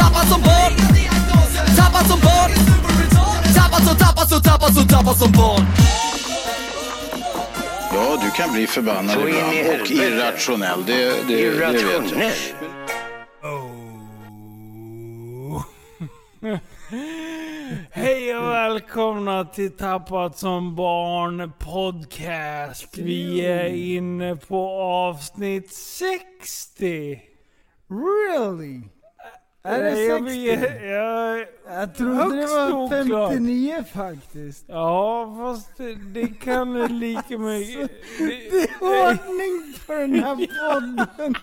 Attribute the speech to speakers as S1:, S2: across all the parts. S1: Tappad som barn Tappad som barn Tappad som, tappad som, tappad som, tappad som barn
S2: Ja, du kan bli förbannad
S3: Så in i
S2: ibland och
S3: helvete.
S2: irrationell. Det, det, det vet jag.
S3: Irrationell.
S4: Hej och välkomna till Tappat som barn podcast. Vi är inne på avsnitt 60.
S5: Really? Är det
S4: Jag
S5: 60?
S4: vet- jag-
S5: Jag trodde det
S4: Högst
S5: var
S4: oklart.
S5: 59 faktiskt.
S4: Ja, fast det, det kan ju lika mycket... Det,
S5: Det är ordning på den här podden.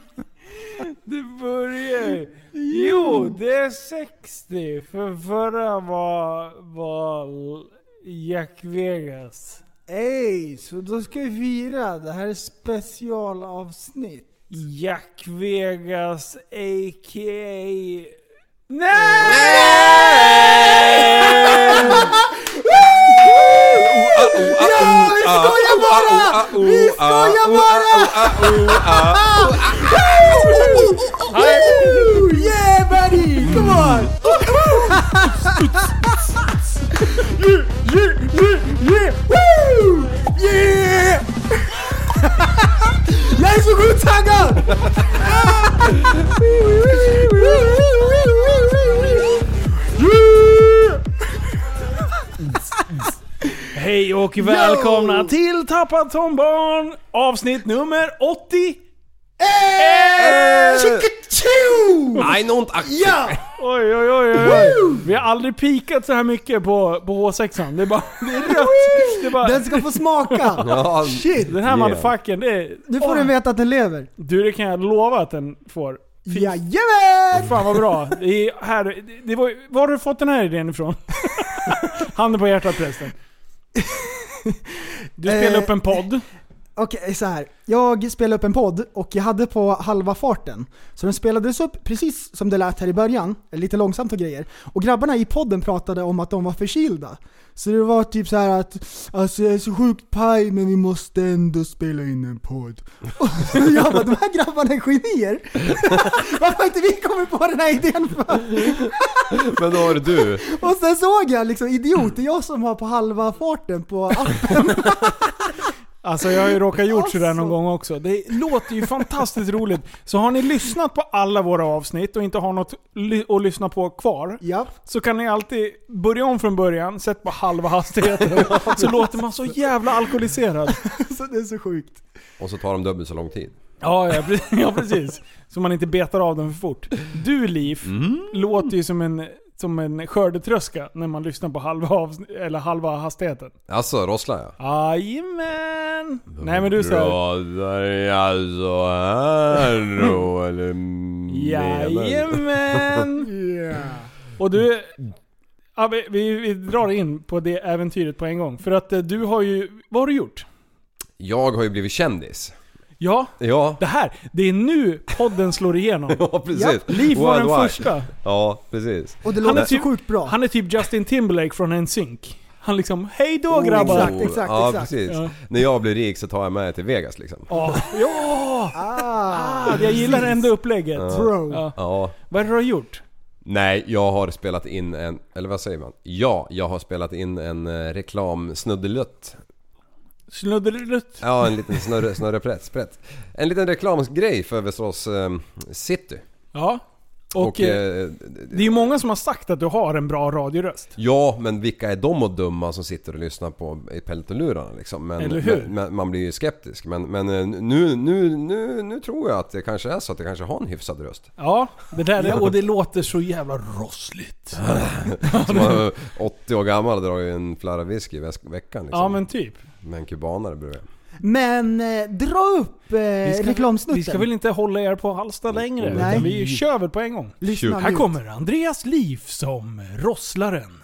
S4: det börjar Jo, det är 60. För förra var, var Jack Vegas.
S5: Ey, så då ska vi fira. Det här är specialavsnitt.
S4: Jack Vegas a.k.a.
S5: Vi skojar bara! Woo! Yeah buddy! Come on! yeah, yeah, yeah, yeah! Woo! Yeah! Jag är så sjukt taggad! Yeah!
S4: Hej och välkomna till Tappat som barn! Avsnitt nummer
S5: Eh!
S4: 80!
S5: Chicka-choo!
S6: Nej, nånt ack.
S5: Ja!
S4: Oj, oj, oj, oj, oj. Vi har aldrig pikat så här mycket på, på H6an. Det är bara... Det är rött! Det är bara,
S5: Den ska få smaka!
S6: Ja,
S5: Shit!
S4: den här
S6: Yeah.
S4: motherfuckern, det är...
S5: Nu får den veta att den lever.
S4: Du, det kan jag lova att den får. Fy
S5: Jajamän!
S4: fan vad bra. Det är, här, det- det var, var har du fått den här idén ifrån? Handen på hjärtat förresten. Du spelar
S5: Eh,
S4: upp en podd.
S5: Okej, så här. Jag spelade upp en podd och jag hade på halva farten. Så den spelades upp precis som det lät här i början, lite långsamt och grejer. Och grabbarna i podden pratade om att de var förkylda. Så det var typ så här att alltså jag är så sjukt paj men vi måste ändå spela in en podd. Och jag bara, de här grabbarna är genier! Varför har inte vi kommit på den här idén för?
S6: Men då är det du.
S5: Och sen såg jag liksom, idiot, det är jag som har på halva farten på appen.
S4: Alltså jag har ju råkat gjort sådär någon
S5: Alltså.
S4: gång också. Det låter ju fantastiskt roligt. Så har ni lyssnat på alla våra avsnitt och inte har något ly- att lyssna på kvar.
S5: ja.
S4: Så kan ni alltid börja om från början, sätt på halva hastigheten. Så låter man så jävla alkoholiserad.
S5: Så det är så sjukt.
S6: Och så tar de dubbelt så lång tid.
S4: Ja, ja, pre- ja precis. Så man inte betar av den för fort. Du Liv, låter ju som en, som en skördetröska när man lyssnar på halva, avsn- eller halva hastigheten.
S6: Alltså, rosslar jag?
S4: Jajamän! Nej men du säger
S6: Pratar jag så här då, eller menar du?
S4: Jajamän! Och du... Ja, vi, vi, vi drar in på det äventyret på en gång. För att eh, du har ju... Vad har du gjort?
S6: Jag har ju blivit kändis.
S4: Ja,
S6: Ja.
S4: det här. Det är nu podden slår igenom.
S6: Ja, precis.
S4: Liv var den
S6: Worldwide.
S4: första.
S6: Ja, precis.
S5: Och det
S4: Han är
S5: låter så
S4: typ-
S5: sjukt bra.
S4: Han är typ Justin Timberlake från NSYNC. Han liksom, hej
S6: Oh.
S4: då grabbar!
S5: Exakt, exakt,
S6: ja,
S5: exakt.
S6: Precis.
S4: Ja.
S6: När jag blir rik så tar jag med er till Vegas liksom.
S4: Ja, ja.
S5: Ah,
S4: jag gillar ändå upplägget.
S5: bro.
S4: Ja.
S6: Ja.
S4: Vad har du gjort?
S6: Nej, jag har spelat in en... Eller vad säger man? Ja, jag har spelat in en eh, reklamsnuddelutt
S4: Snuddelutt?
S6: Ja, en liten snurre, snurre prätt, sprätt. En liten reklamgrej för Västerås eh, city.
S4: Ja. Och,
S6: Och,
S4: eh,
S6: eh,
S4: det är ju många som har sagt att du har en bra radioröst.
S6: ja, men vilka är de och dumma som sitter och lyssnar på i pelletelurarna liksom? Men,
S4: Eller hur?
S6: Men, men, man blir ju skeptisk. Men, men eh, nu, nu, nu, nu tror jag att det kanske är så att jag kanske har en hyfsad röst.
S4: Ja, det där är, och det låter så jävla rossligt.
S6: Som var 80 år gammal och drar ju en flarra whisky i väsk- veckan liksom.
S4: Ja men typ.
S6: Med en kubanare bredvid.
S5: Men eh, dra upp eh,
S4: väl, vi ska
S5: reklamsnutten.
S4: väl inte hålla er på Halsta längre?
S6: Nej.
S4: Utan vi kör väl på en gång.
S5: Lyssna
S6: Shoot.
S4: Här
S5: ut.
S4: kommer Andreas liv som rosslaren.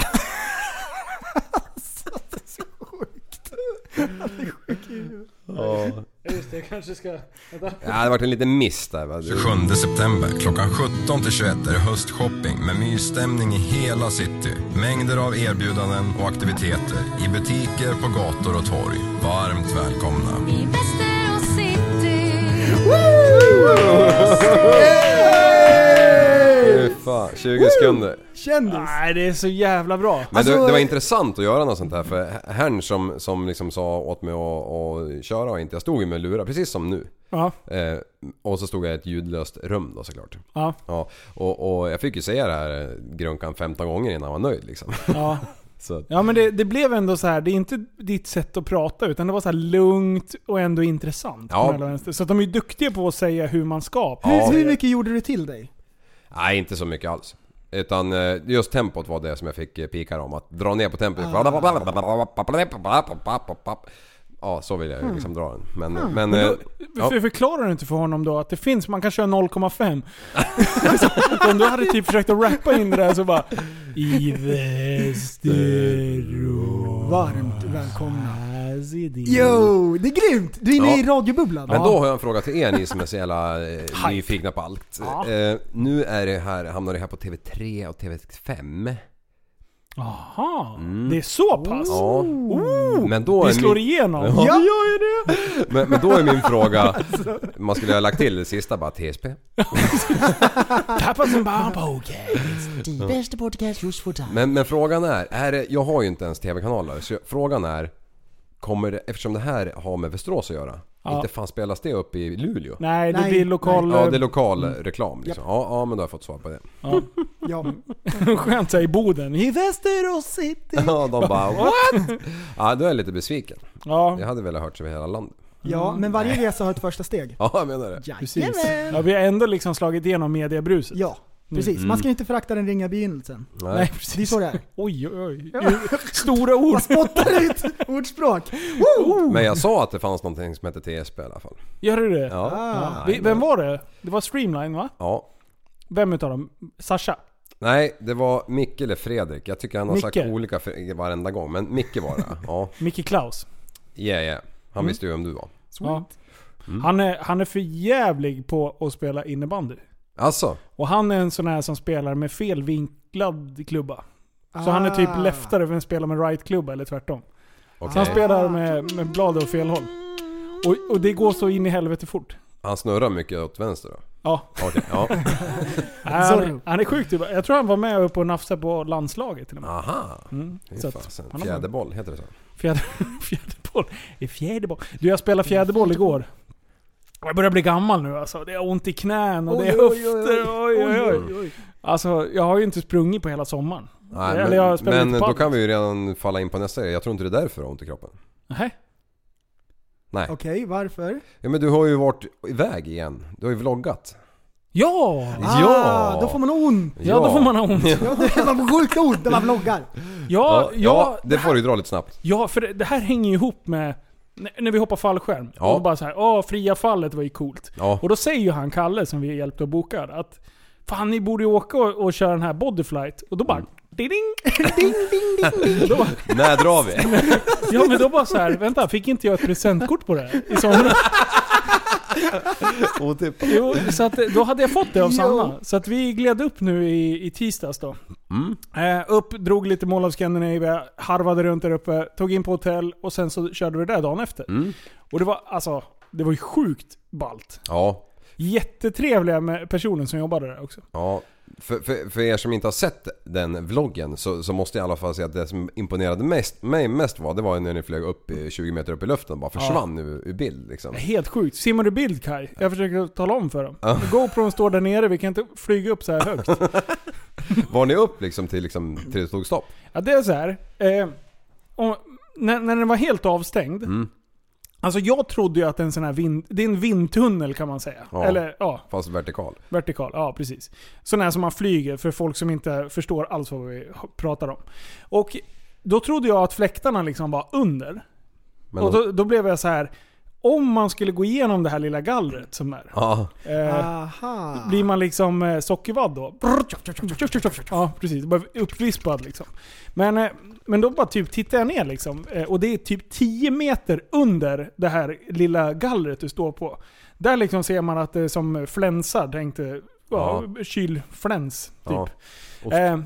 S4: Just det, jag kanske ska...
S6: Ja, det har varit en liten miss där. va?
S7: 27 september klockan 17 till 21 är det höstshopping med mysstämning i hela city. Mängder av erbjudanden och aktiviteter i butiker, på gator och torg. Varmt välkomna.
S8: I Västerås city
S6: Fy Fan, 20 sekunder.
S5: Kändis.
S4: Nej, det är så jävla bra.
S6: Men
S5: Alltså-
S6: det, det var intressant att göra något sånt här för herrn som, som liksom sa åt mig att, att köra och inte. Jag stod ju med lurar, precis som nu.
S4: Ja,
S6: Eh, och så stod jag i ett ljudlöst rum då såklart.
S4: ja,
S6: Ja, och, och jag fick ju säga det här eh, grunkan 15 gånger innan jag var nöjd liksom.
S4: ja.
S6: Så att,
S4: ja men det, det blev ändå så här. det är inte ditt sätt att prata utan det var så här lugnt och ändå intressant.
S6: Ja.
S4: på alla vänster. Så att de är ju duktiga på att säga hur man ska.
S6: Ja.
S5: Hur, hur mycket gjorde du till dig?
S6: nej, inte så mycket alls. Utan eh, just tempot var det som jag fick eh, pikar om. Att dra ner på tempot. Ja, så vill jag ju liksom dra den. Men... men eh, ja.
S4: För, förklarar du inte för honom då att det finns, man kan köra 0,5? Liksom, Om du hade typ försökt att rappa in det där så bara... I Västerås...
S5: Varmt välkomna.
S4: Jo!
S5: Yo, det är grymt! Du är inne
S6: Ja.
S5: i radiobubblan.
S6: Men
S5: Ja.
S6: då har jag en fråga till er ni som är så jävla eh, nyfikna på allt.
S4: Ja.
S6: Eh, nu är det här, hamnar det här på TV3 och TV5.
S4: Aha, det är så pass?
S6: Mm. Ja. Men då
S4: Det
S6: är
S4: slår
S6: min,
S4: igenom?
S6: Ja.
S4: det gör ju det!
S6: men, men då är min fråga, man skulle ha lagt till det sista bara TSP.
S4: Tappa som bara poker.
S6: Men, men frågan är, är det, jag har ju inte ens TV-kanaler så jag- frågan är, kommer det, eftersom det här har med Västerås att göra,
S4: Ja.
S6: inte fan spelas det upp i Luleå?
S4: Nej, det
S5: Nej,
S4: blir lokal...
S6: Ja, det är lokal reklam liksom. ja, ja, men då har jag fått svar på det.
S5: Ja.
S4: Skönt såhär i Boden. I Västerås city.
S6: Ja, de bara what? Ja, då är jag lite besviken.
S4: Ja,
S6: Jag hade velat hört sig över hela landet.
S5: ja, men varje
S4: Mm.
S5: resa har ett första steg.
S6: Ja, jag menar det.
S4: precis.
S5: Jajamän.
S4: Ja, vi har ändå liksom slagit igenom mediebruset.
S5: Ja,
S4: Mm.
S5: precis. Man ska inte förakta den ringa begynnelsen.
S4: Nej,
S5: Det är
S4: precis.
S5: så det är.
S4: Oj, oj, oj. Stora ord.
S5: Man spottar ut ordspråk. Woo!
S6: Men jag sa att det fanns någonting som hette TSP i alla fall.
S4: Gör du det?
S6: Ja.
S5: Ah.
S4: Vi- Vem var det? Det var Streamline va?
S6: ja.
S4: Vem utav dem? Sasha?
S6: Nej, det var Micke eller Fredrik. Jag tycker han har sagt
S4: Micke.
S6: olika för- varenda gång. Men Micke var det. Ja,
S4: Micke Klaus?
S6: yeah, yeah. Han
S4: Mm.
S6: visste ju vem du var.
S4: Ja. Han, är, han är för jävlig på att spela innebandy.
S6: Alltså,
S4: Och han är en sån här som spelar med felvinklad klubba. Så han är
S5: Ah.
S4: typ leftare men spelar med right-klubba eller tvärtom. Så
S6: okej.
S4: han spelar med, med blad och fel håll. Och, och det går så in i helvete fort.
S6: Han snurrar mycket åt vänster då.
S4: Ja.
S6: Okej, ja.
S4: Han, han är sjukt typ. Jag tror han var med uppe och nafsade på landslaget till och med.
S6: Aha.
S4: Mm.
S6: Det är
S4: Så att,
S6: fasen.
S4: han har-
S6: Fjäderboll, heter det så?
S4: Fjäder- fjäderboll. Det är fjäderboll. Du, jag spelade fjäderboll igår. Jag börjar bli gammal nu alltså. Det är ont i knän och det är höfter. Oj, oj, oj. Alltså, jag har ju inte sprungit på hela sommaren.
S6: Nej,
S4: Eller jag
S6: men
S4: spelar
S6: men
S4: lite
S6: då
S4: padel.
S6: kan vi ju redan falla in på nästa grej. Jag tror inte det är därför du har ont i kroppen.
S4: Nej.
S6: Nej.
S5: Okej, varför?
S6: Ja, men du har ju varit iväg igen. Du har ju vloggat.
S4: Ja!
S6: Ja!
S5: Ah, Då får man ont.
S4: Ja, då får man ha ont.
S5: Ja, det- man får sjukt ont när man vloggar.
S4: Ja,
S6: Ja,
S4: ja,
S6: ja, det får du ju dra lite snabbt.
S4: ja för det, det här hänger ju ihop med när- när vi hoppar fallskärm.
S6: Ja.
S4: Och bara så här, åh, fria fallet var ju coolt.
S6: Ja.
S4: Och då säger ju han, Kalle, som vi hjälpte att boka, att Fan, ni borde ju åka och, och köra den här bodyflight. Och då bara... Ding, ding, ding, ding, ding. Då bara,
S6: När drar vi?
S4: Ja men då bara så här, vänta, fick inte jag ett presentkort på det här i somras?
S6: Otippat.
S4: Jo, så att, då hade jag fått det av
S5: Jo.
S4: Sanna. Så att vi gled upp nu i, i tisdags då. Eh, upp, drog lite Mall of Scandinavia, harvade runt där uppe, tog in på hotell och sen så körde vi det där dagen efter. Och det var alltså, det var ju sjukt ballt.
S6: Ja,
S4: Jättetrevliga med personen som jobbade där också.
S6: ja. För, för, för er som inte har sett den vloggen så, så måste jag i alla fall säga att det som imponerade mest, mig mest var det var ju när ni flög upp i 20 meter upp i luften och bara försvann ur, ur bild liksom.
S4: Helt sjukt. Simmar du bild Kai? Jag försöker tala om för dem. GoPron står där nere, vi kan inte flyga upp så här högt.
S6: Var ni upp liksom till liksom till det tog stopp?
S4: Ja, det är så här. Eh, om, när, när den var helt avstängd.
S6: Mm.
S4: Alltså jag trodde ju att en sån här vind, det är en vindtunnel kan man säga.
S6: Ja.
S4: Eller ja,
S6: Fast vertikal.
S4: vertikal. Ja, precis. Sån här som man flyger för folk som inte förstår alls vad vi pratar om. Och då trodde jag att fläktarna liksom var under.
S6: Men
S4: och då, då blev jag så här. om man skulle gå igenom det här lilla gallret som är.
S6: Ja.
S4: Eh,
S5: Aha.
S4: blir man liksom eh, sockervadd då. Ja, precis. Bara uppvispad liksom. Men, eh, men då bara typ tittar jag ner liksom. Eh, Och det är typ 10 meter under det här lilla gallret du står på. Där liksom ser man att det är som flänsar, tänkte ja, kylfläns typ.
S6: Ja. Ost.
S4: Eh,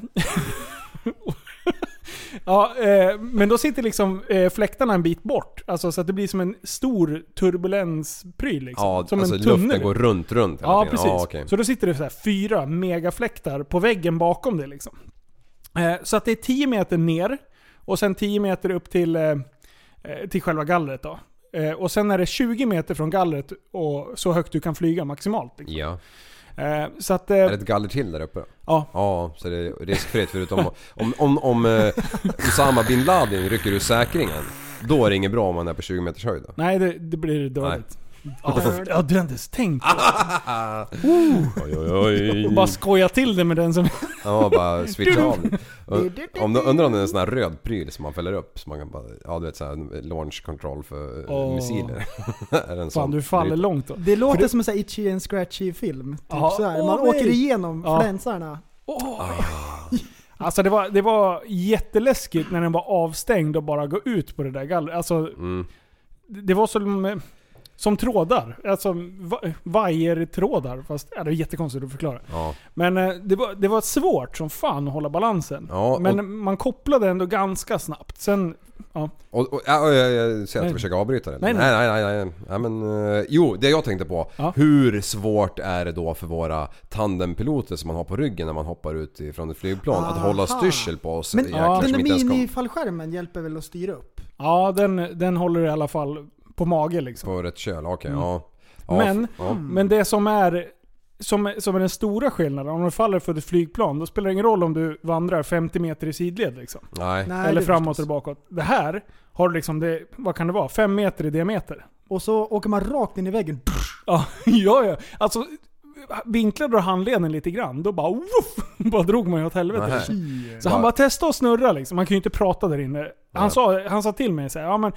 S4: ja, eh, men då sitter liksom eh, fläktarna en bit bort. Alltså, så att det blir som en stor turbulenspryl. Liksom.
S6: ja
S4: som
S6: alltså
S4: en tunnel.
S6: luften går runt, runt hela
S4: Ja,
S6: tiden.
S4: precis.
S6: Ja, okej.
S4: Så då sitter det så här fyra megafläktar på väggen bakom det. Liksom. Eh, så att det är 10 meter ner och sen 10 meter upp till, eh, eh, till själva gallret. Då. Eh, och sen är det 20 meter från gallret och så högt du kan flyga maximalt. Liksom.
S6: Ja.
S4: Eh, så att,
S6: Är
S4: eh,
S6: det ett galler till där uppe?
S4: ja,
S6: Ja, så det är riskfritt förutom om, om, om eh, Osama bin Laden rycker ur säkringen. Då är det inget bra om man är på 20 meters höjd då.
S4: nej det, det blir dåligt. Ja, ja, du har inte ens tänkt
S6: Ah! Oj, oj, oj.
S4: Och bara skoja till det med den som...
S6: Ja, bara switcha av. Om du undrar om det är en sån här röd pryl som man fäller upp. Så man kan bara, ja du vet såhär launch control för eh,
S4: Åh.
S6: missiler. är det
S4: Fan,
S6: en sån
S4: du faller
S6: pryl?
S4: långt då.
S5: Det låter som en sån här itchy and scratchy film. Typ
S4: Ja.
S5: så här.
S4: Åh,
S5: Man
S4: nej.
S5: åker igenom
S4: Ja.
S5: flänsarna.
S4: Alltså det var, det var jätteläskigt när den var avstängd och bara gå ut på det där gallret. Alltså,
S6: Mm.
S4: det- Det var som, eh, som trådar. Alltså va- vajertrådar. Fast ja, det är jättekonstigt att förklara.
S6: Ja.
S4: Men eh, det var, det var svårt som fan att hålla balansen.
S6: Ja, och-
S4: Men man kopplade ändå ganska snabbt. Sen, ja.
S6: Och, och, ja, och jag, jag ser att
S4: Nej.
S6: du försöker avbryta det.
S4: Nej,
S6: Nej,
S4: nej.
S6: nej, nej. nej, nej. Ja, men, eh, jo, det jag tänkte på.
S4: Ja.
S6: Hur svårt är det då för våra tandempiloter som man har på ryggen när man hoppar ut ifrån ett flygplan att hålla
S5: Aha.
S6: styrsel på oss
S5: Men
S6: jäklar
S5: den
S6: som
S5: där
S6: inte ens kom
S5: minifallskärmen hjälper väl att styra upp?
S4: ja den, den håller i alla fall på mage liksom.
S6: på rätt köl? Okej, ja. ja.
S4: Men,
S6: f- ja.
S5: Mm.
S4: men det som är, som, som är den stora skillnaden, om du faller för ett flygplan, då spelar det ingen roll om du vandrar 50 meter i sidled. Liksom.
S6: Nej.
S5: Nej,
S4: Eller
S5: det
S4: framåt
S5: förstås.
S4: eller bakåt. Det här har du liksom, det, vad kan det vara? 5 meter i diameter.
S5: Och så åker man rakt in i väggen.
S4: Ja, ja, ja. Alltså, vinklade du handleden lite grann, då bara woof, bara drog man ju åt helvete.
S6: Nähä.
S4: Så han bara testa att snurra liksom. Man kan ju inte prata där inne. Han
S6: Nej.
S4: sa, han sa till mig så här, ja men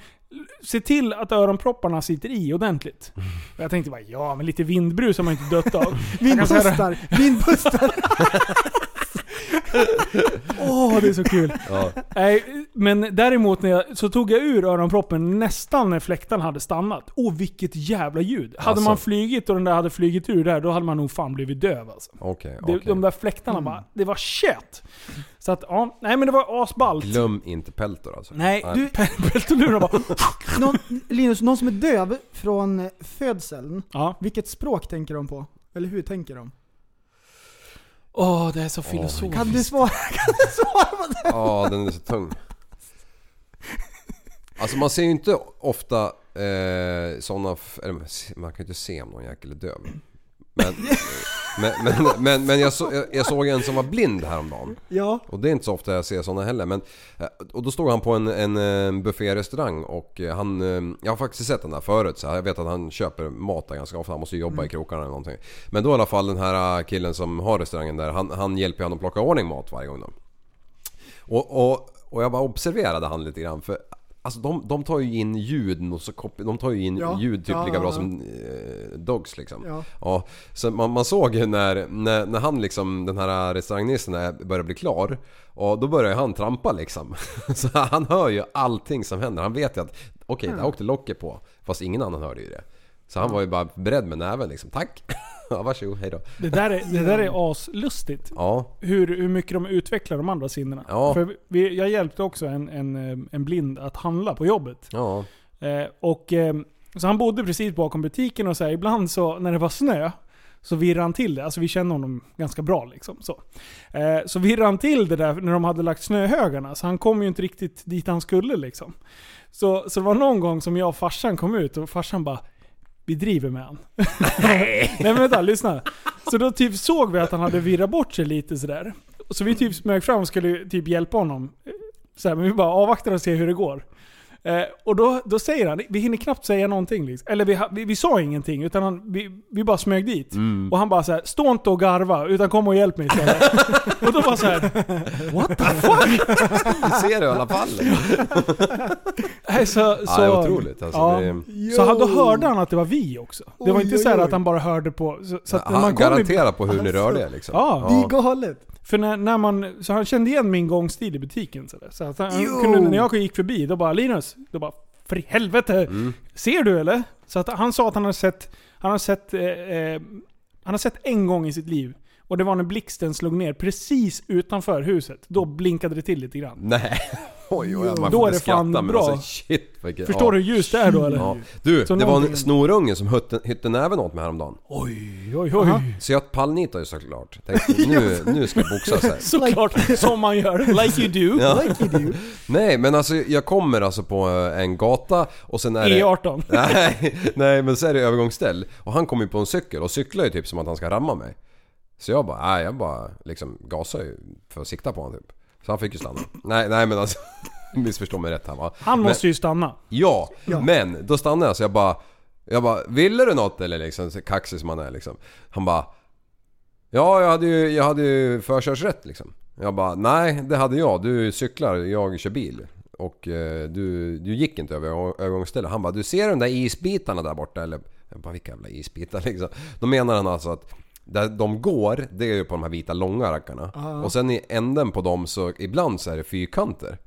S4: se till att öronpropparna sitter i ordentligt.
S6: Mm.
S4: Och jag tänkte bara, ja men lite vindbrus har man ju inte dött av. Jag kan säga det-
S5: Vindpustar! Vindpustar!
S4: Åh, det är så kul.
S6: Ja.
S4: Nej, men däremot när jag, så tog jag ur öronproppen nästan när fläktarna hade stannat. Åh, vilket jävla ljud. Hade
S6: Alltså.
S4: man flygit och den där hade flygit ur där, då hade man nog fan blivit döv alltså.
S6: Okej,
S4: Det,
S6: okej.
S4: De där fläktarna bara, det var shit. Så att ja, nej men det var asballt.
S6: Glöm inte Peltor alltså.
S4: Nej, du... Peltolurerna bara...
S5: Någon, Linus, någon som är döv från födseln,
S4: Ja.
S5: vilket språk tänker de på? Eller hur tänker de?
S4: Åh, det är så filosofiskt.
S5: Kan du svara, kan du svara på det?
S6: Ja, den är så tung. Alltså man ser ju inte ofta eh, sådana... f- Eller man ser- man kan ju inte se om någon jäkel är döv. Men, men, men, men, men jag, så, jag, jag såg en som var blind häromdagen.
S5: Ja.
S6: Och det är inte så ofta jag ser sådana heller. Men, eh, och då stod han på en, en eh, bufférestaurang och eh, han... eh, Jag har faktiskt sett den där förut. Så här, jag vet att han köper mat där ganska ofta. Han måste ju
S5: Mm.
S6: jobba i krokarna eller någonting. Men då i alla fall den här eh, killen som har restaurangen där. Han, han hjälper honom plocka i ordning mat varje gång då. Och, och, och jag bara observerade han lite grann för Alltså de, de tar ju in ljud och så kopi- de tar ju in
S5: Ja.
S6: ljud typ
S5: Ja,
S6: lika
S5: ja,
S6: bra
S5: ja.
S6: som eh, Dogs liksom.
S5: Ja.
S6: så man, man såg ju när, när, när han liksom, den här restaurangnissen när jag började bli klar. Och då började han trampa liksom. Så han hör ju allting som händer. Han vet ju att okej, där åkte locket på. Fast ingen annan hörde ju det. Så han var ju bara beredd med näven liksom. Tack! Ja, varsågod, hejdå.
S4: Det där är, det där är aslustigt.
S6: Ja,
S4: hur, hur mycket de utvecklar de andra sinnena.
S6: Ja.
S4: För vi, jag hjälpte också en, en, eh, en blind att handla på jobbet.
S6: ja.
S4: Eh, och, eh, så han bodde precis bakom butiken och så här, ibland så när det var snö så virrade han till det. Alltså vi känner honom ganska bra liksom. Så, eh, så virrade han till det där när de hade lagt snöhögarna. Så han kom ju inte riktigt dit han skulle liksom. Så, så det var någon gång som jag och farsan kom ut och farsan bara vi driver med han. Nej men vänta, lyssna. Så då typ såg vi att han hade virrat bort sig lite sådär. Så vi typ smög fram och skulle typ hjälpa honom. Så här, men vi bara avvaktar och ser hur det går. Eh, och då, då säger han, vi hinner knappt säga någonting. Liksom. Eller vi, ha- vi, vi sa ingenting, utan han, vi, vi bara smög dit.
S6: Mm.
S4: Och han bara så här, stå inte och garva, utan kom och hjälp mig istället. och då bara så här, what the fuck?
S6: Vi ser det i alla fall.
S4: Nej, så, så,
S6: Ja, det är otroligt, alltså,
S4: ja.
S6: det är-
S4: Så han, då hörde han att det var vi också. Det var
S5: Oj,
S4: inte
S5: oj,
S4: så här
S5: oj.
S4: att han bara hörde på... Så, så att när
S6: Han
S4: man kom i,
S6: garanterar på hur ni rör det liksom.
S4: Ja.
S5: Det är galet.
S4: För när, när man, så han kände igen min gångstil i butiken. Så, där. så att han
S5: Jo.
S4: kunde, när jag gick förbi, då bara Linus, då bara för i helvete,
S6: Mm.
S4: ser du eller? Så att han sa att han har sett, han har sett, eh, eh, han har sett en gång i sitt liv. Och det var när blixten slog ner precis utanför huset. Då blinkade det till lite grann.
S6: Nej. Oj, oj, man
S4: Då
S6: får
S4: är det
S6: inte skratta
S4: fan
S6: men
S4: bra.
S6: alltså shit vilket,
S4: Förstår du hur ljust det är då eller?
S6: Ja. Du,
S4: Så
S6: det var
S4: någonting-
S6: en snorunge som hytte, hytte näven åt mig häromdagen.
S4: Oj, oj, oj.
S6: Så jag pallnitade ju såklart. Tänkte nu, nu ska jag boxa sig.
S4: Såklart, som man gör. Like you do.
S6: Ja. Nej men alltså jag kommer alltså på eh, en gata och sen är det...
S4: E18.
S6: Nej, nej men så är det övergångsställ. Och han kommer ju på en cykel och cyklar ju typ som att han ska ramma mig. Så jag bara, nej jag bara liksom gasar ju för att sikta på honom typ. Så han fick ju stanna. Nej, nej men alltså. Missförstå mig rätt här va.
S4: Han
S6: men,
S4: måste ju stanna.
S6: Ja, men då stannade jag så jag bara... Jag bara, ville du något eller liksom? så Kaxig som han är liksom. Han bara... Ja, jag hade ju, jag hade ju förkörsrätt liksom. Jag bara, nej det hade jag. Du cyklar, jag kör bil. Och eh, du, du gick inte över övergång- övergångsstället. Han bara, du ser de där isbitarna där borta eller? Jag bara, vilka jävla isbitar liksom? Då menar han alltså att där de går, det är ju på de här vita långa rackarna. Och sen i änden på dem så ibland så är det fyrkanter.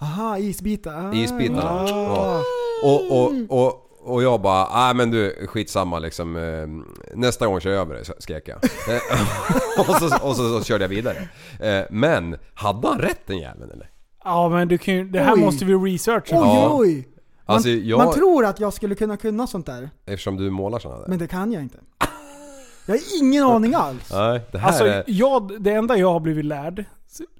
S5: Aha, isbitar. Ah.
S6: Isbitarna. Ja. Och, och, och, och jag bara, nej men du skitsamma liksom. eh, Nästa gång kör jag över dig, skrek jag. Eh, och så, och så, så körde jag vidare. Eh, Men, hade han rätt den jäveln eller?
S4: Ja men du kan ju, det här
S5: Oj.
S4: måste vi researcha.
S5: Oj,
S6: Ja.
S5: oj. Man,
S6: Alltså jag,
S5: man tror att jag skulle kunna kunna sånt där,
S6: eftersom du målar sådana där.
S5: men det kan jag inte. Jag har ingen aning alls.
S6: Nej, det här
S4: Alltså,
S6: är...
S4: jag, det enda jag har blivit lärd,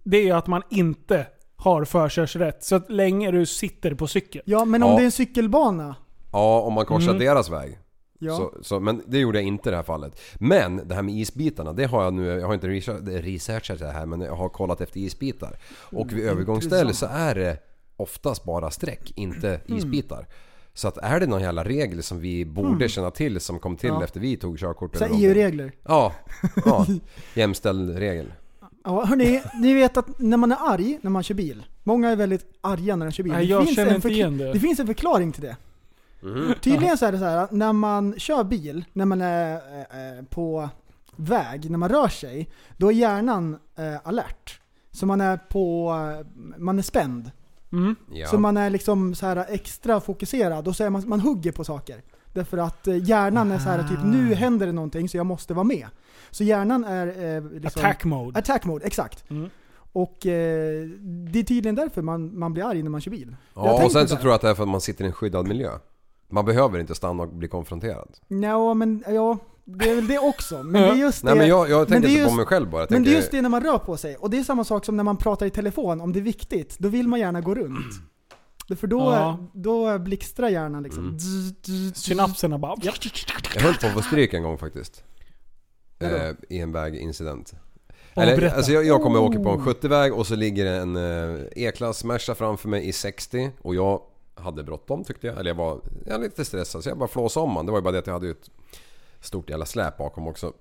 S4: det är ju att man inte har förkörsrätt så att länge du sitter på cykel.
S5: Ja, men om
S6: Ja.
S5: det är en cykelbana.
S6: Ja, om man
S5: mm.
S6: korsar deras väg.
S5: Ja.
S6: Så, så, men det gjorde jag inte i det här fallet. Men det här med isbitarna, det har jag nu, jag har inte research- researchat det här men jag har kollat efter isbitar. Och
S5: Mm,
S6: vid övergångsställe så är det oftast bara streck, inte
S5: Mm.
S6: isbitar. Så att är det någon jävla regel som vi borde känna till som kom till efter vi tog körkort?
S5: Mm. Så
S6: eller
S5: här E
S6: någonting?
S5: EU-regler.
S6: Ja, ja. jämställd regel.
S5: Ja, hörni, ni vet att när man är arg när man kör bil. Många är väldigt arga när de kör bil.
S4: Nej, jag känner
S5: en
S4: inte
S5: förkl-
S4: igen det.
S5: Det finns en förklaring till det.
S6: Mhm.
S5: Tydligen så är det så här att när man kör bil, när man är eh, eh, på väg, när man rör sig, då är hjärnan eh, alert. Så man är på, eh, man är spänd.
S6: Ja.
S5: Så man är liksom så här extra fokuserad och så är man, man hugger på saker. Därför att eh, hjärnan är så här typ
S6: Ah.
S5: nu händer det någonting så jag måste vara med. Så hjärnan är... Eh, liksom,
S4: Attack mode.
S5: Attack mode, exakt.
S4: Mm.
S5: Och eh, det är tydligen därför man, man blir arg när man kör bil. Jag
S6: ja, och
S5: tänkte
S6: sen så
S5: där.
S6: tror jag att det är för att man sitter i en skyddad miljö. Man behöver inte stanna och bli konfronterad.
S5: Nja, men ja, det är väl det också. Men det är just det.
S6: Nej men jag, jag tänker
S5: det är
S6: inte på
S5: just-
S6: mig själv bara. Jag
S5: men det är
S6: tänker-
S5: just det när man rör på sig. Och det är samma sak som när man pratar i telefon, om det är viktigt. Då vill man gärna gå runt. För då,
S4: Ja.
S5: då blixtrar hjärnan liksom.
S6: Mm.
S4: Synapserna bara... Ja.
S6: Jag höll på att få stryk en gång faktiskt.
S5: Vadå?
S6: Eh, I en vägincident.
S4: Åh,
S6: Eller,
S4: berätta.
S6: alltså jag, jag kommer åka på en 70-väg och så ligger en eh, E-klass Merca framför mig i 60 och jag hade bråttom tyckte jag. Eller jag var, jag var lite stressad så jag bara flåsade om han. Det var ju bara det att jag hade ju ett stort jävla släp bakom också.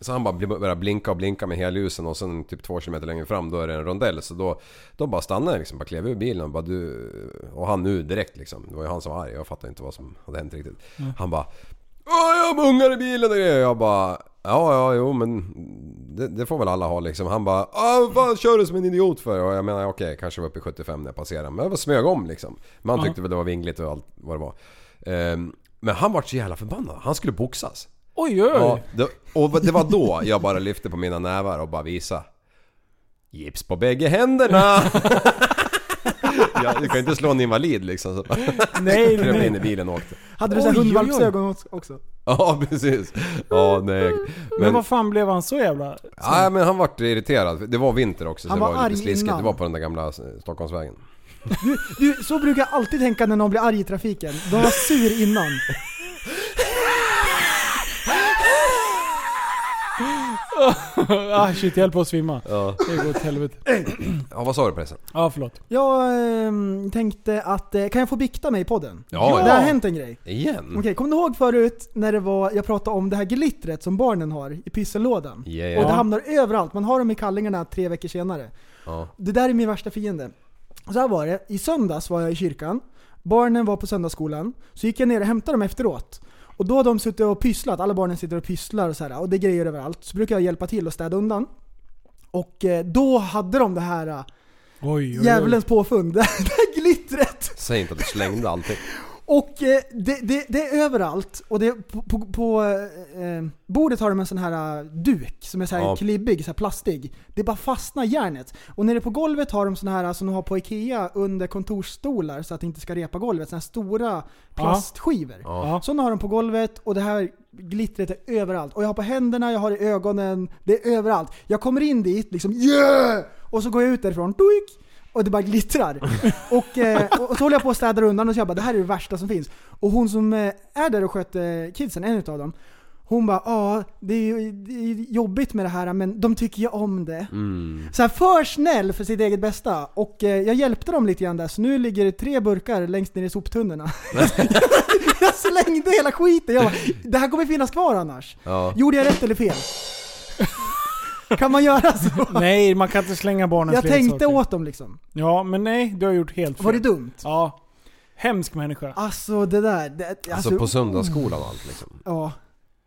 S6: Så han bara bli- började blinka och blinka med helljusen och sen typ två kilometer längre fram då är det en rondell. Så då, då bara stannade jag liksom, bara klev ur bilen och bara du... Och han nu direkt liksom. Det var ju han som var arg. Jag fattade inte vad som hade hänt riktigt. Han bara Åh, jag har ungar i bilen och grejer. Jag bara Ja, ja, jo men det, det får väl alla ha liksom. Han bara "Ah, vad fan kör du som en idiot för? Och jag menar okej, kanske var uppe i 75 när jag passerade. Men jag var smög om liksom. Men han tyckte väl det var vingligt och allt vad det var. Ehm, men han var så jävla förbannad. Han skulle boxas.
S4: Oj, oj.
S6: Ja, det, och det var då jag bara lyfte på mina nävar och bara visa. Gips på bägge händerna! ja, du kan ju inte slå en invalid liksom. Så bara
S4: Nej,
S6: kröp
S4: nej.
S6: in i bilen och åkte.
S5: Hade du så här
S4: Oj, oj, oj.
S5: hundvalpsögon också?
S6: Ja, precis. Ja, nej.
S4: Men
S6: Men,
S4: vad fan blev han så jävla...
S6: nej, men han vart irriterad. Det var vinter också så
S5: Han
S6: det
S5: var
S6: var
S5: arg
S6: lite sliskigt.
S5: innan.
S6: Det var på den där gamla eh, Stockholmsvägen.
S5: Du, så brukar jag alltid tänka när någon blir arg i trafiken. De var sur innan.
S4: ah, shit, jag höll på att svimma.
S6: Ja.
S4: Det går åt helvete.
S6: ja, vad sa du pressen?
S4: Ja, förlåt.
S5: Jag ehm, tänkte att, eh, kan jag få bikta mig i podden?
S6: Ja,
S5: Det har
S6: ja.
S5: hänt en grej.
S6: Igen?
S5: Okej, kommer du ihåg förut när det var, jag pratade om det här glittret som barnen har i pyssellådan?
S6: Ja,
S5: Och det
S6: ja.
S5: hamnar överallt, man har dem i kallingarna tre veckor senare.
S6: Ja.
S5: Det där är min värsta fiende. Så här var det, i söndags var jag i kyrkan, barnen var på söndagsskolan, så gick jag ner och hämtade dem efteråt. Och då har de suttit och pysslat, alla barnen sitter och pysslar och så här, och det är grejer överallt. Så brukar jag hjälpa till och städa undan. Och eh, då hade de det här eh,
S4: Oj, oj, oj.
S5: djävulens påfund, det här glittret.
S6: Säg inte att du slängde allting.
S5: Och eh, det, det, det är överallt. Och det, på, på, på eh, eh, bordet har de en sån här eh, duk som är så här
S6: Ja.
S5: klibbig, så här plastig. Det bara fastnar i järnet. Och nere på golvet har de sån här eh, som de har på IKEA under kontorsstolar så att det inte ska repa golvet. Såna här stora plastskivor.
S6: Ja.
S5: Såna har de på golvet och det här glittret är överallt. Och jag har på händerna, jag har i ögonen, det är överallt. Jag kommer in dit liksom yeah! Och så går jag ut därifrån, doink! Och det bara glittrar. Och, eh, och och så håller jag på och städar undan och så jag bara det här är det värsta som finns. Och hon som eh, är där och sköter kidsen, en utav dem, hon bara ja, det är ju det är ju jobbigt med det här men de tycker ju om det. Så här, för snäll för sitt eget bästa. Och eh, jag hjälpte dem lite grann där så nu ligger det tre burkar längst ner i soptunnorna. jag slängde hela skiten. Jag bara, det här kommer finnas kvar annars.
S6: Ja.
S5: Gjorde jag rätt eller fel? kan man göra så?
S4: Nej, man kan inte slänga barnens
S5: Jag tänkte
S4: leksaker.
S5: åt dem liksom.
S4: Ja, men nej, du har gjort helt fel.
S5: Var det dumt?
S4: Ja. Hemsk människa.
S5: Alltså det där. Det, alltså,
S6: Alltså på söndagsskolan och allt liksom.
S5: Ja.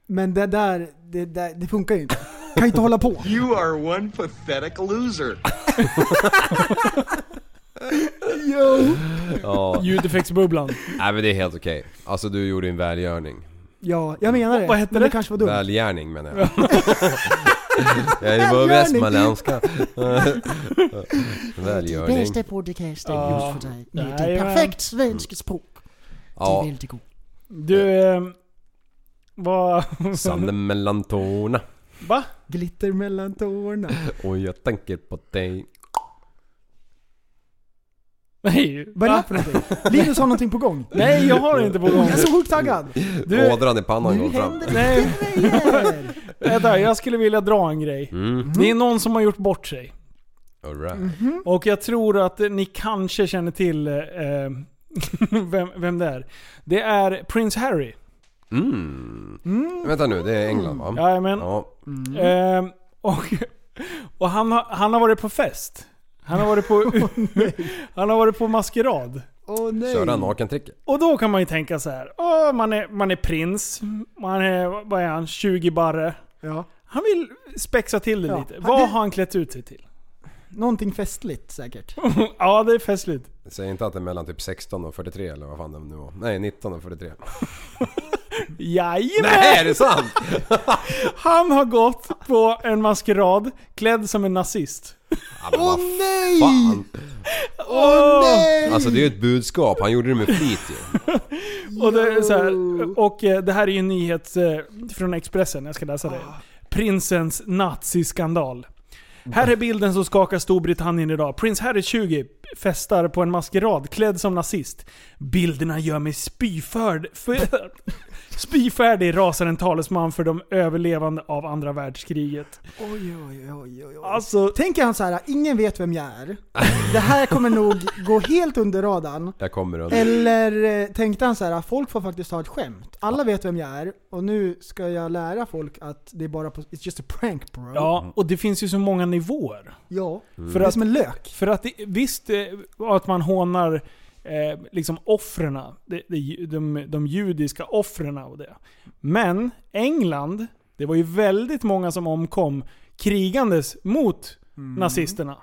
S5: Men det där, det, där, det funkar ju inte. Kan inte hålla på.
S9: You are one pathetic loser.
S5: Jo.
S6: Ja.
S4: Ljudeffektsbubblan.
S6: Nej men det är helt okej. Alltså du gjorde en välgörning.
S5: Ja, jag menar det.
S4: Vad hette
S5: men
S4: det?
S5: det kanske var dumt.
S6: Välgärning menar jag. jag är ju bara
S5: Välgörning.
S6: västmanländska. Välgörning.
S10: podcasten
S4: Ja.
S10: just för dig.
S4: Nej,
S10: Med ett
S4: men-
S10: perfekt svenskt språk. Det är
S6: Ja,
S10: väldigt god.
S4: Du, eh, vad...
S6: sanden mellan tårna.
S4: Va?
S5: Glitter mellan tårna.
S6: Och jag tänker på dig.
S4: Nej.
S5: Vad är det
S4: Va?
S5: för någonting? Linus har någonting på gång.
S4: Nej, jag har inte på gång.
S5: Jag är så sjukt taggad.
S4: Du-
S6: Ådran i pannan
S5: Nu
S6: går fram.
S5: händer
S4: Nej,
S5: det grejer.
S4: vänta, jag skulle vilja dra en grej.
S6: Mm.
S4: Det är någon som har gjort bort sig.
S6: All right.
S4: Och jag tror att ni kanske känner till eh, vem, vem det är. Det är Prince Harry.
S6: Mm. Vänta nu, det är England va?
S4: Jajamän.
S6: Ja.
S4: Ehm, och och han, har, han har varit på fest. Han har varit på, han har varit på maskerad.
S5: Åh nej.
S6: Köra nakentricket.
S4: Och då kan man ju tänka så här. Åh, man, är, man är prins. Man är, vad är han, 20 barre.
S5: Ja.
S4: Han vill spexa till det
S5: Ja.
S4: lite.
S5: Han-
S4: Vad
S5: det-
S4: har han klätt ut sig till?
S5: Någonting festligt säkert.
S4: ja, det är festligt.
S6: Säg inte att det är mellan typ 16 och 43 eller vad fan det nu var. Nej, 19 och 43.
S4: Jajamän!
S6: Nej, är det sant?
S4: Han har gått på en maskerad klädd som en nazist.
S6: Ja, men vad
S5: nej!
S6: fan.
S4: Åh
S5: Nej!
S6: Alltså det är ju ett budskap, han gjorde det med flit ju.
S4: Och, det, är så här, och eh, det här är ju en nyhet eh, från Expressen, jag ska läsa det. Prinsens naziskandal. Här är bilden som skakar Storbritannien idag. Prins Harry 20 festar på en maskerad klädd som nazist. Bilderna gör mig spyförd. För, spyfärdig rasar en talesman för de överlevande av andra världskriget.
S5: Oj, oj, oj, oj, oj.
S4: Alltså,
S5: Tänker han så här, ingen vet vem jag är. Det här kommer nog gå helt under radarn.
S6: Jag kommer under.
S5: Eller eh, tänkte han så här, folk får faktiskt ta ett skämt. Alla vet vem jag är och nu ska jag lära folk att det är bara på... It's just a prank bro.
S4: ja, och det finns ju så många nivåer.
S5: Ja.
S4: För
S5: Det är
S4: att
S5: som en lök.
S4: För att det, visst, eh, att man hånar eh, liksom offren, de, de, de, de judiska offren och det. Men England, det var ju väldigt många som omkom krigandes mot
S5: Mm.
S4: nazisterna.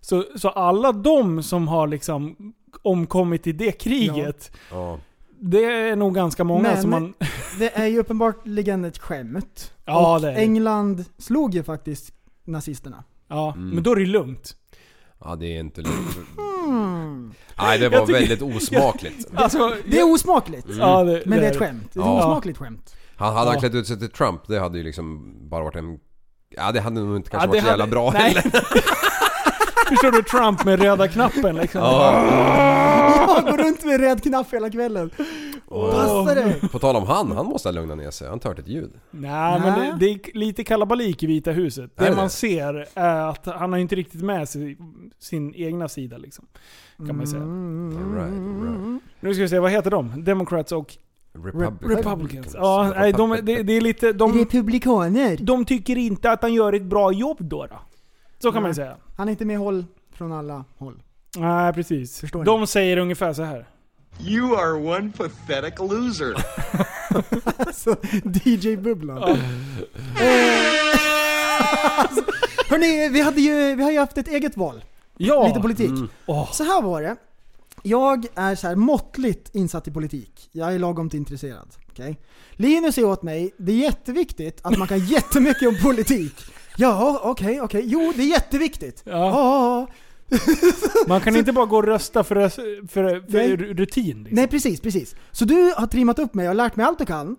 S4: Så, så alla de som har liksom omkommit i det kriget,
S6: Ja.
S4: det är nog ganska många
S5: Men-
S4: som man...
S5: Det är ju uppenbarligen ett skämt.
S4: Ja,
S5: och
S4: det är det.
S5: England slog ju faktiskt nazisterna.
S4: Ja, men då är det lugnt.
S6: ja, det är inte lugnt. Nej, det var
S4: tycker-
S6: väldigt osmakligt.
S4: Alltså,
S5: Det är osmakligt.
S4: ja, det,
S5: Men det är ett skämt. Det är ett
S6: Ja.
S5: osmakligt skämt.
S6: Han hade han
S4: Ja.
S6: klätt ut sig till Trump, det hade ju liksom bara varit en... Ja, det hade nog inte kanske
S4: Ja,
S6: varit så
S4: det
S6: jävla
S4: hade-
S6: bra
S4: nej.
S6: heller.
S4: Förstår du Trump med röda knappen liksom?
S6: Ja.
S5: Jag går runt med röd knapp hela kvällen. Passa dig!
S6: På tal om han, han måste ha lugnat ner sig. Han inte hört ett ljud.
S4: Nej, men
S5: Nej.
S4: det, det är lite kalabalik i Vita huset.
S6: Är
S4: Det
S6: det?
S4: man ser är att han har inte riktigt med sig sin egna sida liksom. Kan man ju
S5: Mm.
S4: säga.
S6: All right, all right.
S4: Nu ska vi se, vad heter de? Democrats och
S6: Republicans.
S4: Republicans. Ja, nej, de, det, det är lite... De,
S5: Republikaner!
S4: de tycker inte att han gör ett bra jobb då. då. Så kan man ju
S5: Nej.
S4: säga.
S5: Han är inte med håll från alla håll.
S4: Nej, precis.
S5: Förstår ni?
S4: de säger ungefär så här.
S9: You are one pathetic loser.
S5: Alltså, DJ-bubblan. Eh. Alltså, Hörni, vi, hade ju, vi har ju haft ett eget val.
S4: Ja!
S5: Lite politik.
S6: Mm.
S4: Åh.
S5: Så här var det. Jag är så här måttligt insatt i politik. Jag är lagom till intresserad. okej? Linus är åt mig, det är jätteviktigt att man kan jättemycket om politik. Ja, okej, okej. Jo, det är jätteviktigt.
S4: Ja.
S5: ja.
S4: Man kan inte bara gå och rösta för, för, för
S5: Nej.
S4: rutin. Liksom.
S5: Nej, precis, precis. Så du har trimmat upp mig och lärt mig allt du kan.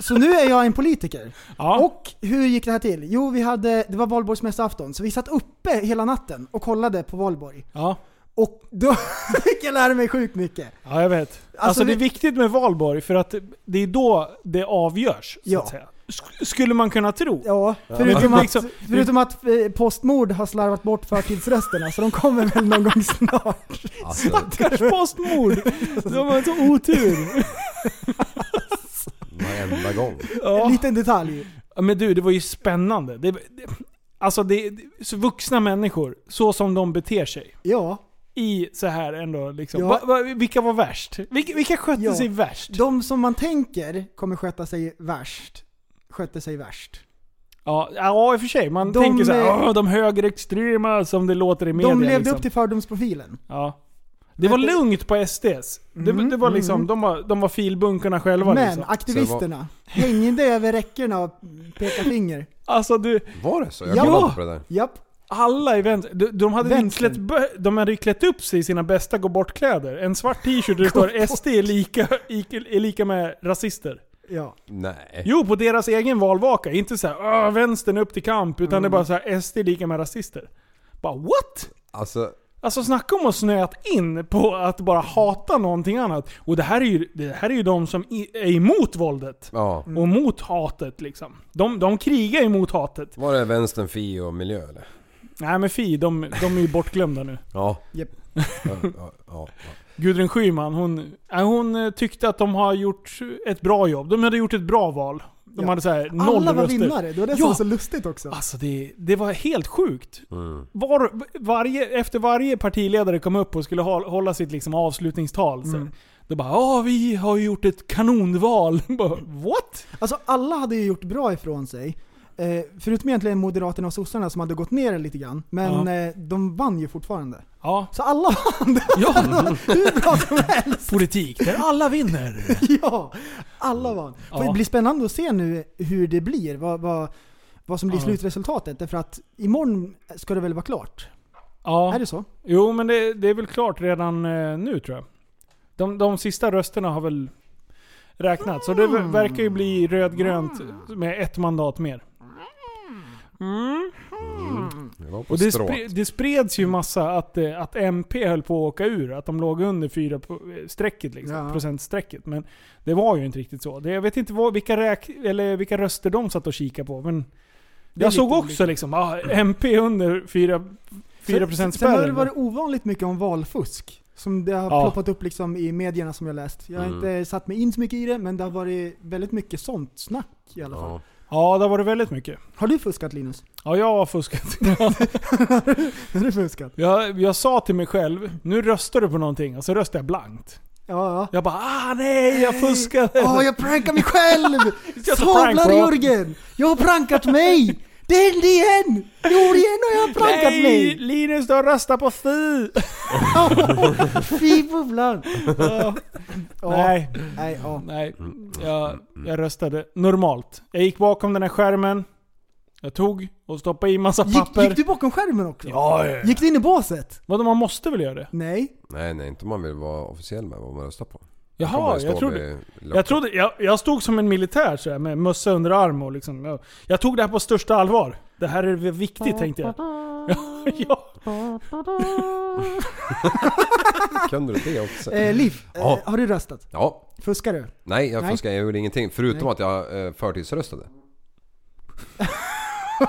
S5: Så nu är jag en politiker.
S4: Ja.
S5: Och hur gick det här till? Jo, vi hade, det var valborgsmässoafton, så vi satt uppe hela natten och kollade på valborg.
S4: Ja.
S5: Och då fick jag lära mig sjukt mycket.
S4: ja, jag vet. Alltså, det är
S5: vi-
S4: viktigt med valborg för att det är då det avgörs. Så
S5: Ja.
S4: att säga. Sk- Skulle man kunna tro.
S5: Ja, förutom
S4: Men
S5: att,
S4: liksom-
S5: förutom att eh, Postmord har slarvat bort förtidsrösterna, så de kommer väl någon gång snart.
S6: Alltså,
S4: Stackars Postmord! De har så otur.
S6: varenda gång.
S5: En
S4: Ja.
S5: liten detalj.
S4: Ja, Men du, det var ju spännande. Det, det, alltså, det, det- så vuxna människor, så som de beter sig.
S5: Ja,
S4: I så här ändå liksom.
S5: Ja.
S4: Va, va, vilka var värst? Vilka, vilka skötte
S5: Ja.
S4: sig värst?
S5: de som man tänker kommer sköta sig värst, skötte sig värst.
S4: Ja, ja, i och för sig. Man
S5: De
S4: tänker såhär,
S5: är-
S4: "Åh, de högerextrema som det låter i media.
S5: de levde
S4: liksom.
S5: upp till fördomsprofilen.
S4: Ja. Det var
S5: Men det-
S4: lugnt på SDs. det,
S5: Mm,
S4: det var liksom,
S5: mm.
S4: de, var, de var filbunkarna själva
S5: Men
S4: liksom.
S5: aktivisterna hängde över räckena och pekade finger.
S4: Alltså du,
S6: Var det så? Jag
S5: Ja.
S6: kollade på det där.
S5: Japp.
S4: alla i vänster... De, de, hade ju
S5: Vänster.
S4: klätt, bö- de hade ju klätt upp sig i sina bästa gå bort-kläder. En svart t-shirt där det står SD är lika, är lika med rasister.
S5: Ja.
S6: Nej.
S4: Jo, på deras egen valvaka. Inte såhär "Åh, vänstern upp till kamp, utan
S5: Mm.
S4: det är bara såhär SD är lika med rasister. Bara what?
S6: Alltså,
S4: Alltså snacka om att snöat in på att bara hata någonting annat. Och det här är ju, det här är ju de som i, är emot våldet.
S6: ja.
S5: Mm.
S4: Och mot hatet liksom. De, de krigar ju mot hatet.
S6: Var det vänstern, fi och miljö eller?
S4: Nej men fi, de, de är ju bortglömda nu.
S6: Ja.
S5: Japp.
S6: Ja, ja, ja.
S4: Gudrun Schyman, hon, äh, hon eh, tyckte att de har gjort ett bra jobb. De hade gjort ett bra val. De
S5: Ja.
S4: hade såhär noll
S5: Alla var
S4: röster.
S5: vinnare, det var det som
S4: Ja.
S5: var så lustigt också.
S4: Alltså det, det var helt sjukt.
S6: Mm.
S4: Var, varje, efter varje partiledare kom upp och skulle håll- hålla sitt liksom avslutningstal. Så,
S5: Mm.
S4: Då bara ja vi har ju gjort ett kanonval. bara, What?
S5: Alltså alla hade ju gjort bra ifrån sig. Eh, förutom egentligen Moderaterna och sossarna som hade gått ner lite grann. Men
S4: Ja.
S5: eh, de vann ju fortfarande.
S4: Ja.
S5: Så alla vann! Det
S4: ja.
S5: var Hur bra som helst!
S4: Politik där alla vinner.
S5: Ja, alla vann. För
S4: Ja.
S5: Det blir spännande att se nu hur det blir. Vad, vad, vad som blir
S4: Ja.
S5: slutresultatet. Därför att imorgon ska det väl vara klart? Är
S4: Ja.
S5: det så?
S4: Jo men det, det är väl klart redan eh, nu tror jag. De, de sista rösterna har väl räknats. Så det
S5: Mm.
S4: ver- verkar ju bli rödgrönt med ett mandat mer.
S6: Jag var på
S4: Och det,
S6: stråt.
S4: spre, det spreds ju massa att, eh, att MP höll på att åka ur, att de låg under 4 strecket liksom,
S5: Ja.
S4: procentstrecket. Men det var ju inte riktigt så. Det, jag vet inte vad, vilka, räk, eller vilka röster de satt och kikade på. Men jag såg också liksom, ah, MP under 4, 4
S5: Sen- Sen har det
S4: spärren.
S5: varit ovanligt mycket om valfusk. Som det har
S4: Ja.
S5: ploppat upp liksom i medierna som jag läst. Jag har inte satt mig in så mycket i det, men det har varit väldigt mycket sånt snack i alla fall.
S6: Ja.
S4: Ja, det var det väldigt mycket.
S5: Har du fuskat Linus?
S4: Ja, jag har fuskat.
S5: Har du fuskat?
S4: jag, jag sa till mig själv, nu röstar du på någonting. Och så röstar jag blankt.
S5: Ja, ja.
S4: Jag bara, ah nej, jag fuskade.
S5: Åh, jag prankar mig själv!
S4: Just a prank,
S5: Sablar
S4: bro.
S5: Jörgen! Jag har prankat mig! Det hände igen! Jag gjorde igen och jag har prankat
S4: nej,
S5: mig!
S4: Linus du har röstat på Fi!
S5: Fy bubblan!
S4: Ja.
S5: Ja,
S4: Nej,
S5: nej, ja.
S4: nej. Jag, jag röstade normalt. Jag gick bakom den här skärmen. Jag tog och stoppade i massa
S5: Gick,
S4: papper.
S5: gick du bakom skärmen också? Ja, ja. Gick du in i båset?
S4: Vadå, man måste väl göra det?
S5: Nej.
S6: Nej, nej, inte om man vill vara officiell med vad man röstar på. Kan man
S4: Jaha,
S6: ju stå
S4: jag trodde...
S6: vid luckan.
S4: Jag, trodde jag, jag stod som en militär så här, med mössa under arm och liksom... Jag, jag tog det här på största allvar. Det här är viktigt tänkte jag. Ja, ja.
S6: Kunde du det också?
S5: Eh, Liv, eh,
S6: Ja.
S5: har du röstat?
S6: Ja.
S5: Fuskar du?
S6: Nej, jag
S5: Nej.
S6: fuskade. Jag gjorde ingenting. Förutom
S5: Nej.
S6: att jag eh, förtidsröstade.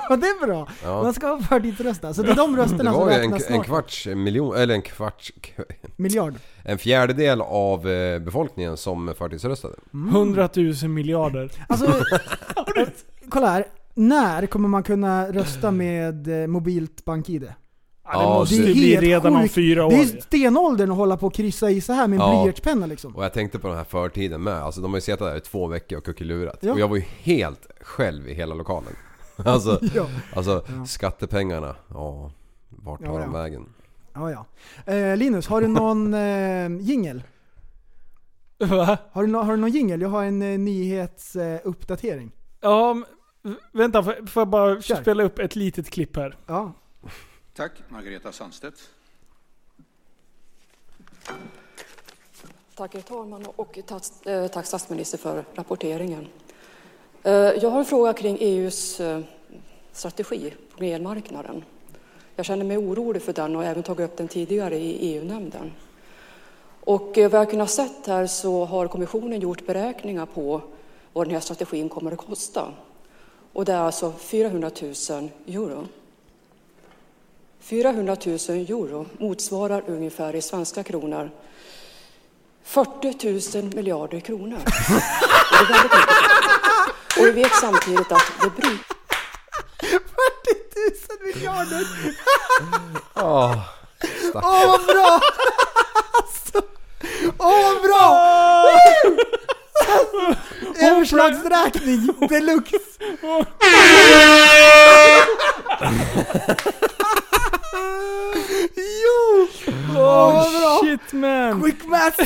S5: det är bra!
S6: Ja.
S5: Man ska förtidsrösta. Så det är de
S6: Det
S5: rösterna som
S6: var ju en,
S5: alltså, räknas
S6: en
S5: snart.
S6: kvarts miljon, eller en kvarts...
S5: Miljard.
S6: En fjärdedel av eh, befolkningen som förtidsröstade.
S4: 100 000 miljarder.
S5: Alltså, kolla här. När kommer man kunna rösta med eh, mobilt bank-id?
S4: Ja, det
S6: Ja,
S4: måste
S6: det är
S4: ju bli
S5: helt
S4: redan om
S5: sjukt.
S4: fyra år.
S5: Det är ju stenåldern att hålla på och kryssa i så här med en
S6: Ja.
S5: blyertspenna liksom.
S6: Och jag tänkte på den här förtiden med. Alltså de har ju suttit där i två veckor och kuckelurat.
S5: Ja.
S6: Och jag var ju helt själv i hela lokalen. Alltså,
S5: Ja,
S6: alltså skattepengarna. Ja, vart tar
S5: Ja,
S6: de
S5: ja.
S6: vägen?
S5: ja. ja. Eh, Linus, har du någon eh, jingel?
S4: Va?
S5: Har du, nå- har du någon jingel? Jag har en eh, nyhetsuppdatering.
S4: Ja, men- v- vänta, får får jag bara
S5: Kör.
S4: spela upp ett litet klipp här?
S5: ja.
S2: Tack, Margareta Sandstedt.
S11: Tack herr talman och tack- eh, tack statsminister för rapporteringen. Eh, Jag har en fråga kring EUs eh, strategi på elmarknaden. Jag känner mig orolig för den och har även tagit upp den tidigare i EU-nämnden. Och eh, vad jag kunnat sett här så har kommissionen gjort beräkningar på vad den här strategin kommer att kosta. Och det är alltså 400 000 euro. 400 000 euro motsvarar ungefär i svenska kronor 40 000 miljarder kronor. Det är väldigt mycket. Och vi vet samtidigt att det bryter
S5: 40 000 miljarder!
S6: Ja,
S5: Åh vad bra! Alltså, Åh vad bra!
S4: Ah.
S5: Alltså, Överslagsräkning deluxe! jo!
S4: Oh, shit man!
S5: Quick math!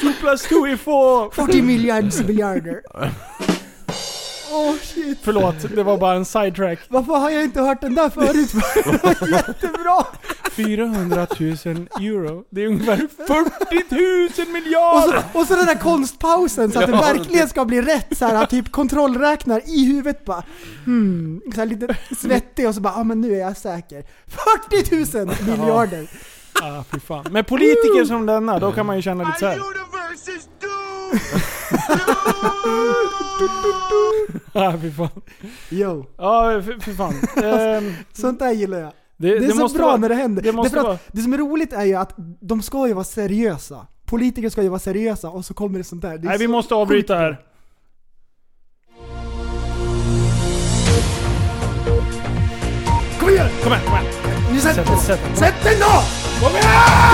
S4: 2 plus 2 är 4!
S5: 40 miljards miljarder. Åh shit.
S4: Förlåt, det var bara en sidetrack.
S5: Varför har jag inte hört den där förut? Det var jättebra!
S4: 400 000 euro. Det är ungefär 40 000
S5: Och
S4: miljarder!
S5: så, och så den där konstpausen så att det verkligen ska bli rätt så här, typ kontrollräknar i huvudet bara. Hmm, så här lite svettig och så bara, ja ah, men nu är jag säker. 40 000 miljarder!
S4: Ah, fy fan. Men politiker som denna, då kan man ju känna lite såhär.
S9: universe is doomed!
S4: Ah, fy fan.
S5: Yo,
S4: Ja, ah, fy fan.
S5: Alltså,
S4: Ehm,
S5: sånt där gillar jag.
S4: det,
S5: Det är
S4: det
S5: så
S4: måste
S5: bra
S4: vara-
S5: när det händer.
S4: det
S5: Det,
S4: måste
S5: för att
S4: vara-
S5: det som är roligt är ju att de ska ju vara seriösa. Politiker ska ju vara seriösa och så kommer det sånt där. Det är
S4: Nej, vi
S5: så
S4: måste avbryta här.
S5: Kom igen!
S4: Kom igen, kom igen.
S5: Nu sätter
S4: Sätt, sätt.
S5: Sätt den då!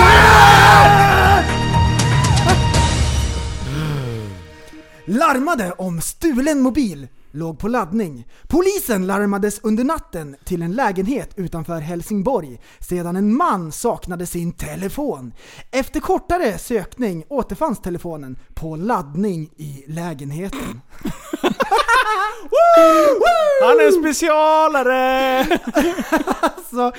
S5: Larmade om stulen mobil. Låg på laddning. Polisen larmades under natten till en lägenhet utanför Helsingborg sedan en man saknade sin telefon. Efter kortare sökning återfanns telefonen på laddning i lägenheten.
S4: Han är en specialare!
S5: Alltså,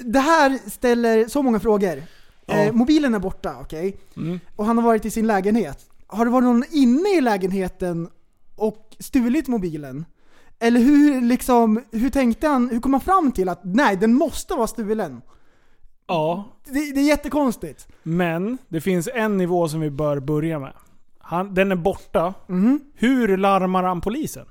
S5: det här ställer så många frågor. Eh, mobilen är borta, okej?
S4: Mm.
S5: Och han har varit i sin lägenhet. Har det varit någon inne i lägenheten och stulit mobilen? Eller hur, liksom, hur tänkte han, hur kom han fram till att nej, den måste vara stulen?
S4: Ja,
S5: Det, det är jättekonstigt.
S4: men det finns en nivå som vi bör börja med. Han, den är borta.
S5: Mhm.
S4: Hur larmar han polisen?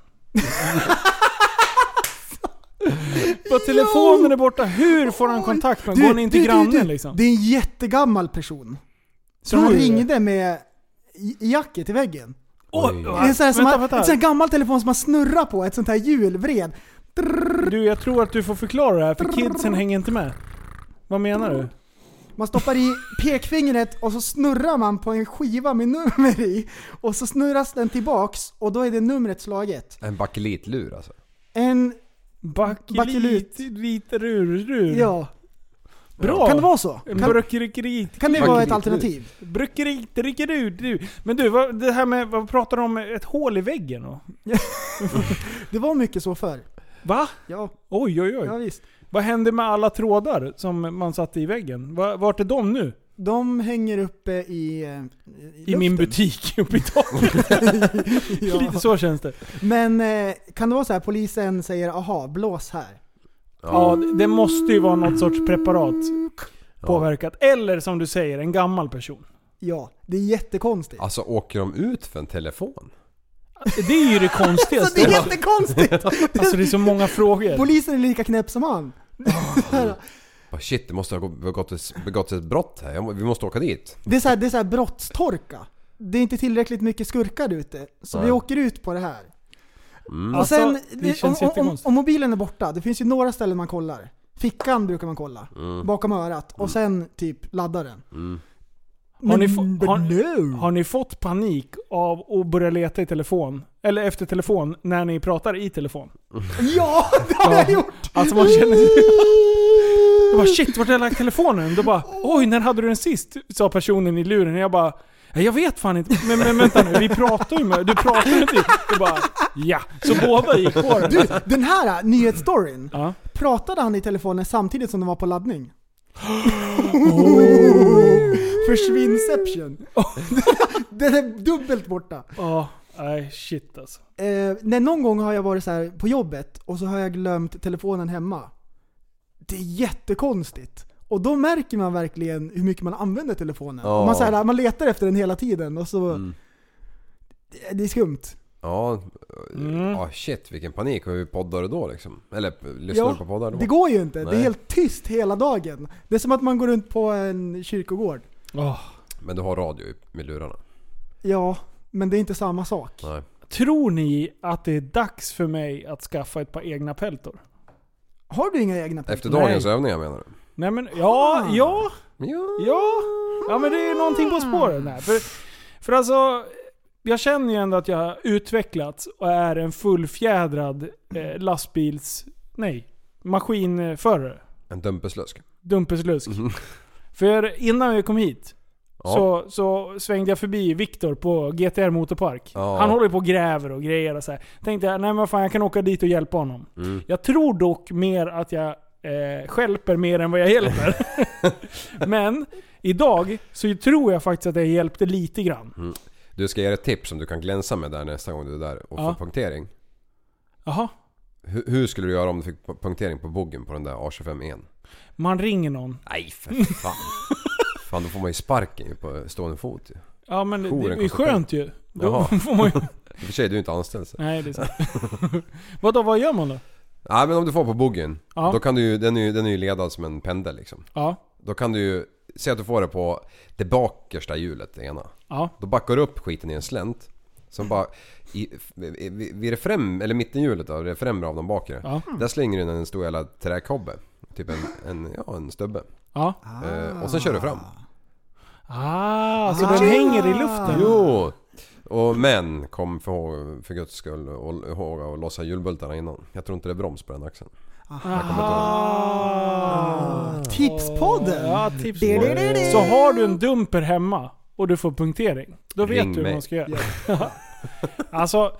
S4: Vad telefonen är borta, hur får han kontakt med
S5: Du,
S4: honom? Går han in till
S5: du, du,
S4: grannen
S5: du,
S4: liksom?
S5: Det är en jättegammal person. Så
S4: Tror
S5: han
S4: du det?
S5: ringde med i- i jacket i väggen.
S4: Oj.
S5: Det är en sån här, som
S4: Vänta,
S5: man,
S4: vänta.
S5: en sån här gammal telefon som man snurrar på, ett sånt här hjulvred.
S4: Du, jag tror att du får förklara det här för kidsen hänger inte med. Vad menar du?
S5: Man stoppar i pekfingret och så snurrar man på en skiva med nummer i. Och så snurras den tillbaks och då är det numret slaget.
S6: En bakelitlur alltså.
S5: En,
S4: Bakelit,
S5: Bakelit.
S4: lite rur, rur.
S5: ja.
S4: Bra!
S5: Kan det vara så?
S4: En
S5: Kan,
S4: brökerikerit.
S5: kan det vara ett alternativ?
S4: Brökerit, rikedur, du. Men du, vad, det här med, vad pratar du om? Ett hål i väggen? Och?
S5: Det var mycket så förr.
S4: Va?
S5: Ja,
S4: Oj, oj, oj.
S5: ja visst.
S4: Vad hände med alla trådar som man satte i väggen? Va- Vart är de nu?
S5: De hänger uppe i... eh,
S4: I min
S5: luften.
S4: butik uppe i taket.
S5: Ja.
S4: Lite så känns det.
S5: Men eh, kan det vara så här, polisen säger aha, blås här.
S4: Ja, det måste ju vara något sorts preparat påverkat. Eller som du säger, en gammal person.
S5: Ja, det är jättekonstigt.
S6: Alltså åker de ut för en telefon?
S4: Det är ju det konstigaste.
S5: Alltså det är jättekonstigt!
S4: Alltså det är så många frågor.
S5: Polisen är lika knäpp som han.
S6: Bara, shit, det måste ha begått ett, begått ett brott här. Jag må- Vi måste åka dit.
S5: Det är så här, det är så här brottstorka. Det är inte tillräckligt mycket skurkar ute, så
S6: Nej.
S5: vi åker ut på det här.
S6: Mm.
S5: Och sen,
S4: Alltså, det
S5: det om,
S4: känns
S5: om, om,
S4: jättekonstigt.
S5: om mobilen är borta, det finns ju några ställen man kollar. Fickan brukar man kolla,
S6: Mm.
S5: bakom örat. Och sen typ laddaren.
S6: Mm.
S4: Har ni,
S5: Men-
S4: få-
S5: but
S4: har,
S5: no.
S4: har ni fått panik av att börja leta i telefon? Eller efter telefon, när ni pratar i telefon?
S5: Ja, det har jag gjort!
S4: Alltså man känner sig... Jag bara shit, vart har jag lagt telefonen? Då bara oj, när hade du den sist? Sa personen i luren. Jag bara "Nej, jag vet fan inte. Men, men vänta nu, vi pratar ju med... Du pratar ju inte. Jag bara ja. Så båda gick på den.
S5: Du, den här nyhetsstoryn.
S4: Ja.
S5: Pratade han i telefonen samtidigt som de var på laddning? Försvinnception. den är dubbelt borta.
S4: Ja, nej shit alltså.
S5: Eh, nej, någon gång har jag varit så här på jobbet och så har jag glömt telefonen hemma. Det är jättekonstigt. Och då märker man verkligen hur mycket man använder telefonen.
S6: Ja.
S5: Och Man, så här, man letar efter den hela tiden och så...
S6: Mm.
S5: Det- Det är skumt.
S6: Ja,
S4: Mm.
S6: ah, shit vilken panik. Hur poddar du då liksom? Eller p- lyssnar
S5: Ja,
S6: du på poddar då?
S5: Det går ju inte. Det
S6: Nej.
S5: är helt tyst hela dagen. Det är som att man går runt på en kyrkogård.
S4: Åh.
S6: Men du har radio i- med lurarna?
S5: Ja, men det är inte samma sak.
S6: Nej.
S4: Tror ni att det är dags för mig att skaffa ett par egna peltor?
S5: Har du inga egna Ah. pengar?
S6: Efter
S4: Nej.
S6: dagens övningar menar du?
S4: Nej men ja, ja.
S6: Ja.
S4: Ja, ja men det är någonting på spåren här. För, för alltså, jag känner ju ändå att jag har utvecklats och är en fullfjädrad eh, lastbils... Nej, maskinförare.
S6: En dumpeslösk.
S4: Dumpeslusk. För innan jag kom hit
S6: Mhm. Ja.
S4: så, så svängde jag förbi Viktor på GTR Motorpark.
S6: Ja.
S4: Han håller ju på och gräver och grejer och så här. Tänkte jag, nej men vad fan jag kan åka dit och hjälpa honom.
S6: Mm.
S4: Jag tror dock mer att jag eh, skälper mer än vad jag hjälper. Men idag så tror jag faktiskt att jag hjälpte lite grann.
S6: Mm. Du ska ge dig ett tips som du kan glänsa med där nästa gång du är där och
S4: Ja.
S6: få punktering.
S4: Jaha.
S6: Hur, hur skulle du göra om du fick pu- punktering på boggen på den där A25en?
S4: Man ringer någon.
S6: Nej för fan. fan då får man ju sparken ju på stående fot ju.
S4: Ja men det,
S6: Jouren
S4: det är ju
S6: kostar
S4: skönt ju. Då
S6: Jaha.
S4: får man ju...
S6: I och för sig du är inte anställd så.
S4: Nej det är sant. Vadå, vad gör man då?
S6: Nej men om du får på boggen.
S4: Ja.
S6: Då kan du ju, den är ju, den är ju ledad som en pendel liksom.
S4: Ja.
S6: Då kan du ju, se att du får det på det bakersta hjulet, det ena.
S4: Ja.
S6: Då backar du upp skiten i en slänt. Som bara... I, i, vid det främ, eller mittenhjulet då, det främre av de bakre.
S4: Ja. Mm.
S6: Där slänger du in en stor jävla träkobbe. Typ en, en, ja, en stubbe.
S4: Ja.
S6: Eh, och sen kör du fram.
S4: Ah, så den hänger i luften?
S6: Jo! Och men kom för, ihåg- för guds skull och- ihåg att lossa hjulbultarna innan. Jag tror inte det är broms på den axeln.
S4: Ah.
S5: Tipspodden!
S4: Ja, tips. Så har du en dumper hemma och du får punktering, då vet
S6: Ring
S4: du vad
S6: mig.
S4: man ska göra. alltså,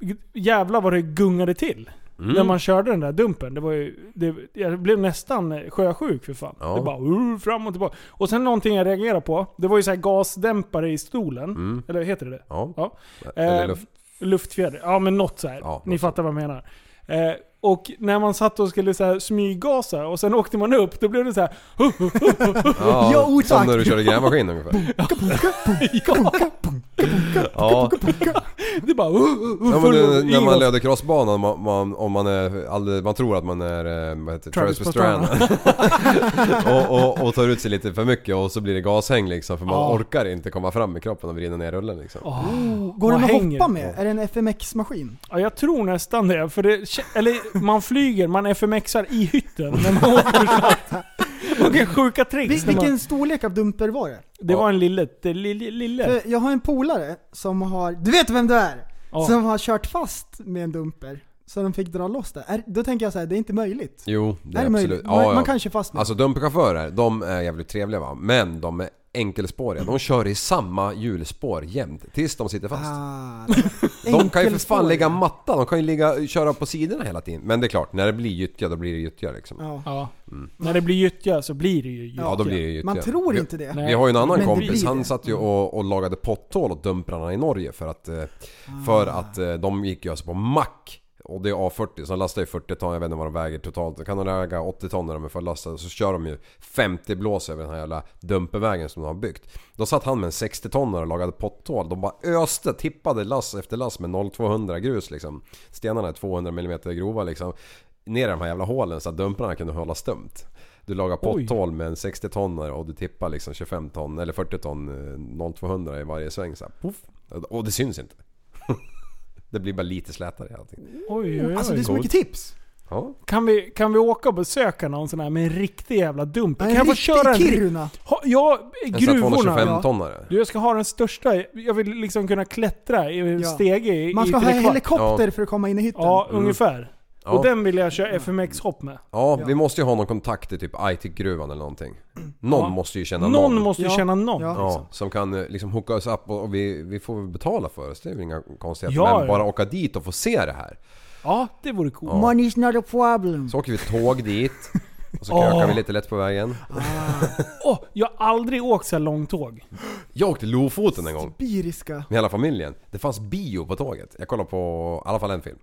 S4: g- jävlar vad det gungade till.
S6: Mm.
S4: När man körde den där dumpen. Det var ju, det, jag blev nästan eh, sjösjuk för fan.
S6: Ja.
S4: Det bara uh, fram och tillbaka. Och sen någonting jag reagerade på. Det var ju så här gasdämpare i stolen.
S6: Mm.
S4: Eller heter det det?
S6: Ja.
S4: Ja.
S6: Eller
S4: Eh,
S6: luft.
S4: Luftfjäder. Ja men något så här.
S6: Ja,
S4: Ni
S6: något
S4: fattar vad jag menar. Eh, och när man satt och skulle så här smyggasa och sen åkte man upp, då blev det så här.
S6: Ja,
S5: Ja, o,
S6: som
S5: tack.
S6: när du körde grävmaskin ungefär. Ja.
S4: Det bara... Uh, uh, uh,
S6: Ja, men
S4: full-
S6: det, när
S4: ingen
S6: man
S4: gas.
S6: löder crossbanan man, man, om man, är, aldrig, man tror att man är eh, vad heter, det?
S4: Travis
S6: Travis Pastrana och, och, och tar ut sig lite för mycket och så blir det gashäng liksom för man
S4: Ja.
S6: orkar inte komma fram med kroppen och vrida ner rullen liksom.
S5: Går
S4: Vad
S5: den att
S4: hänger Alltså,
S5: hoppa
S4: det
S5: med? Är det en FMX-maskin?
S4: Ja, jag tror nästan det. För det kä- eller man flyger, man FMXar i hytten när man åker snabbt. Vilken sjuka
S5: Vil-
S4: tricks. när
S5: vilken
S4: Man,
S5: storlek av dumper var det?
S4: det var en lille... det Lille... lille.
S5: För Jag har en polare som har, du vet vem du är!
S4: Ja.
S5: Som har kört fast med en dumper. Så de fick dra loss det. Är, då tänker jag så här, det är inte möjligt.
S6: Jo, det
S5: är det
S6: är absolut.
S5: möjligt?
S6: Ja,
S5: Man,
S6: ja.
S5: man kan köra fast med
S6: Alltså dumpchaufförer, de är jävligt trevliga va. Men de är enkelspåriga. De kör i samma hjulspår jämt tills de sitter fast.
S5: Ah,
S6: De kan ju för
S5: enkelspår.
S6: fan lägga matta, de kan ju ligga, köra på sidorna hela tiden. Men det är klart, när det blir gyttja då blir det gyttja liksom. Ja,
S5: Ja.
S4: Ja. När det blir gyttja så blir det ju gyttja.
S6: då blir det gyttja.
S5: Man tror
S6: Vi-
S5: inte det.
S4: Nej.
S6: Vi har ju en annan
S5: Men det
S6: kompis,
S5: blir
S6: han
S5: det.
S6: satt ju och, och lagade
S5: Ah.
S6: potthål åt dumprarna i Norge för att, eh, för att eh, de gick ju alltså på mack Och det är A40 så de lastar ju 40 ton, jag vet inte vad de väger totalt. De kan de väga 80 ton när de är fullastade så kör de ju 50 blås över den här jävla dumpervägen som de har byggt. Då satt han med en 60 tonare och lagade potthål. De bara öste, tippade lass efter lass med 0200 grus liksom. Stenarna är 200 mm grova liksom. Ner i de här jävla hålen så att dumprarna kunde hålla stumt. Du lagar potthål med en 60 tonare och du tippar liksom 25 ton eller 40 ton eh, 0200 i varje sväng så här, puff. Och det syns inte. det blir bara lite slätare i allting.
S4: Oj, oj, oj.
S5: Alltså det är så mycket tips.
S6: Ja.
S4: Kan vi, kan vi åka och besöka någon sån här med en riktig jävla dumper?
S5: En
S4: Kan jag få
S5: riktig
S4: köra en
S5: Kiruna.
S4: Ha, ja,
S6: En sån här
S4: gruvorna.
S6: 225
S4: Ja.
S6: tonare.
S4: Du, jag ska ha den största. Jag vill liksom kunna klättra i
S5: Ja.
S4: stege i
S5: Man ska
S4: i
S5: ha
S4: trekvart.
S5: helikopter
S6: Ja.
S5: för att komma in i hytten.
S4: Ja, ungefär.
S6: Mm. Ja.
S4: Och den vill jag köra FMX-hopp med.
S6: Ja, vi måste ju ha någon kontakt i typ Aitik-gruvan eller någonting. Någon måste ju känna
S4: Någon,
S6: någon.
S4: måste ju
S5: Ja.
S4: känna någon.
S5: Ja.
S6: Ja, som kan eh, liksom hooka oss upp och och vi, vi får väl betala för oss. Det är väl inga konstigheter.
S4: Ja,
S6: Men
S4: ja.
S6: bara åka dit och få se det här.
S4: Ja, det vore coolt.
S5: Money's not a problem.
S6: Så åker vi tåg dit. Och så
S4: Åh.
S6: krökar vi lite lätt på vägen.
S4: Åh, jag har aldrig åkt så här långt tåg.
S6: Mm. Jag åkte Lofoten en gång.
S5: Biriska.
S6: Med hela familjen. Det fanns bio på tåget. Jag kollade på i alla fall en film.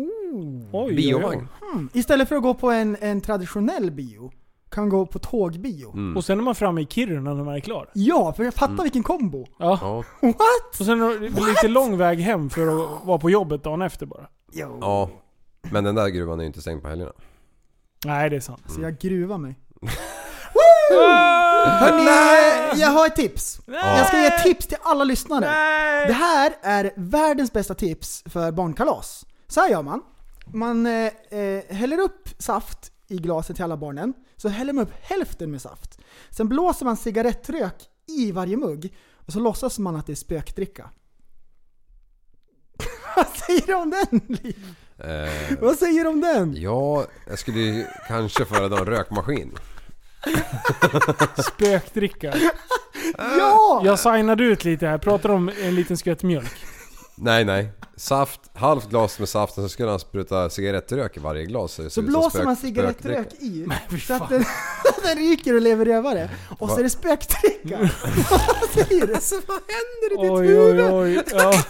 S4: Oj, oj,
S6: Biovagn.
S4: oj.
S5: Istället för att gå på en, en traditionell bio, kan gå på tågbio.
S6: Mm.
S4: Och sen är man framme i Kiruna när man är klar.
S5: Ja, för jag fattar vilken kombo.
S4: Ja.
S6: Ja.
S5: What?
S4: Och sen är det lite lång väg hem för att vara på jobbet dagen efter bara.
S5: Yo.
S6: ja. Men den där gruvan är ju inte stängd på helgerna.
S4: Nej, det är sant.
S5: Så jag gruvar mig. Woo! Hörni, eh, jag har ett tips. Jag ska ge ett tips till alla lyssnare. Det här är världens bästa tips för barnkalas. Så här gör man. Man eh, eh, häller upp saft i glaset till alla barnen, så häller man upp hälften med saft. Sen blåser man cigarettrök i varje mugg, och så låtsas man att det är spökdricka. Vad säger du om den Liv?
S6: Eh,
S5: Vad säger du om den?
S6: ja, jag skulle ju kanske föredra en rökmaskin.
S4: Spökdricka.
S5: Ja!
S4: Jag signade ut lite här, pratar om en liten skvätt mjölk.
S6: Nej, nej. Saft, halvt glas med saft och så skulle han spruta cigarettrök i varje
S5: Så
S6: glas. det ser ut som
S5: blåser
S6: spök-
S5: man cigarettrök
S6: spökdricka.
S5: i, så att den, den ryker och lever rövare. Och så är det spökdricka. Vad säger du? Alltså, vad händer i ditt
S4: Oj,
S5: huvud?
S4: oj, oj. Ja.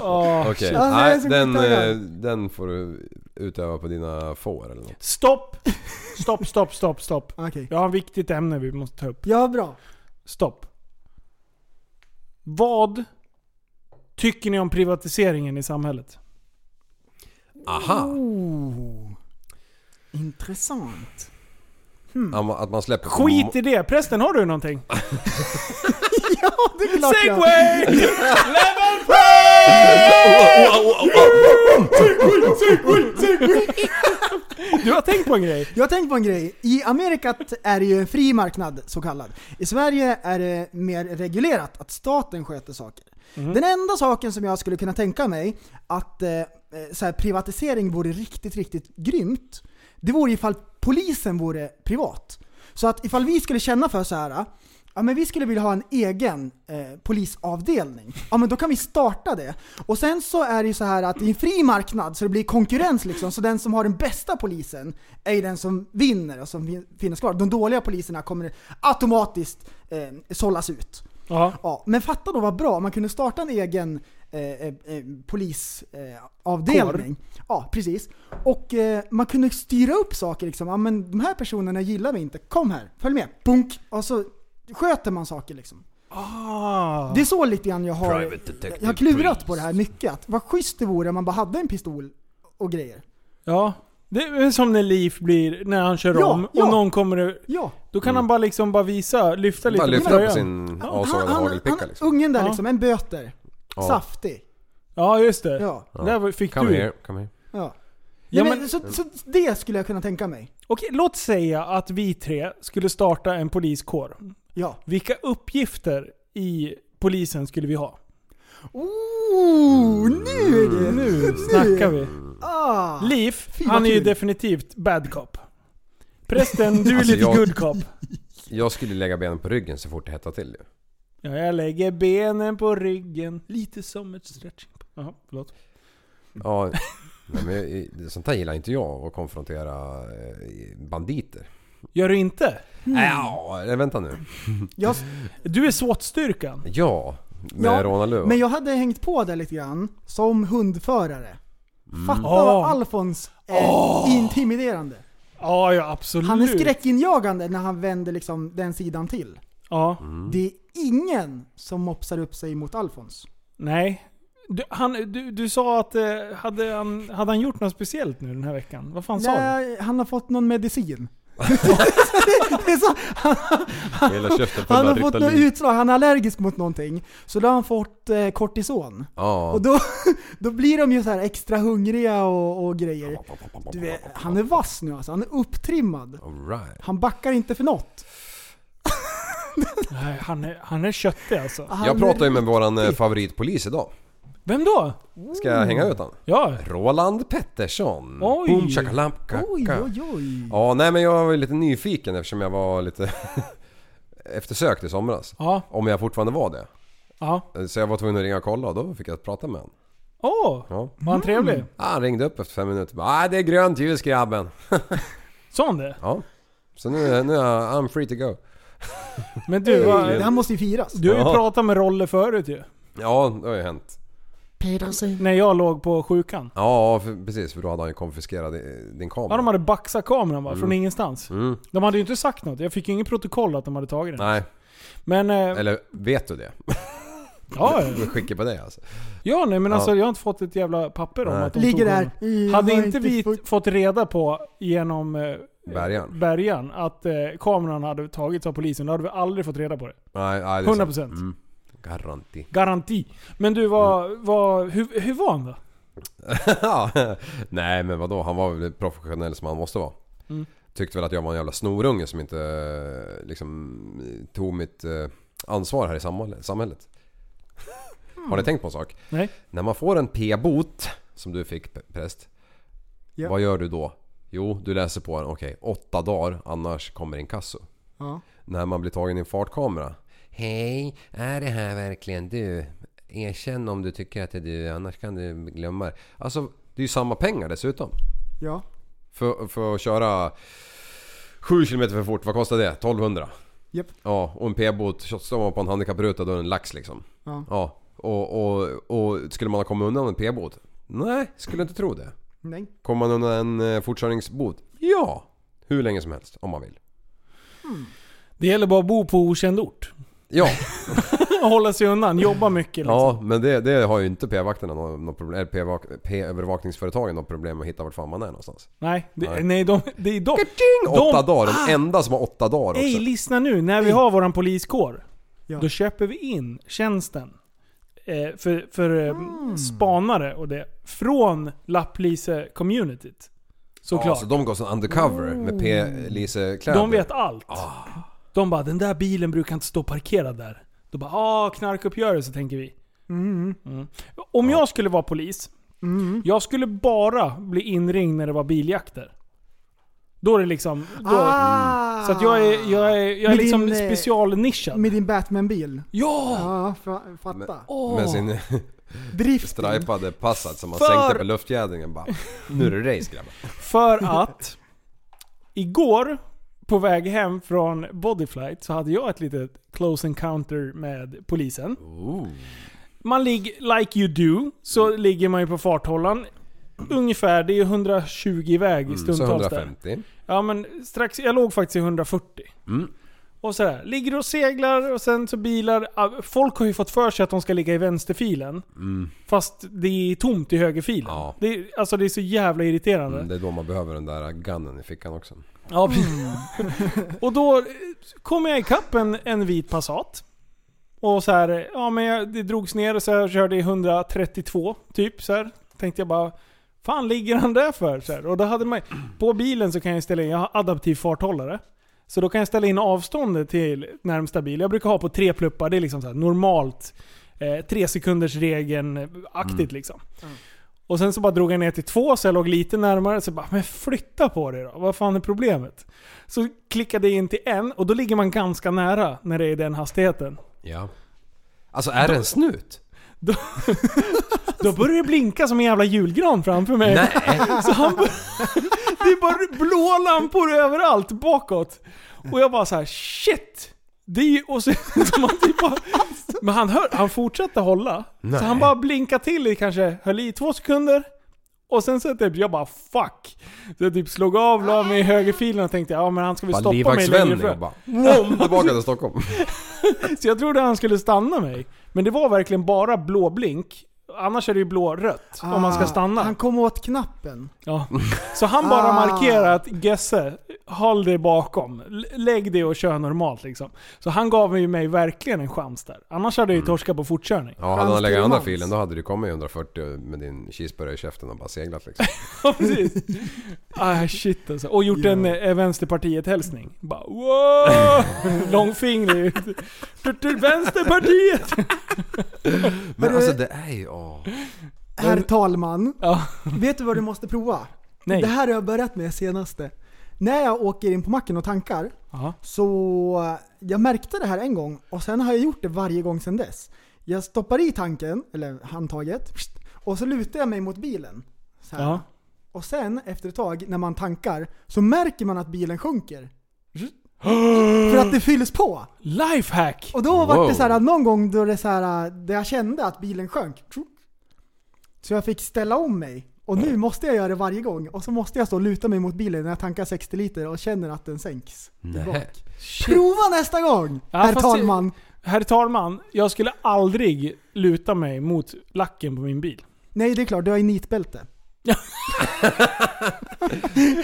S4: Ja.
S6: Okej,
S5: Ja, men jag är
S6: nej
S5: så
S6: den,
S5: skittaggad.
S6: eh, den får du utöva på dina får eller något.
S4: Stopp! Stopp, stopp, stopp, stopp.
S5: Okej.
S4: Jag har ett viktigt ämne vi måste ta upp.
S5: Ja, bra.
S4: Stopp. Vad tycker ni om privatiseringen i samhället?
S6: Aha!
S5: Intressant. Mm.
S6: Att man- Att man släpper... på
S4: Skit
S6: mo-
S4: i det! Prästen, har du någonting?
S5: Ja, det är klart jag-
S4: Segway! Du har tänkt på en grej?
S5: Jag har tänkt på en grej. I Amerika är det ju en fri marknad, så kallad. I Sverige är det mer reglerat, att staten sköter saker. Den enda saken som jag skulle kunna tänka mig att eh, eh, så här, privatisering vore riktigt, riktigt grymt, det vore ifall polisen vore privat. Så att ifall vi skulle känna för så här, ja men vi skulle vilja ha en egen eh, polisavdelning. Ja men då kan vi starta det. Och sen så är det ju så här att det är en fri marknad så det blir konkurrens liksom. Så den som har den bästa polisen är ju den som vinner och som fin- finns kvar. De dåliga poliserna kommer automatiskt eh, sållas ut.
S4: Ja.
S5: Ja, men fatta då vad bra om man kunde starta en egen eh, eh, polisavdelning. Eh, avdelning. ja, precis. Och eh, man kunde styra upp saker liksom. Ja, men de här personerna gillar vi inte. Kom här, följ med. Bunk! Och så sköter man saker liksom.
S4: Ah.
S5: Det är så lite grann jag har, jag har klurat på det här mycket. Att vad schysst det vore om man bara hade en pistol och grejer.
S4: Ja. Det är som när Leaf blir, när han kör
S5: Ja,
S4: om
S5: ja.
S4: och någon kommer...
S5: Ja.
S4: Då kan han bara liksom bara visa, lyfta lite
S6: Mm. Bara
S4: på
S6: lyfta på
S4: tröjan.
S6: sin avsågade hagelpicka liksom.
S5: Ungen där
S4: Ja.
S5: liksom, en böter.
S6: Ja.
S5: Saftig.
S4: Ja, just det.
S5: Ja.
S4: Det Där var- fick
S6: Come
S4: du.
S6: here, come here.
S5: ja.
S4: Ja,
S5: Nej, men,
S4: men-
S5: så, så det skulle jag kunna tänka mig.
S4: Okej, låt säga att vi tre skulle starta en poliskår.
S5: Ja.
S4: Vilka uppgifter i polisen skulle vi ha?
S5: Ooh, nu är det...
S4: Mm, Nu snackar vi.
S6: Mm.
S5: Ah.
S4: Leaf,
S5: Fy, vad
S4: han är ju
S5: kul.
S4: definitivt bad cop. Prästen, du är
S6: Alltså,
S4: lite
S6: jag-
S4: good cop.
S6: Jag skulle lägga benen på ryggen så fort det hettar till ju.
S4: Ja, jag lägger benen på ryggen, lite som ett stretching. Jaha, förlåt.
S6: Ja, nej, men jag- sånt här gillar inte jag. Att konfrontera eh, banditer.
S4: Gör du inte?
S6: Mm. Ja, vänta nu.
S5: Jag,
S4: Du är SWAT-styrkan.
S6: Ja, Med ja, rånarluva?
S5: Men jag hade hängt på det lite grann, som hundförare. Fatta vad
S4: Åh.
S5: Alfons är
S4: Ah.
S5: intimiderande.
S4: Ja, ja absolut.
S5: Han är skräckinjagande när han vänder liksom den sidan till.
S4: Ja.
S6: Mm.
S5: Det är ingen som mopsar upp sig mot Alfons.
S4: Nej. Du, han, du, du sa att eh, hade, han, hade han gjort något speciellt nu den här veckan? Vad fan sa du?
S5: Nej, han har fått någon medicin. det är så, han,
S6: Hela käften på
S5: han har
S6: den där
S5: fått något
S6: Ritalin.
S5: utslag, han är allergisk mot någonting. Så då har han fått eh, kortison.
S6: Ja.
S5: Och då, då blir de ju så här extra hungriga och, och grejer. Du vet, han är vass nu alltså, han är upptrimmad.
S6: All right.
S5: Han backar inte för något.
S4: Nej, han, är, han är köttig alltså.
S5: Ah.
S6: Jag pratade ju med våran eh, favoritpolis idag.
S4: Vem då?
S6: Ska jag hänga ut han?
S4: Ja.
S6: Roland Pettersson.
S4: Oj.
S6: Boom, shakalamka.
S5: Oj, oj, oj.
S6: Ja, nej men jag var ju lite nyfiken eftersom jag var lite eftersökt i somras.
S4: Ja.
S6: Om jag fortfarande var det. Eh,
S4: Ja.
S6: Så jag var tvungen att ringa och kolla och då fick jag prata med honom.
S4: Åh,
S6: Ja.
S4: var han trevlig?
S5: Mm.
S6: Ja, Ah, han ringde upp efter fem minuter bara ah, det är grönt ljus grabben.
S4: Sa han det?
S6: Ja. Så nu, nu är jag I'm free to go.
S4: Men du, vad-
S5: Det här måste ju firas.
S4: du har ju
S6: Ja.
S4: pratat med Rolle förut ju.
S6: Ja, det har ju hänt.
S4: När jag låg på sjukan.
S6: Ja, för, precis. För då hade han ju konfiskerat eh, din kamera.
S4: Ja, de hade baxat kameran bara, från
S6: Mm.
S4: ingenstans.
S6: Mm.
S4: De hade ju inte sagt något. Jag fick ju inget protokoll att de hade tagit den.
S6: Nej,
S4: Men... Eh,
S6: eller vet du det?
S4: ja, ja.
S6: Jag skickar på dig alltså.
S4: ja, nej men
S6: Ja.
S4: alltså jag har inte fått ett jävla papper om
S6: Nej.
S4: att de
S5: Ligger
S4: tog
S5: där.
S4: den.
S5: I-
S4: Hade
S5: har
S4: inte vi
S5: fått-
S4: fått reda på genom eh,
S6: Bärgaren.
S4: bärgaren att eh, kameran hade tagits av polisen, då hade vi aldrig fått reda på det.
S6: Nej, nej, det är
S4: 100%.
S6: sant. Mm. Garanti.
S4: Garanti. Men du, vad,
S6: Mm.
S4: vad, hur, hur var han då?
S6: Ja, Nej men vadå, han var väl professionell som han måste vara.
S4: Mm.
S6: Tyckte väl att jag var en jävla snorunge som inte eh, liksom tog mitt eh, ansvar här i samhälle- samhället. Har ni tänkt på en sak?
S4: Mm. Nej.
S6: När man får en p-bot, som du fick p- präst.
S5: Ja.
S6: Vad gör du då? Jo, du läser på den. Okej, åtta dagar annars kommer inkasso.
S5: Ja.
S6: När man blir tagen i en fartkamera. Hej, är det här verkligen du? Erkänn om du tycker att det är du, annars kan du glömma det. Alltså, det är ju samma pengar dessutom.
S5: Ja.
S6: För, för att köra 7 km för fort, vad kostar det? 1200?
S5: Japp.
S6: Ja, och en p-bot. Står man på en handikappruta då är det en lax liksom.
S5: Ja.
S6: och, och, och skulle man ha kommit undan en p-bot? Nej, skulle inte tro det.
S5: Nej.
S6: Kommer man undan en eh, fortkörningsbot? Ja! Hur länge som helst, om man vill.
S4: Det gäller bara att bo på okänd ort.
S6: Ja,
S4: Och hålla sig undan, jobba mycket liksom.
S6: ja men det, det har ju inte p-vakterna något något problem, eller p-vak- p-övervakningsföretagen något problem att hitta vart fan man är någonstans.
S4: Nej, det,
S6: Nej.
S4: nej de, det är de.
S6: Åtta
S4: de Ah!
S6: dagar, den enda som har åtta dagar också.
S4: Ej, lyssna nu. När vi har våran poliskår,
S5: Ja.
S4: då köper vi in tjänsten eh, för, för eh,
S5: Mm.
S4: spanare och det. Från Lapplise-communityt. Såklart.
S6: Ja, så de går som undercover med p-lisekläder.
S4: Mm. de vet allt.
S5: Ah.
S4: De bara, den där bilen brukar inte stå parkerad där. Då bara, ah knarkuppgörelse tänker vi. Mm. Om jag skulle vara polis,
S5: Mm.
S4: jag skulle bara bli inringd när det var biljakter. Då är det liksom... Då,
S5: Ah.
S4: Så att jag är, jag är, jag är
S5: Med
S4: liksom
S5: din, eh,
S4: specialnischad.
S5: Med din Batman-bil.
S4: ja!
S5: Ja, fa- fatta.
S6: Med sin
S5: Driften.
S6: stripade Passat som man
S4: För-
S6: sänkte på luftfjädringen bara. Nu är det race grabbar.
S4: För att igår på väg hem från Bodyflight så hade jag ett litet close encounter med polisen. Man ligger, like you do, så ligger man ju på farthållaren. Ungefär, det är 120 väg
S6: Mm, Så
S4: stundtals där.
S6: 150.
S4: Ja men strax, jag låg faktiskt i 140.
S6: Mm.
S4: Och sådär. Ligger och seglar och sen så bilar. ah, Folk har ju fått för sig att de ska ligga i vänsterfilen. Fast det är tomt i högerfilen.
S6: Mm. Ja.
S4: Det, är- alltså det är så jävla irriterande.
S6: Mm, det är då man behöver den där gunnen i fickan också.
S4: Ja, precis. och då eh, kom jag ikapp en, en vit Passat. Och så här, eh, ja men jag, det drogs ner och så här, körde i 132 typ så här. Tänkte jag bara, fan ligger han där för? Så här. Och då hade man, på bilen så kan jag ställa in, jag har adaptiv farthållare. Så då kan jag ställa in avståndet till närmsta bil. Jag brukar ha på tre pluppar, det är liksom så här, normalt. Eh, tre sekunders regeln-aktigt liksom. Och sen så bara drog jag ner till två så jag låg lite närmare. Så jag bara, men flytta på dig då. Vad fan är problemet? Så klickade jag in till en och då ligger man ganska nära när det är den hastigheten.
S6: Ja. Alltså är det en snut?
S4: Då börjar det blinka som en jävla julgran framför mig. Så han bör- Det är bara blå lampor överallt bakåt. Och jag bara så här: shit! Det är ju, och så, som han typ bara, men han, hör, han fortsatte hålla.
S6: Nej.
S4: Så han bara blinkade till i kanske, höll i två sekunder. Och sen så typ, jag bara fuck. Så jag typ slog av, la mig i högerfilen och tänkte ja men han ska väl
S6: Bara
S4: stoppa mig längre
S6: livvaktsvändning
S4: fram.
S6: och bara, "Wom!" tillbaka till Stockholm.
S4: Så jag trodde han skulle stanna mig. Men det var verkligen bara blå blink. Annars är det ju blå-rött om man
S6: Ah,
S4: ska stanna.
S5: Ah, Han kom åt knappen.
S4: Ja. Så han bara
S5: Ah.
S4: markerar att Gesse, håll dig bakom. L- Lägg dig och kör normalt liksom. Så han gav ju mig verkligen en chans där. Annars hade jag ju torskat på fortkörning.
S6: Ja, hade han legat i andra filen då hade du kommit i 140 med din cheeseburgare i käften och bara seglat liksom.
S4: Ja, precis. Ah, shit alltså. Och gjort en eh, Vänsterpartiet-hälsning. Bara wow! Långfingrig ut. Tut, tut, Vänsterpartiet!
S6: Men alltså det är ju... Åh.
S5: Herr talman.
S4: Ja.
S5: Vet du vad du måste prova?
S4: Nej.
S5: Det här har jag börjat med senaste. När jag åker in på macken och tankar,
S4: Ja.
S5: så eh, jag märkte det här en gång och sen har jag gjort det varje gång sedan dess. Jag stoppar i tanken, eller handtaget, pst, och så lutar jag mig mot bilen. Så här.
S4: Ja.
S5: Och sen efter ett tag när man tankar så märker man att bilen sjunker. För att det fylls på.
S4: Lifehack!
S5: Och då var
S6: Wow.
S5: det så här att någon gång då det så här, där jag kände att bilen sjönk. Så jag fick ställa om mig. Och nu måste jag göra det varje gång. Och så måste jag stå och luta mig mot bilen när jag tankar 60 liter och känner att den sänks.
S6: Nej.
S5: Prova nästa gång!
S4: Ja,
S5: herr
S4: fast
S5: talman.
S4: Herr talman, jag skulle aldrig luta mig mot lacken på min bil.
S5: Nej det är klart, du har ju nitbälte.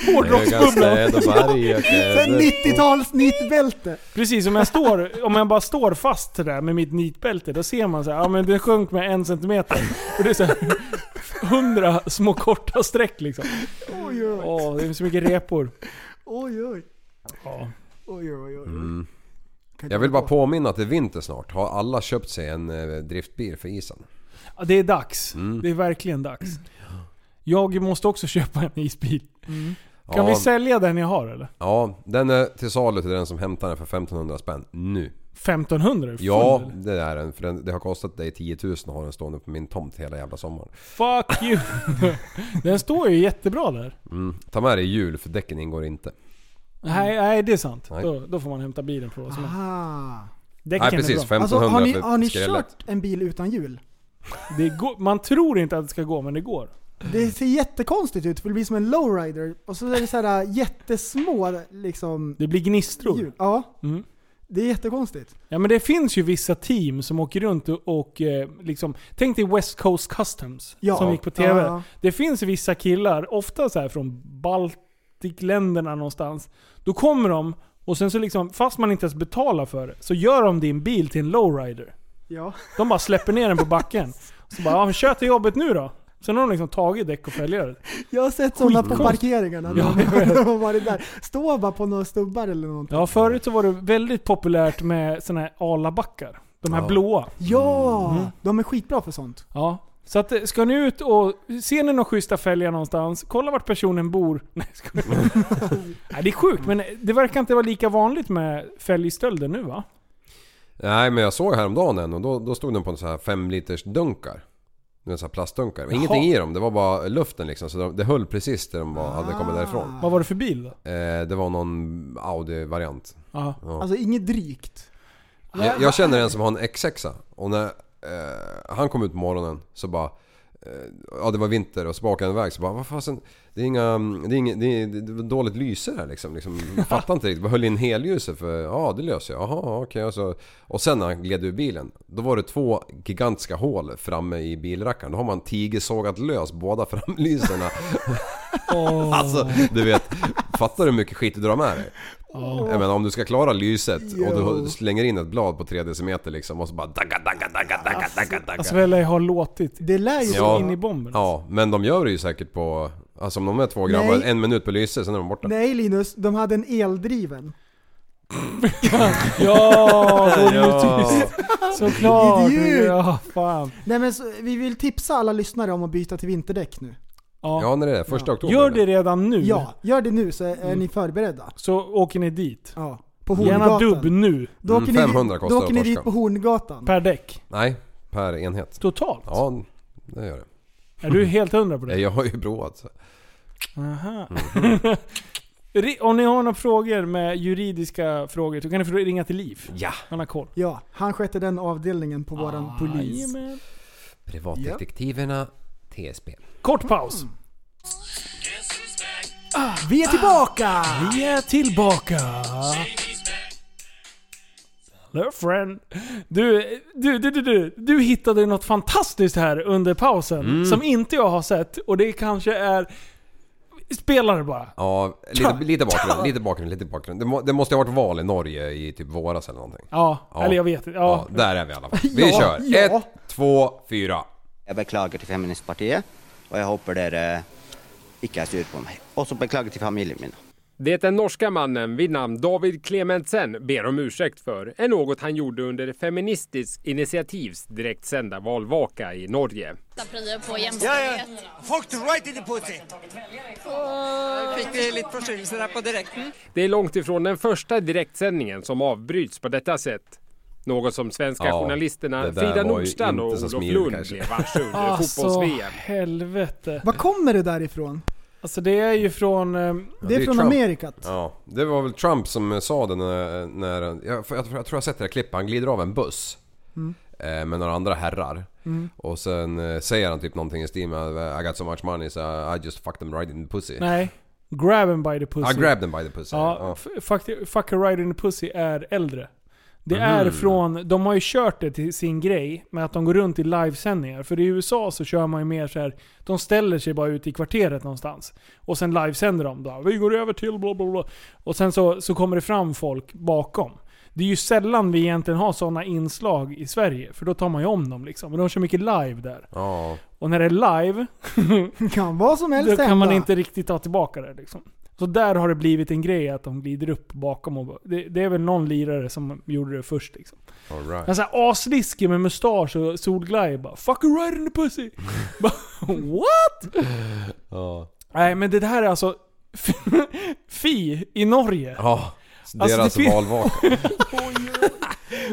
S4: Hårdrocksbubbla!
S6: Ögastäd och
S5: Sen
S6: bergökläder.
S5: 90-tals nitbälte.
S4: Precis, om jag, står, om jag bara står fast där med mitt nitbälte, då ser man så här, ja men det sjönk med en centimeter. Och det är så här, hundra små korta streck liksom.
S5: Oj oj oj.
S4: Åh, det är så mycket repor.
S5: Oj oj.
S4: Ja.
S5: Oj, oj, oj.
S6: Mm.
S5: Kan
S6: Jag
S5: du
S6: vill bara
S5: gå?
S6: påminna att det är vinter snart. Har alla köpt sig en eh, driftbil för isen?
S4: Ja, Det är dags.
S6: Mm.
S4: Det är verkligen dags. Jag måste också köpa en isbil. Kan
S6: ja,
S4: vi sälja den jag har eller?
S6: ja, den är till salu till den som hämtar den för 1500 spänn nu.
S4: 1500? Är du
S6: Ja,
S4: full, eller?
S6: det är den. För den, det har kostat dig 10 000 att ha den stående på min tomt hela jävla sommaren.
S4: Fuck you! den står ju jättebra där.
S6: Mm. Ta med dig hjul för däcken ingår inte.
S4: Nej, nej det är sant.
S6: Mm. Nej.
S4: Då, då får man hämta bilen på vad som helst.
S5: Ah.
S4: Däcken
S6: Nej
S4: är
S6: precis,
S4: bra.
S6: 1500
S5: Alltså, har ni,
S6: för
S5: har ni
S6: skrället.
S5: kört en bil utan hjul?
S4: Det går, man tror inte att det ska gå, men det går.
S5: Det ser jättekonstigt ut för det blir som en lowrider och så är det så här äh, jättesmå liksom
S4: Det blir gnistror.
S5: hjul. Ja.
S4: Mm.
S5: Det är jättekonstigt.
S4: Ja men det finns ju vissa team som åker runt och, och eh, liksom... Tänk dig West Coast Customs
S5: Ja.
S4: som gick på TV.
S5: Ja.
S4: Det finns vissa killar, ofta så här från Baltikländerna någonstans. Då kommer de och sen så liksom, fast man inte ens betalar för det, så gör de din bil till en lowrider.
S5: Ja.
S4: De bara släpper ner den på backen. Så bara, ja, men kör till jobbet nu då. Sen har de liksom tagit däck och fälgar.
S5: Jag har sett sådana på
S4: Skitkonstigt.
S5: parkeringarna.
S4: Ja,
S5: när
S4: jag vet.
S5: de har varit där. Står bara på några stubbar eller någonting.
S4: Ja, förut så var det väldigt populärt med såna här alabackar. De här
S6: Ja.
S4: blåa.
S5: Ja!
S4: Mm.
S5: De är skitbra för sånt.
S4: Ja. Så att, eh, ska ni ut och... Ser ni några schyssta fälgar någonstans, kolla vart personen bor. Nej, ska ni... Nej, det är sjukt, men det verkar inte vara lika vanligt med fälgstölder nu va?
S6: Nej men jag såg häromdagen en och då, då stod den på en sån här 5 liters dunkar. Du vet, så här plastdunkar. Men Ingenting i dem, det var bara luften liksom. Så de, det höll precis där de var, hade kommit därifrån.
S5: Ah.
S4: Vad var det för bil då?
S6: Eh, det var någon Audi-variant.
S4: Ja.
S6: Ja.
S5: Alltså inget drygt.
S6: Jag, jag känner en som har en X6 och när eh, han kom ut på morgonen så bara eh, Ja det var vinter och så bakade han iväg så bara vad fasen Det är inga, det är inga, det är, det är dåligt lyse här liksom, liksom Fattar inte riktigt, bara höll in helljuset för ja det löser jag, jaha okej och så Och sen när han gled ur bilen Då var det två gigantiska hål framme i bilrackaren Då har man tigersågat lös båda framlyserna
S4: Åh.
S6: Alltså du vet Fattar du hur mycket skit du drar med dig? Jag menar om du ska klara lyset och
S5: Jo.
S6: du slänger in ett blad på 3 decimeter liksom och så bara dagga, dagga, dagga, dagga, dagga,
S4: Alltså
S6: dagga.
S4: väl jag har låtit
S5: Det lär ju
S6: Ja.
S4: in i bomben.
S6: Ja, men de gör det ju säkert på... Alltså om de är två grabbar,
S5: Nej.
S6: en minut på lyset, sen är de borta.
S5: Nej Linus, de hade en eldriven.
S4: Ja, då är det ju
S6: Ja.
S4: tyst. Såklart.
S5: Idiot.
S4: Ja, fan.
S5: Nej men så, vi vill tipsa alla lyssnare om att byta till vinterdäck nu.
S4: Mm. Ja.
S6: Ja, när det är det? Första oktober?
S4: Gör det redan nu.
S5: Ja, gör det nu så är ni förberedda.
S4: Så åker ni dit.
S5: Ja. På
S4: Mm. Gärna
S5: Horngatan.
S4: dubb nu.
S5: Då åker,
S6: Mm,
S5: ni,
S6: 500
S5: dit-
S6: kostar
S5: då åker ni
S6: att
S5: dit
S6: torska.
S5: på Horngatan.
S4: Per däck.
S6: Nej, per enhet.
S4: Totalt.
S6: Ja, det gör det.
S4: Är du helt hundra på det?
S6: Nej, Jag har ju provat. så.
S4: Aha. Ri- Om ni har några frågor med juridiska frågor så kan ni få ringa till Liv.
S6: Ja.
S4: Han har koll.
S5: Ja, han skötte den avdelningen på
S4: Ah,
S5: våran polis.
S4: Jajamän.
S6: Privatdetektiverna, TSB.
S4: Kort paus. Ah,
S5: Vi är tillbaka!
S4: Vi är tillbaka! Hello friend. Du, du, du, du, du, du hittade något fantastiskt här under pausen som inte jag har sett och det kanske är... Spela det bara.
S6: Ja, lite, lite bakgrund, lite bakgrund, lite bakgrund. Det, må, det måste ha varit val i Norge i typ våras eller någonting.
S4: Ja, eller jag vet inte. Ja.
S6: där är vi i alla fall. Vi kör!
S4: ja.
S6: Ett, två, fyra.
S12: Jeg beklager til Feministpartiet, og jeg håper dere ikke er sur på meg. Også beklager til familien min.
S13: Det den norska mannen vid namn David Clementsen ber om ursäkt för är något han gjorde under Feministiskt initiativs direktsända valvaka i Norge.
S14: Prya på jämställdhet.
S9: Fucked right in the pussy! Fick vi lite förstyrrelse där på direkten?
S13: Det är långt ifrån den första direktsändningen som avbryts på detta sätt. Något som svenska
S6: Ja, det
S13: journalisterna
S6: där
S13: Frida
S6: var ju
S13: Nordstrand och
S6: inte så
S13: Olof
S6: smidigt
S13: Lund
S6: kanske.
S13: blev varse under
S4: Alltså
S13: fotbolls-VM.
S4: helvete.
S5: Var kommer det där ifrån?
S4: Alltså det är ju från... ehm,
S5: Det är från
S6: Trump.
S5: Amerikat.
S6: Ja, det var väl Trump som eh, sa det när... när jag, jag, tror- jag tror jag har sett det här klippet. Han glider av en buss.
S5: Mm.
S6: eh, Med några andra herrar.
S4: Mm.
S6: Och sen eh, säger han typ någonting i stil med I got so much money so I just fucked them right in the pussy.
S4: Nej. Grab 'em by the pussy.
S6: I grabbed them by the pussy.
S4: Ja, f- fuck, fuck a ride in the pussy är äldre. Det är
S6: Mhm.
S4: från, de har ju kört det till sin grej med att de går runt i livesändningar. För i USA så kör man ju mer så här. de ställer sig bara ute i kvarteret någonstans. Och sen livesänder de. Då. Vi går över till bla bla bla. Och sen så, så kommer det fram folk bakom. Det är ju sällan vi egentligen har sådana inslag i Sverige. För då tar man ju om dem liksom. Men de kör mycket live där.
S6: Ja.
S4: Och när det är live,
S5: kan vad som helst
S4: då kan man
S5: hända.
S4: inte riktigt ta tillbaka det. Liksom. Så där har det blivit en grej att de glider upp bakom. Och, det, det är väl någon lirare som gjorde det först. Liksom.
S6: All right.
S4: En sån här asliske med mustasch och solglajjor bara 'Fuck you right in the pussy' Bara, What?
S6: Ja.
S4: Nej men det här är alltså Fi i Norge.
S6: Ja.
S4: Alltså, det
S6: deras
S4: fin-
S6: valvaka.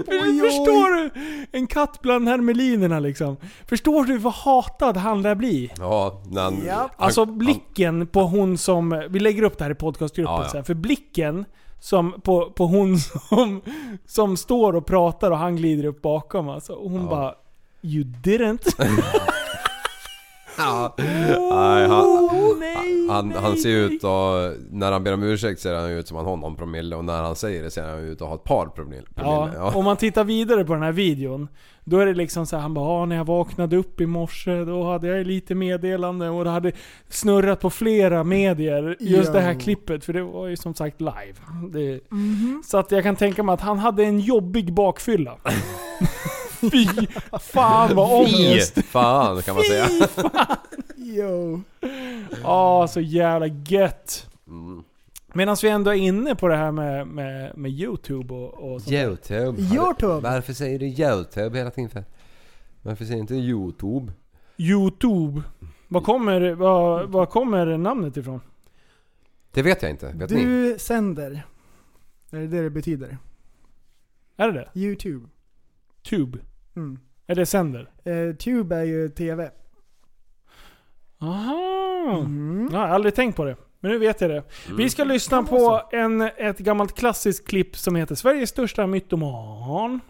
S4: Men Förstår du? En katt bland hermelinerna liksom. Förstår du vad hatad han lär bli?
S6: Ja, när han, han,
S4: Alltså blicken på hon som... Vi lägger upp det här i podcastgruppen
S6: Ja, ja.
S4: sen. För blicken som, på, på hon som, som står och pratar och han glider upp bakom alltså. Och hon bara... You didn't.
S6: Ja. Nej, han,
S4: Oh, nej,
S6: han, han ser ut och När han ber om ursäkt ser han ut som att han har någon promille och när han säger det ser han ut att ha ett par promille.
S4: ja,
S6: promille.
S4: om man tittar vidare på den här videon. Då är det liksom så här, han bara ah, när jag vaknade upp i morse då hade jag lite meddelande och det hade snurrat på flera medier. Just det här
S1: Jo.
S4: klippet. För det var ju som sagt live. Det, Så att jag kan tänka mig att han hade en jobbig bakfylla. Fy fan vad
S6: Fy
S4: ångest.
S6: fan kan man säga.
S4: Fy fan.
S5: Yo.
S4: Ja, så jävla gött. Medan vi ändå är inne på det här med, med, med Youtube och, och sånt där.
S6: Youtube.
S4: Youtube.
S6: Varför säger du Youtube hela tiden för? Varför säger du inte Youtube?
S4: Youtube. Var kommer, var, var kommer namnet ifrån?
S6: Det vet jag inte. Vet ni?
S5: Du sänder. Är det det det betyder?
S4: Är det det?
S5: Youtube.
S4: Tube?
S5: Mm.
S4: Är det sänder?
S5: Eh, tube är ju TV.
S4: Aha. Jag har aldrig tänkt på det. Men nu vet jag det.
S1: Mm.
S4: Vi ska lyssna på en, ett gammalt klassiskt klipp som heter Sveriges största mytoman.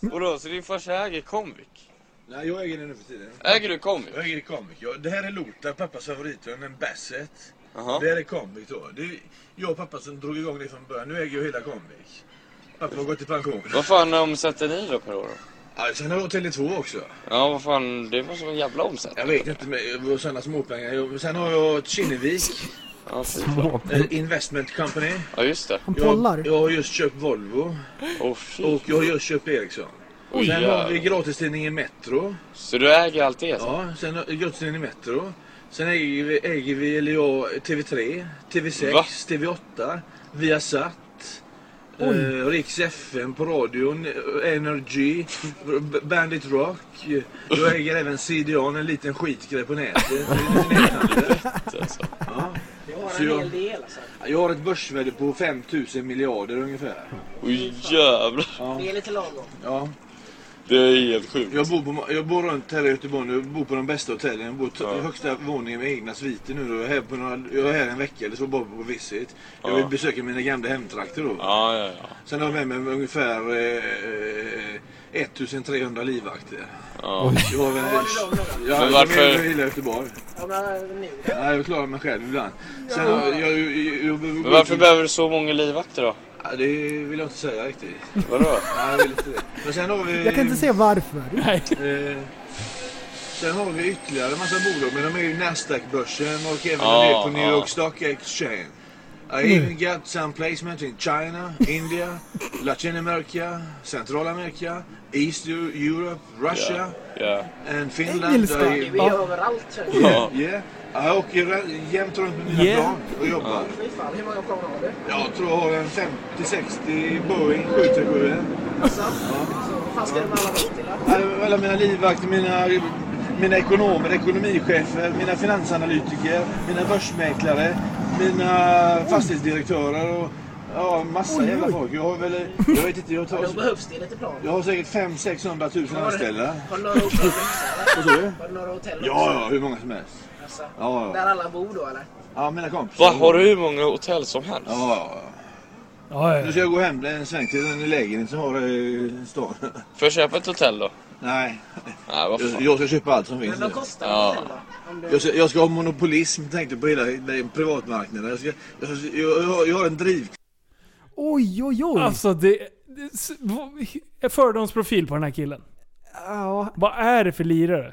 S15: Vadå, så din farsa äger Comviq?
S16: Nej, jag äger den nu för tiden.
S15: Äger du Comviq?
S16: Jag äger Comviq. Ja, det här är Lorta, pappas favoritvän, en Basset. Det här är Comviq då. Det är jag och pappa som drog igång det från början. Nu äger jag hela Comviq. Pappa har gått i pension.
S15: Vad fan omsätter ni då per år?
S16: Ja, sen har jag Tele2 också.
S15: Ja, vad fan, det var som en jävla
S16: Jag
S15: omsättning.
S16: vet inte, men det var sådana småpengar. Jag- Sen har jag Kinnevik.
S15: Ja, fy
S16: Små-
S15: fan.
S16: Eh, Investment Company.
S15: Ja, just det.
S16: Jag, jag har just köpt Volvo. och jag har just köpt Ericsson.
S15: Oj,
S16: sen har vi
S15: jävlar.
S16: gratistidningen Metro.
S15: Så du äger allt det? Alltså?
S16: Ja, sen har- gratistidningen Metro. Sen äger vi, äger vi eller jag, TV3, TV6,
S15: Va?
S16: TV8, Viasat.
S15: Oj.
S16: Eh, Riks FM på radion, eh, Energy, B- Bandit Rock. Jag äger även CDON, en liten skitgrej på nätet. En liten näthandel.
S15: Alltså.
S16: Ja. Så jag-
S17: del alltså.
S16: jag har ett börsvärde på 5000 miljarder ungefär.
S15: Oj jävlar.
S16: Ja.
S17: lite lagom.
S16: ja.
S15: Det är helt sjukt.
S16: Jag bor, på, jag bor runt här i Göteborg nu, bor på de bästa hotellen. Jag bor ja. högsta våningen med egna sviter nu. Jag är, här på några, jag är här en vecka eller så bara på visit. Jag vill
S15: Ja.
S16: besöka mina gamla hemtrakter då.
S15: Ja, ja, ja.
S16: Sen har jag med mig ungefär eh, 1300 livvakter.
S15: Ja.
S16: Det var väl...
S15: Ja,
S16: Ja,
S15: Men
S16: men
S15: varför-
S16: Jag gillar Göteborg. Nej, jag klarar mig själv ibland. Sen har jag, jag, jag, jag,
S15: Men varför behöver du så många livvakter då?
S16: Ja, det vill jag inte säga riktigt.
S15: Vadå?
S16: Nej, jag vill inte det. Men sen har vi...
S5: Jag kan inte se varför.
S16: Eh, sen har vi ytterligare en massa bolag, men de är ju Nasdaq-börsen och även
S15: Ja,
S16: en del på New
S15: ja.
S16: York Stock Exchange. I even got some placement in China, India, Latin America, Centralamerika, East Europe, Russia
S15: Ja.
S16: and Finland.
S15: Engelska.
S16: I-
S15: Vi är
S17: överallt.
S16: Ja. Yeah. Jag åker ra- jämt runt med mina
S17: Yeah.
S16: plan och jobbar.
S17: Fy fan, hur många plan har du?
S16: Jag tror jag har en 50-60 Boeing 737.
S17: Alltså, vad fan ska du med alla dem till? då?
S16: Alla- Alla mina livvakter, mina, mina ekonomer, ekonomichefer, mina finansanalytiker, mina börsmäklare, mina fastighetsdirektörer och ja, massa
S17: Oj,
S16: jävla
S17: oj.
S16: folk. Jag har väl, jag vet inte, jag
S17: Ja, Då
S16: tar...
S17: behövs det lite plan.
S16: Jag har säkert 500 000
S17: Har du-
S16: anställda.
S17: Har du några hotell
S16: Vad sa du?
S17: Har du några hotell
S16: Ja, ja, hur många som helst.
S17: Alltså,
S16: Ja,
S17: Där
S16: ja.
S17: alla bor då eller?
S16: ja mina kompisar.
S15: Va, har du hur många hotell som helst?
S16: Ja, ja, ja. Nu ska jag gå hem en sväng till en lägenhet som har eh, stan.
S15: Får jag köpa ett hotell då?
S16: Nej.
S15: Nej, vad
S16: Jag,
S15: fan.
S16: jag ska köpa allt som finns
S17: Men vad
S16: nu.
S17: kostar
S15: Ja.
S17: hotell då? Om du...
S16: Jag ska, jag ska ha monopolism tänkte jag, på hela den privatmarknaden. Jag, ska, jag, jag, jag, har- jag har en driv...
S4: Oj, oj, oj. Alltså det... det s- vad- he- Fördomsprofil på den här killen.
S5: Ja.
S4: Vad är det för lirare?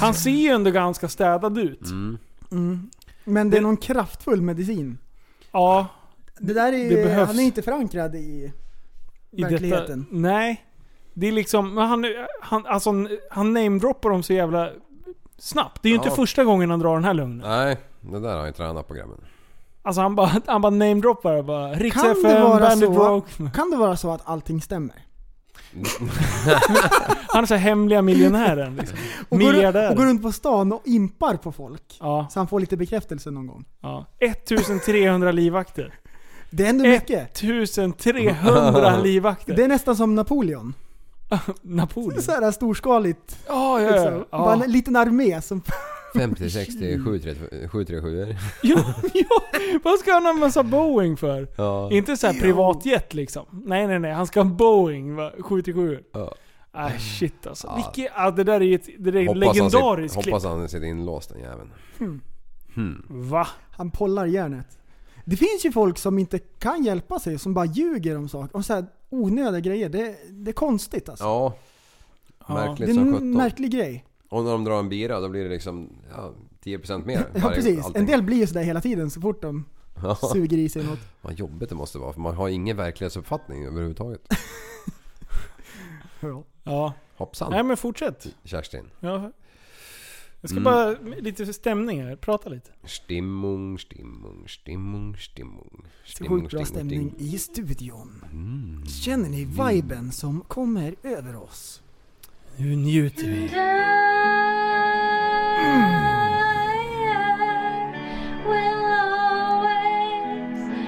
S4: Han ser ju ändå ganska städad ut.
S5: Mm. Men det är någon kraftfull medicin.
S4: Ja.
S5: Det där är,
S4: Det behövs.
S5: han är inte förankrad i,
S4: I
S5: verkligheten.
S4: Detta, nej. Det är liksom, men han, han, alltså, han namedroppar dem så jävla snabbt. Det är ju
S6: Ja.
S4: inte första gången han drar den här lögnen.
S6: Nej, det där har jag tränat på grabben.
S4: Alltså han bara, han bara namedroppar bara. Rix
S5: Kan
S4: FM,
S5: det, vara
S4: Bandit
S5: så,
S4: Rock.
S5: kan det vara så att allting stämmer?
S4: Han är så här hemliga miljonären. Liksom.
S5: Och går,
S4: Miljardär.
S5: och går runt på stan och impar på folk.
S4: Ja.
S5: Så han får lite bekräftelse någon gång.
S4: Ja. 1300 livvakter.
S5: Det är ändå mycket.
S4: 1300 livvakter.
S5: Det är nästan som Napoleon.
S4: Napoleon?
S5: Så här storskaligt. liksom.
S4: Ja, ja, ja. Ja.
S5: Bara en liten armé som...
S6: 50, 60, 737
S4: Vad ska han ha en massa Boeing för?
S6: Ja.
S4: Inte så här privatjet liksom. Nej nej nej, han ska ha en Boeing va? 77.
S6: Ja.
S4: Ah, shit alltså.
S6: Ja.
S4: Vilke, ah, det där är ju ett, det där är ett
S6: Hoppas han
S4: legendariskt
S6: sitter-
S4: klipp.
S6: Hoppas han sitter inlåst den jäveln.
S5: Hmm.
S6: Hmm.
S4: Va?
S5: Han pollar järnet. Det finns ju folk som inte kan hjälpa sig, som bara ljuger om saker. Om så här onödiga grejer. Det, det är konstigt alltså.
S6: Ja.
S5: det
S6: Märkligt
S5: är
S6: som
S5: en
S6: sjutton.
S5: märklig grej.
S6: Och när de drar en bira då blir det liksom ja, 10% mer.
S5: Ja
S6: varje-
S5: precis.
S6: allting.
S5: En del blir ju sådär hela tiden så fort de
S6: Ja.
S5: suger i sig något.
S6: Vad jobbigt det måste vara för man har ingen verklighetsuppfattning överhuvudtaget.
S4: Ja.
S6: Hoppsan
S4: Nej men fortsätt.
S6: Kerstin.
S4: Ja. Jag ska
S6: Mm.
S4: bara, lite stämning här, prata lite.
S6: Stimmung, stimmung, stimmung, stimmung.
S5: Så
S6: Stimmung,
S5: sjukt bra
S6: sting,
S5: stämning
S6: sting.
S5: i studion.
S6: Mm.
S5: Känner ni viben som kommer över oss?
S4: Nu njuter vi.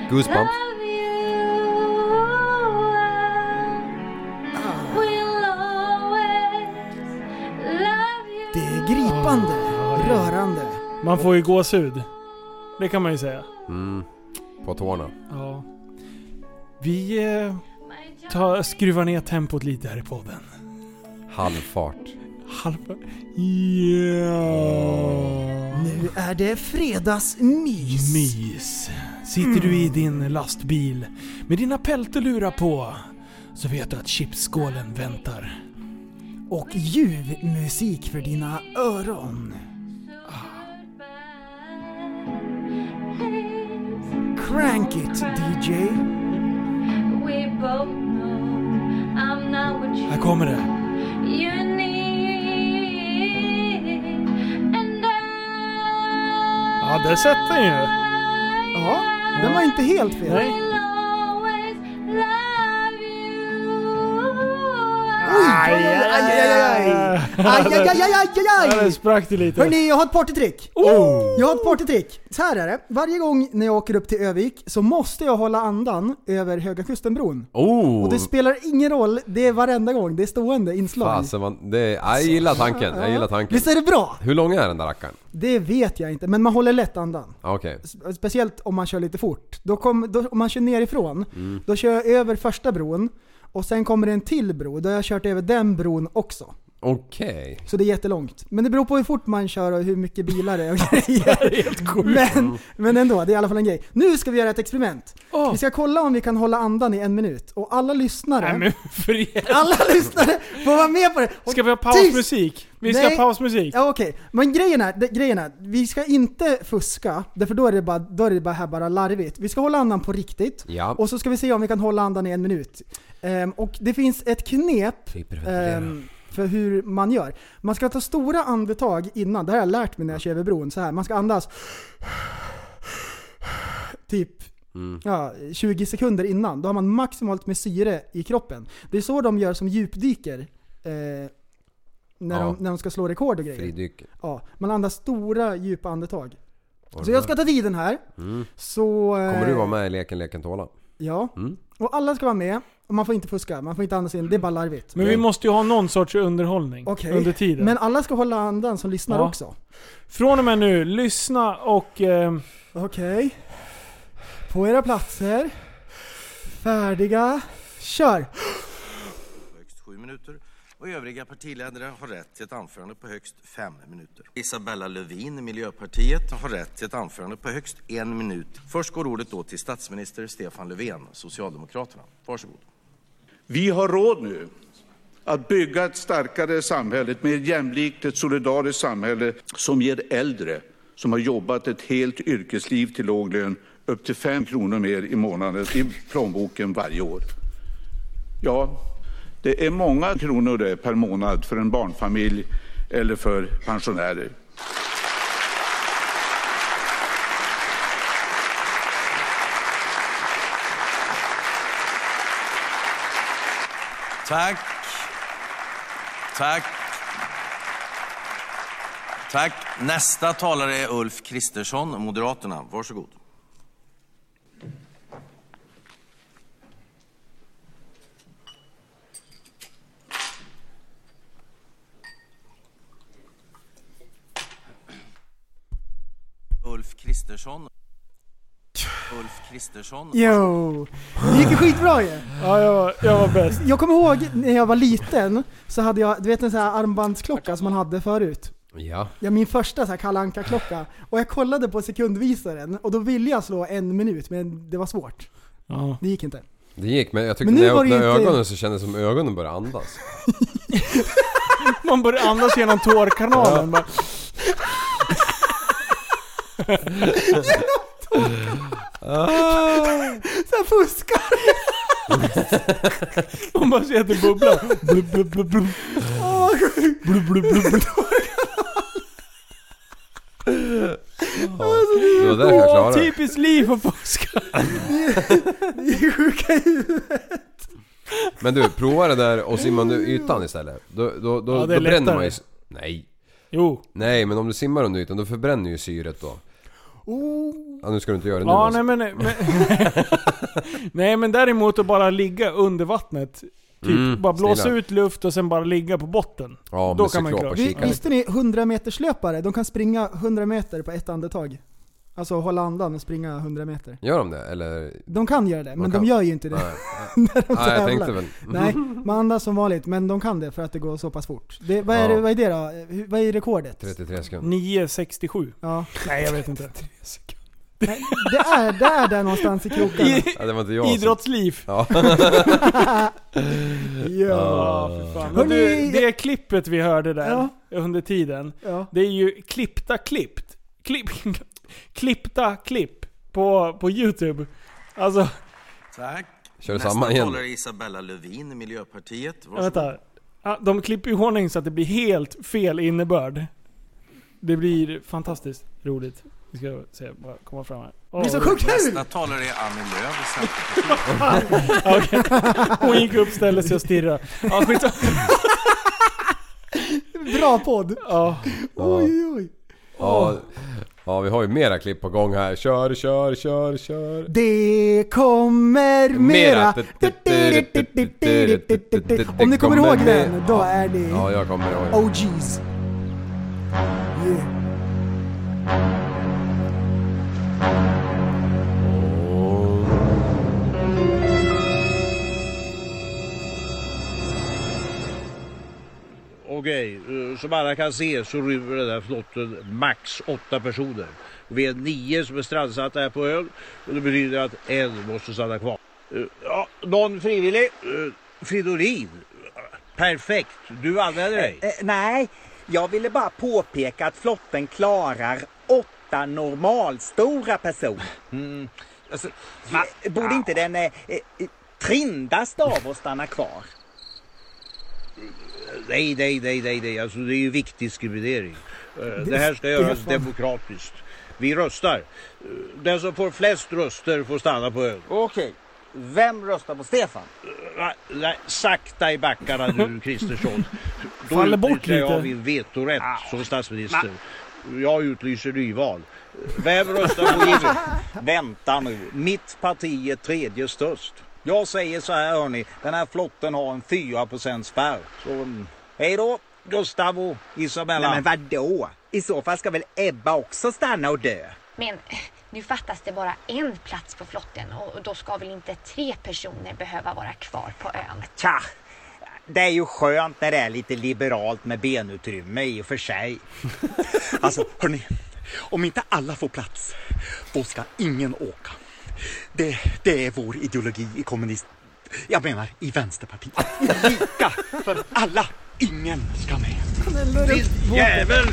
S6: Goosebumps.
S5: Det är gripande, rörande.
S4: Man får ju gåshud. Det kan man ju säga.
S6: Mm. På tårna.
S4: Ja. Vi eh, tar, skruvar ner tempot lite här i podden.
S6: Halvfart.
S4: Halva... Ja.
S5: Nu är det fredagsmys.
S4: Mys. Sitter du i din lastbil med dina peltelurar på så vet du att chipsskålen väntar.
S5: Och ljuv musik för dina öron. Crank it DJ.
S4: Här kommer det. Ja, där satt den ju.
S5: Ja, den var inte helt fel.
S4: Nej.
S5: Oj, oj, oj, Ajajajaj!
S4: Ja, det Oh!
S5: Ajajajajajaj!
S4: sprack det lite.
S5: Hörni, jag har ett partytrick! Jag har ett partytrick! Så här är det, varje gång när jag åker upp till Övik så måste jag hålla andan över Höga Kustenbron.
S6: Oh!
S5: Och det spelar ingen roll, det är varenda gång, det är stående inslag.
S6: Fasen, man, det, jag gillar tanken, jag gillar tanken.
S5: Visst är det bra?
S6: Hur lång är den där rackaren?
S5: Det vet jag inte, men man håller lätt andan.
S6: Ah, Okej.
S5: S- Speciellt om man kör lite fort. Då kom, då, om man kör nerifrån,
S6: Mm.
S5: då kör jag över första bron och sen kommer det en till bro. Då har jag kört över den bron också.
S6: Okej.
S5: Så det är jättelångt. Men det beror på hur fort man kör och hur mycket bilar det är och grejer. men, men ändå, det är i alla fall en grej. Nu ska vi göra ett experiment. Vi ska kolla om vi kan hålla andan i en minut. Och alla lyssnare...
S4: Nej, men
S5: alla lyssnare får vara med på det! Och
S4: Ska vi ha
S5: tyst!
S4: pausmusik? Vi ska ha
S5: Nej.
S4: pausmusik.
S5: Ja okej, men grejen är, det- grejen är, vi ska inte fuska, därför då är det bara, då är det bara här bara larvigt. Vi ska hålla andan på riktigt,
S6: Ja.
S5: och så ska vi se om vi kan hålla andan i en minut. Ehm, och det finns ett knep
S6: Hyperventilera.
S5: ehm, för hur man gör. Man ska ta stora andetag innan, det här har jag lärt mig när jag kör över bron, så här. man ska andas typ
S6: Mm.
S5: ja, 20 sekunder innan. Då har man maximalt med syre i kroppen. Det är så de gör som djupdyker. Eh, när,
S6: Ja.
S5: de, när de ska slå rekord och grejer.
S6: Fridyk.
S5: Ja, man andas stora djupa andetag. Så jag ska ta vid den här.
S6: Mm.
S5: Så... eh,
S6: Kommer du vara med i leken Leken Tåla?
S5: Ja.
S6: Mm.
S5: Och alla ska vara med. Och man får inte fuska, man får inte andas in. Det är bara larvigt.
S4: Men vi måste ju ha någon sorts underhållning
S5: Okej.
S4: under tiden.
S5: Men alla ska hålla andan som lyssnar
S4: Ja.
S5: också.
S4: Från och med nu, lyssna och... Eh,
S5: Okej. På era platser. Färdiga. Kör!
S18: högst sju minuter och övriga partiledare har rätt till ett anförande på högst fem minuter. Isabella Lövin, Miljöpartiet, har rätt till ett anförande på högst en minut. Först går ordet då till statsminister Stefan Löfven, Socialdemokraterna. Varsågod.
S19: Vi har råd nu att bygga ett starkare samhälle, ett mer jämlikt, ett solidariskt samhälle som ger äldre som har jobbat ett helt yrkesliv till låg lön upp till 5 kronor mer i månaden i plånboken varje år. Ja, det är många kronor det per månad för en barnfamilj eller för pensionärer.
S20: Tack. Tack.
S18: Tack. Nästa talare är Ulf Kristersson, Moderaterna. Varsågod. Ulf Kristersson. Ulf Kristersson.
S5: Yo! Det gick ju skitbra ju!
S4: Ja, jag var, jag var bäst.
S5: Jag kommer ihåg när jag var liten, så hade jag, du vet en sån här armbandsklocka som man hade förut?
S6: Ja.
S5: Ja, min första så här Kalle Anka-klocka. Och jag kollade på sekundvisaren och då ville jag slå en minut, men det var svårt.
S4: Ja.
S5: Det gick inte.
S6: Det gick, men jag tyckte
S5: Men nu
S6: när jag
S5: var det ju
S6: öppnade
S5: inte-
S6: ögonen så kändes det som ögonen började andas.
S4: Man börjar andas genom tårkanalen. Bara,
S5: Så här fuskar!
S4: man bara ser att det bubblar. Blub, blub, blub, blub.
S5: Åh, vad sjukt!
S4: Blub, blub, blub, blub.
S6: Det var där jag
S4: Åh,
S6: klarade
S5: typ.
S6: det.
S4: Typiskt liv att fuska.
S5: Ni är sjuka i huvudet.
S6: Men du, prova det där och simma under ytan istället. Då, då, då,
S4: Ja,
S6: då
S4: det är
S6: bränner man ju...
S4: lättare.
S6: Nej.
S4: Jo.
S6: Nej, men om du simmar under ytan då förbränner ju syret då.
S5: Oh.
S6: Ja, nu ska du inte göra det nu
S4: Ja,
S6: alltså.
S4: nej men... men nej men däremot att bara ligga under vattnet. Typ
S6: Mm,
S4: bara blåsa
S6: snillar.
S4: ut luft och sen bara ligga på botten.
S6: Ja,
S4: Då
S6: med
S4: kan man
S6: cyklop och
S4: klara.
S5: Vi- Visste ni 100 meterslöpare De kan springa 100 meter på ett andetag. Alltså hålla andan och springa 100 meter.
S6: Gör de det eller?
S5: De kan göra det,
S6: De
S5: men
S6: kan.
S5: de gör ju inte det.
S6: Nej.
S5: när de
S6: Nej, jag
S5: tävlar.
S6: tänkte väl.
S5: Nej, man andas som vanligt, men de kan det för att det går så pass fort. Det, vad, är
S6: Ja.
S5: det, vad är det då? Hur- Vad är rekordet?
S6: 33 sekunder.
S4: 9.67.
S5: Ja.
S4: Nej jag vet inte.
S5: Nej, det, är, det är där någonstans i krokarna.
S4: I-
S6: Ja, det var inte jag som-
S4: Idrottsliv.
S6: Ja.
S4: Ja, för fan. Men
S5: Hörrni,
S4: du,
S5: jag-
S4: det klippet vi hörde där
S5: Ja.
S4: under tiden.
S5: Ja.
S4: Det är ju klippta klippt. Klipp, klippta klipp på, på youtube. Alltså,
S18: Tack.
S6: Kör
S18: Nästa
S6: samma igen.
S18: talare är Isabella Lövin, Miljöpartiet. Varsågod.
S4: vänta. Ja, De klipper i ordning så att det blir helt fel innebörd. Det blir fantastiskt roligt. Vi ska se, bara komma fram här. Åh, vad roligt.
S18: Nästa talare är Annie Lööf, Centerpartiet.
S4: Okej. Hon gick upp, ställde sig och stirrade. Ja, skit-
S5: Bra podd.
S4: Ja.
S5: Oj, oj.
S6: Ja, ja, vi har ju mera klipp på gång här. Kör, kör, kör, kör.
S5: Det kommer mera. Om ni kommer ihåg den, då är det Oh.
S6: Ja, jag kommer ihåg.
S5: OGs. Yeah.
S20: Okej, eh, som alla kan se så rymmer den där flotten max åtta personer. Vi är nio som är strandsatta här på ön och det betyder att en måste stanna kvar. Eh, Ja, någon frivillig? Eh, Fridolin? Perfekt, du använder dig.
S21: Eh, eh, nej, jag ville bara påpeka att flotten klarar åtta normalstora personer. Alltså, eh, Borde inte den eh, eh, trindas av att stanna kvar?
S20: Nej, nej, nej, nej, nej. Alltså, det är ju viktdiskriminering. Eh,
S18: Det-
S20: Det här ska
S18: det är
S20: göras
S18: fan-
S20: demokratiskt. Vi röstar. Eh, Den som får flest röster får stanna på ön. Okej. Vem röstar på Stefan? Nej, sakta i backarna nu, Kristersson. Då
S4: Faller bort
S20: utnyttjar jag
S4: lite.
S20: min vetorätt
S21: Ah.
S20: som statsminister. Jag utlyser nyval. Vem röstar på Jimmy?
S21: Vänta nu, mitt parti är tredje störst. Jag säger så här hörni, den här flotten har en 4 spärr. Så mm, hej då, Gustavo, Isabella.
S9: Nej, men
S21: vadå? I så fall ska väl Ebba också stanna och dö?
S14: Men nu fattas det bara en plats på flotten och och då ska väl inte tre personer behöva vara kvar på ön?
S21: Tja, det är ju skönt när det är lite liberalt med benutrymme i och för sig.
S22: Alltså, hörni. Om inte alla får plats, då ska ingen åka. Det, det är vår ideologi i kommunism... Jag menar i Vänsterpartiet. Lika för alla. Ingen ska med.
S20: Jävel!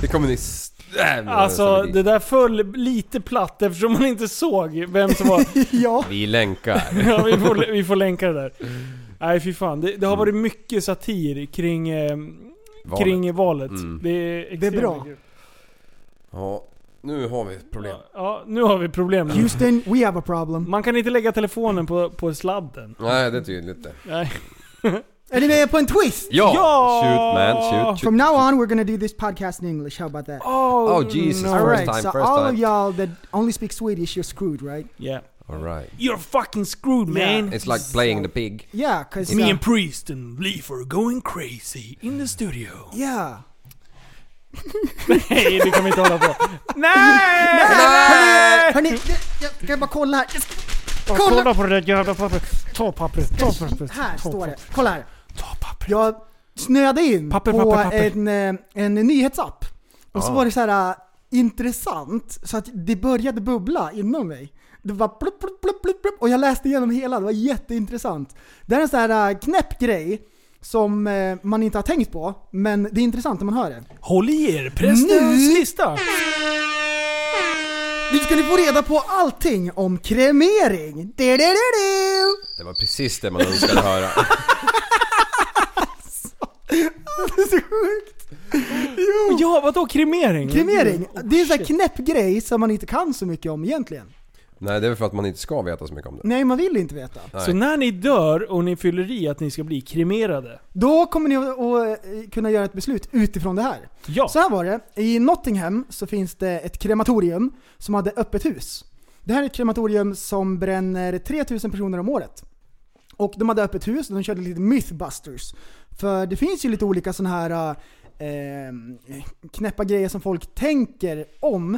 S6: Det kommer ni... s- Jävlar,
S4: Alltså
S6: nostalgi.
S4: det där föll lite platt eftersom man inte såg vem som var...
S5: ja.
S6: Vi länkar.
S4: ja, vi får, vi får länka det där. Nej fy fan. Det, det har varit mycket satir kring, eh,
S6: Mm. Valet.
S4: kring valet.
S6: Mm.
S4: Det, är extremt
S5: bra.
S4: mycket.
S6: Ja, nu har vi ett problem.
S4: Ja, nu har vi problem.
S5: Houston, we have a problem.
S4: Man kan inte lägga telefonen på, på sladden.
S6: Nej, det är tydligt det.
S4: Nej.
S5: Är ni med på en twist?
S6: Ja! Shoot man, shoot,
S5: From
S6: shoot.
S5: now on we're gonna do this podcast in English, how about that?
S4: Oh,
S6: Oh, Jesus, no. first time,
S5: so
S6: first
S5: all
S6: time.
S5: of y'all that only speak Swedish, you're screwed, right?
S4: Yeah.
S6: Alright.
S4: You're fucking screwed
S5: Yeah.
S4: man.
S6: It's like playing the pig.
S5: Yeah, 'cause,
S4: Me
S5: uh,
S4: and Priest and Leaf are going crazy in the studio.
S5: Yeah.
S4: Nej, det kan vi inte hålla på.
S5: Nej!
S4: Nej!
S5: Hörni, hörni, det- jag ska bara kolla här. Jag ska-
S6: Oh,
S4: Ja,
S5: Kolla!
S4: Kolla på det där jävla pappret. Ta pappret, ta pappret.
S5: Här
S4: ta
S5: står det.
S4: pappret.
S5: Kolla här. Jag snöade in
S4: Papper,
S5: på
S4: papper, papper.
S5: En, eh, en nyhetsapp. Och så
S4: Ah.
S5: var det så här eh, intressant, så att det började bubbla inom mig. Det var plupp, plupp, plupp, plupp, plupp, och jag läste igenom hela, det var jätteintressant. Det är en sån här eh, knäpp grej som eh, man inte har tänkt på, men det är intressant när man hör det.
S4: Håll i er, prästens
S5: Nu-
S4: lista.
S5: Nu ska ni få reda på allting om kremering. Du-du-du-du!
S6: Det var precis det man önskade höra.
S5: Det är så sjukt! Jo.
S4: Ja, vadå kremering?
S5: Kremering,
S4: Oh,
S5: det är en sån här
S4: shit.
S5: knäpp grej som man inte kan så mycket om egentligen.
S6: Nej, det är väl för att man inte ska veta så mycket om det.
S5: Nej, man vill inte veta.
S4: Så när ni dör och ni fyller i att ni ska bli kremerade.
S5: Då kommer ni att att, eh, kunna göra ett beslut utifrån det här.
S4: Ja.
S5: Så här var det, i Nottingham så finns det ett krematorium som hade öppet hus. Det här är ett krematorium som bränner 3000 personer om året. Och de hade öppet hus och de körde lite mythbusters. För det finns ju lite olika sådana här eh, knäppa grejer som folk tänker om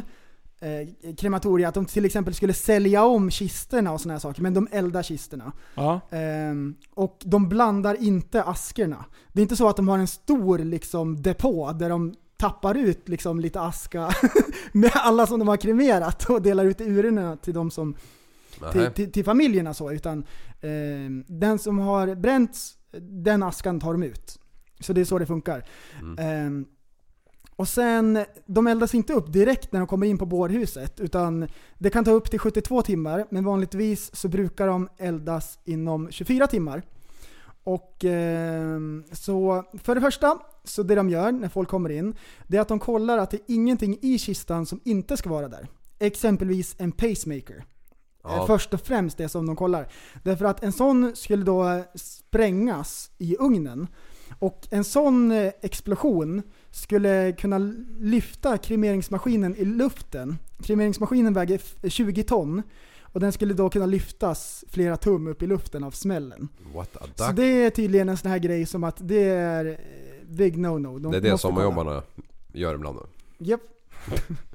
S5: eh, krematorier. Att de till exempel skulle sälja om kisterna och sådana här saker, men de eldar kisterna.
S4: Ja.
S5: Ehm, och de blandar inte askerna. Det är inte så att de har en stor liksom, depå där de tappar ut liksom, lite aska med alla som de har kremerat och delar ut i urinerna till de som till,
S6: Nej.
S5: till, till familjerna så, utan ehm, den som har bränts, den askan tar de ut. Så det är så det funkar. Ehm, och sen, de eldas inte upp direkt när de kommer in på bårhuset, utan det kan ta upp till 72 timmar, men vanligtvis så brukar de eldas inom 24 timmar. Och ehm, så, för det första, så det de gör när folk kommer in, det är att de kollar att det är ingenting i kistan som inte ska vara där. Exempelvis en pacemaker. Eh,
S6: Ja.
S5: Först och främst det som de kollar. Därför att en sån skulle då sprängas i ugnen. Och en sån eh, explosion skulle kunna lyfta kremeringsmaskinen i luften. Kremeringsmaskinen väger f- 20 ton. Och den skulle då kunna lyftas flera tum upp i luften av smällen.
S6: What a
S5: Så
S6: duck.
S5: det är tydligen en sån här grej som att det är eh, big no-no. De
S6: Det är det
S5: måste kolla.
S6: sommarjobbarna gör ibland.
S5: Japp.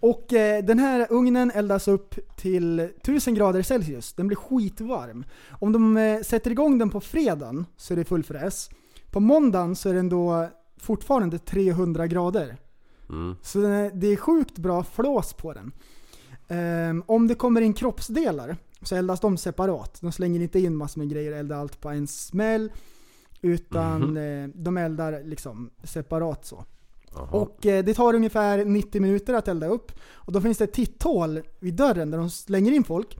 S5: och eh, den här ugnen eldas upp till 1000 grader Celsius. Den blir skitvarm. Om de eh, sätter igång den på fredagen så är det full fräs. På måndagen så är den då fortfarande 300 grader.
S6: Mm.
S5: Så den är, det är sjukt bra flås på den. Ehm, om det kommer in kroppsdelar så eldas de separat. De slänger inte in massor med grejer och eldar allt på en smäll. Utan eh, de eldar liksom separat så. Och eh, det tar ungefär 90 minuter att elda upp. Och då finns det ett titthål vid dörren där de slänger in folk.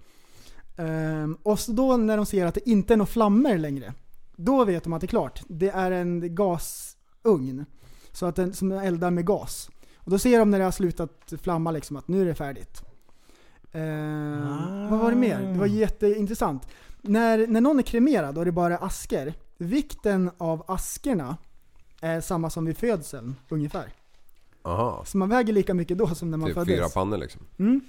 S5: Ehm, och så då när de ser att det inte är några flammor längre. Då vet de att det är klart. Det är en gasugn. Så att den, som eldar med gas. Och då ser de när det har slutat flamma liksom att nu är det färdigt. Ehm, Vad var det mer? Det var jätteintressant. När, när någon är kremerad och det är bara asker. Vikten av askerna är samma som vid födseln ungefär.
S6: Aha.
S5: Så man väger lika mycket då som när man
S6: Typ
S5: föddes.
S6: fyra pannor liksom.
S5: Mm.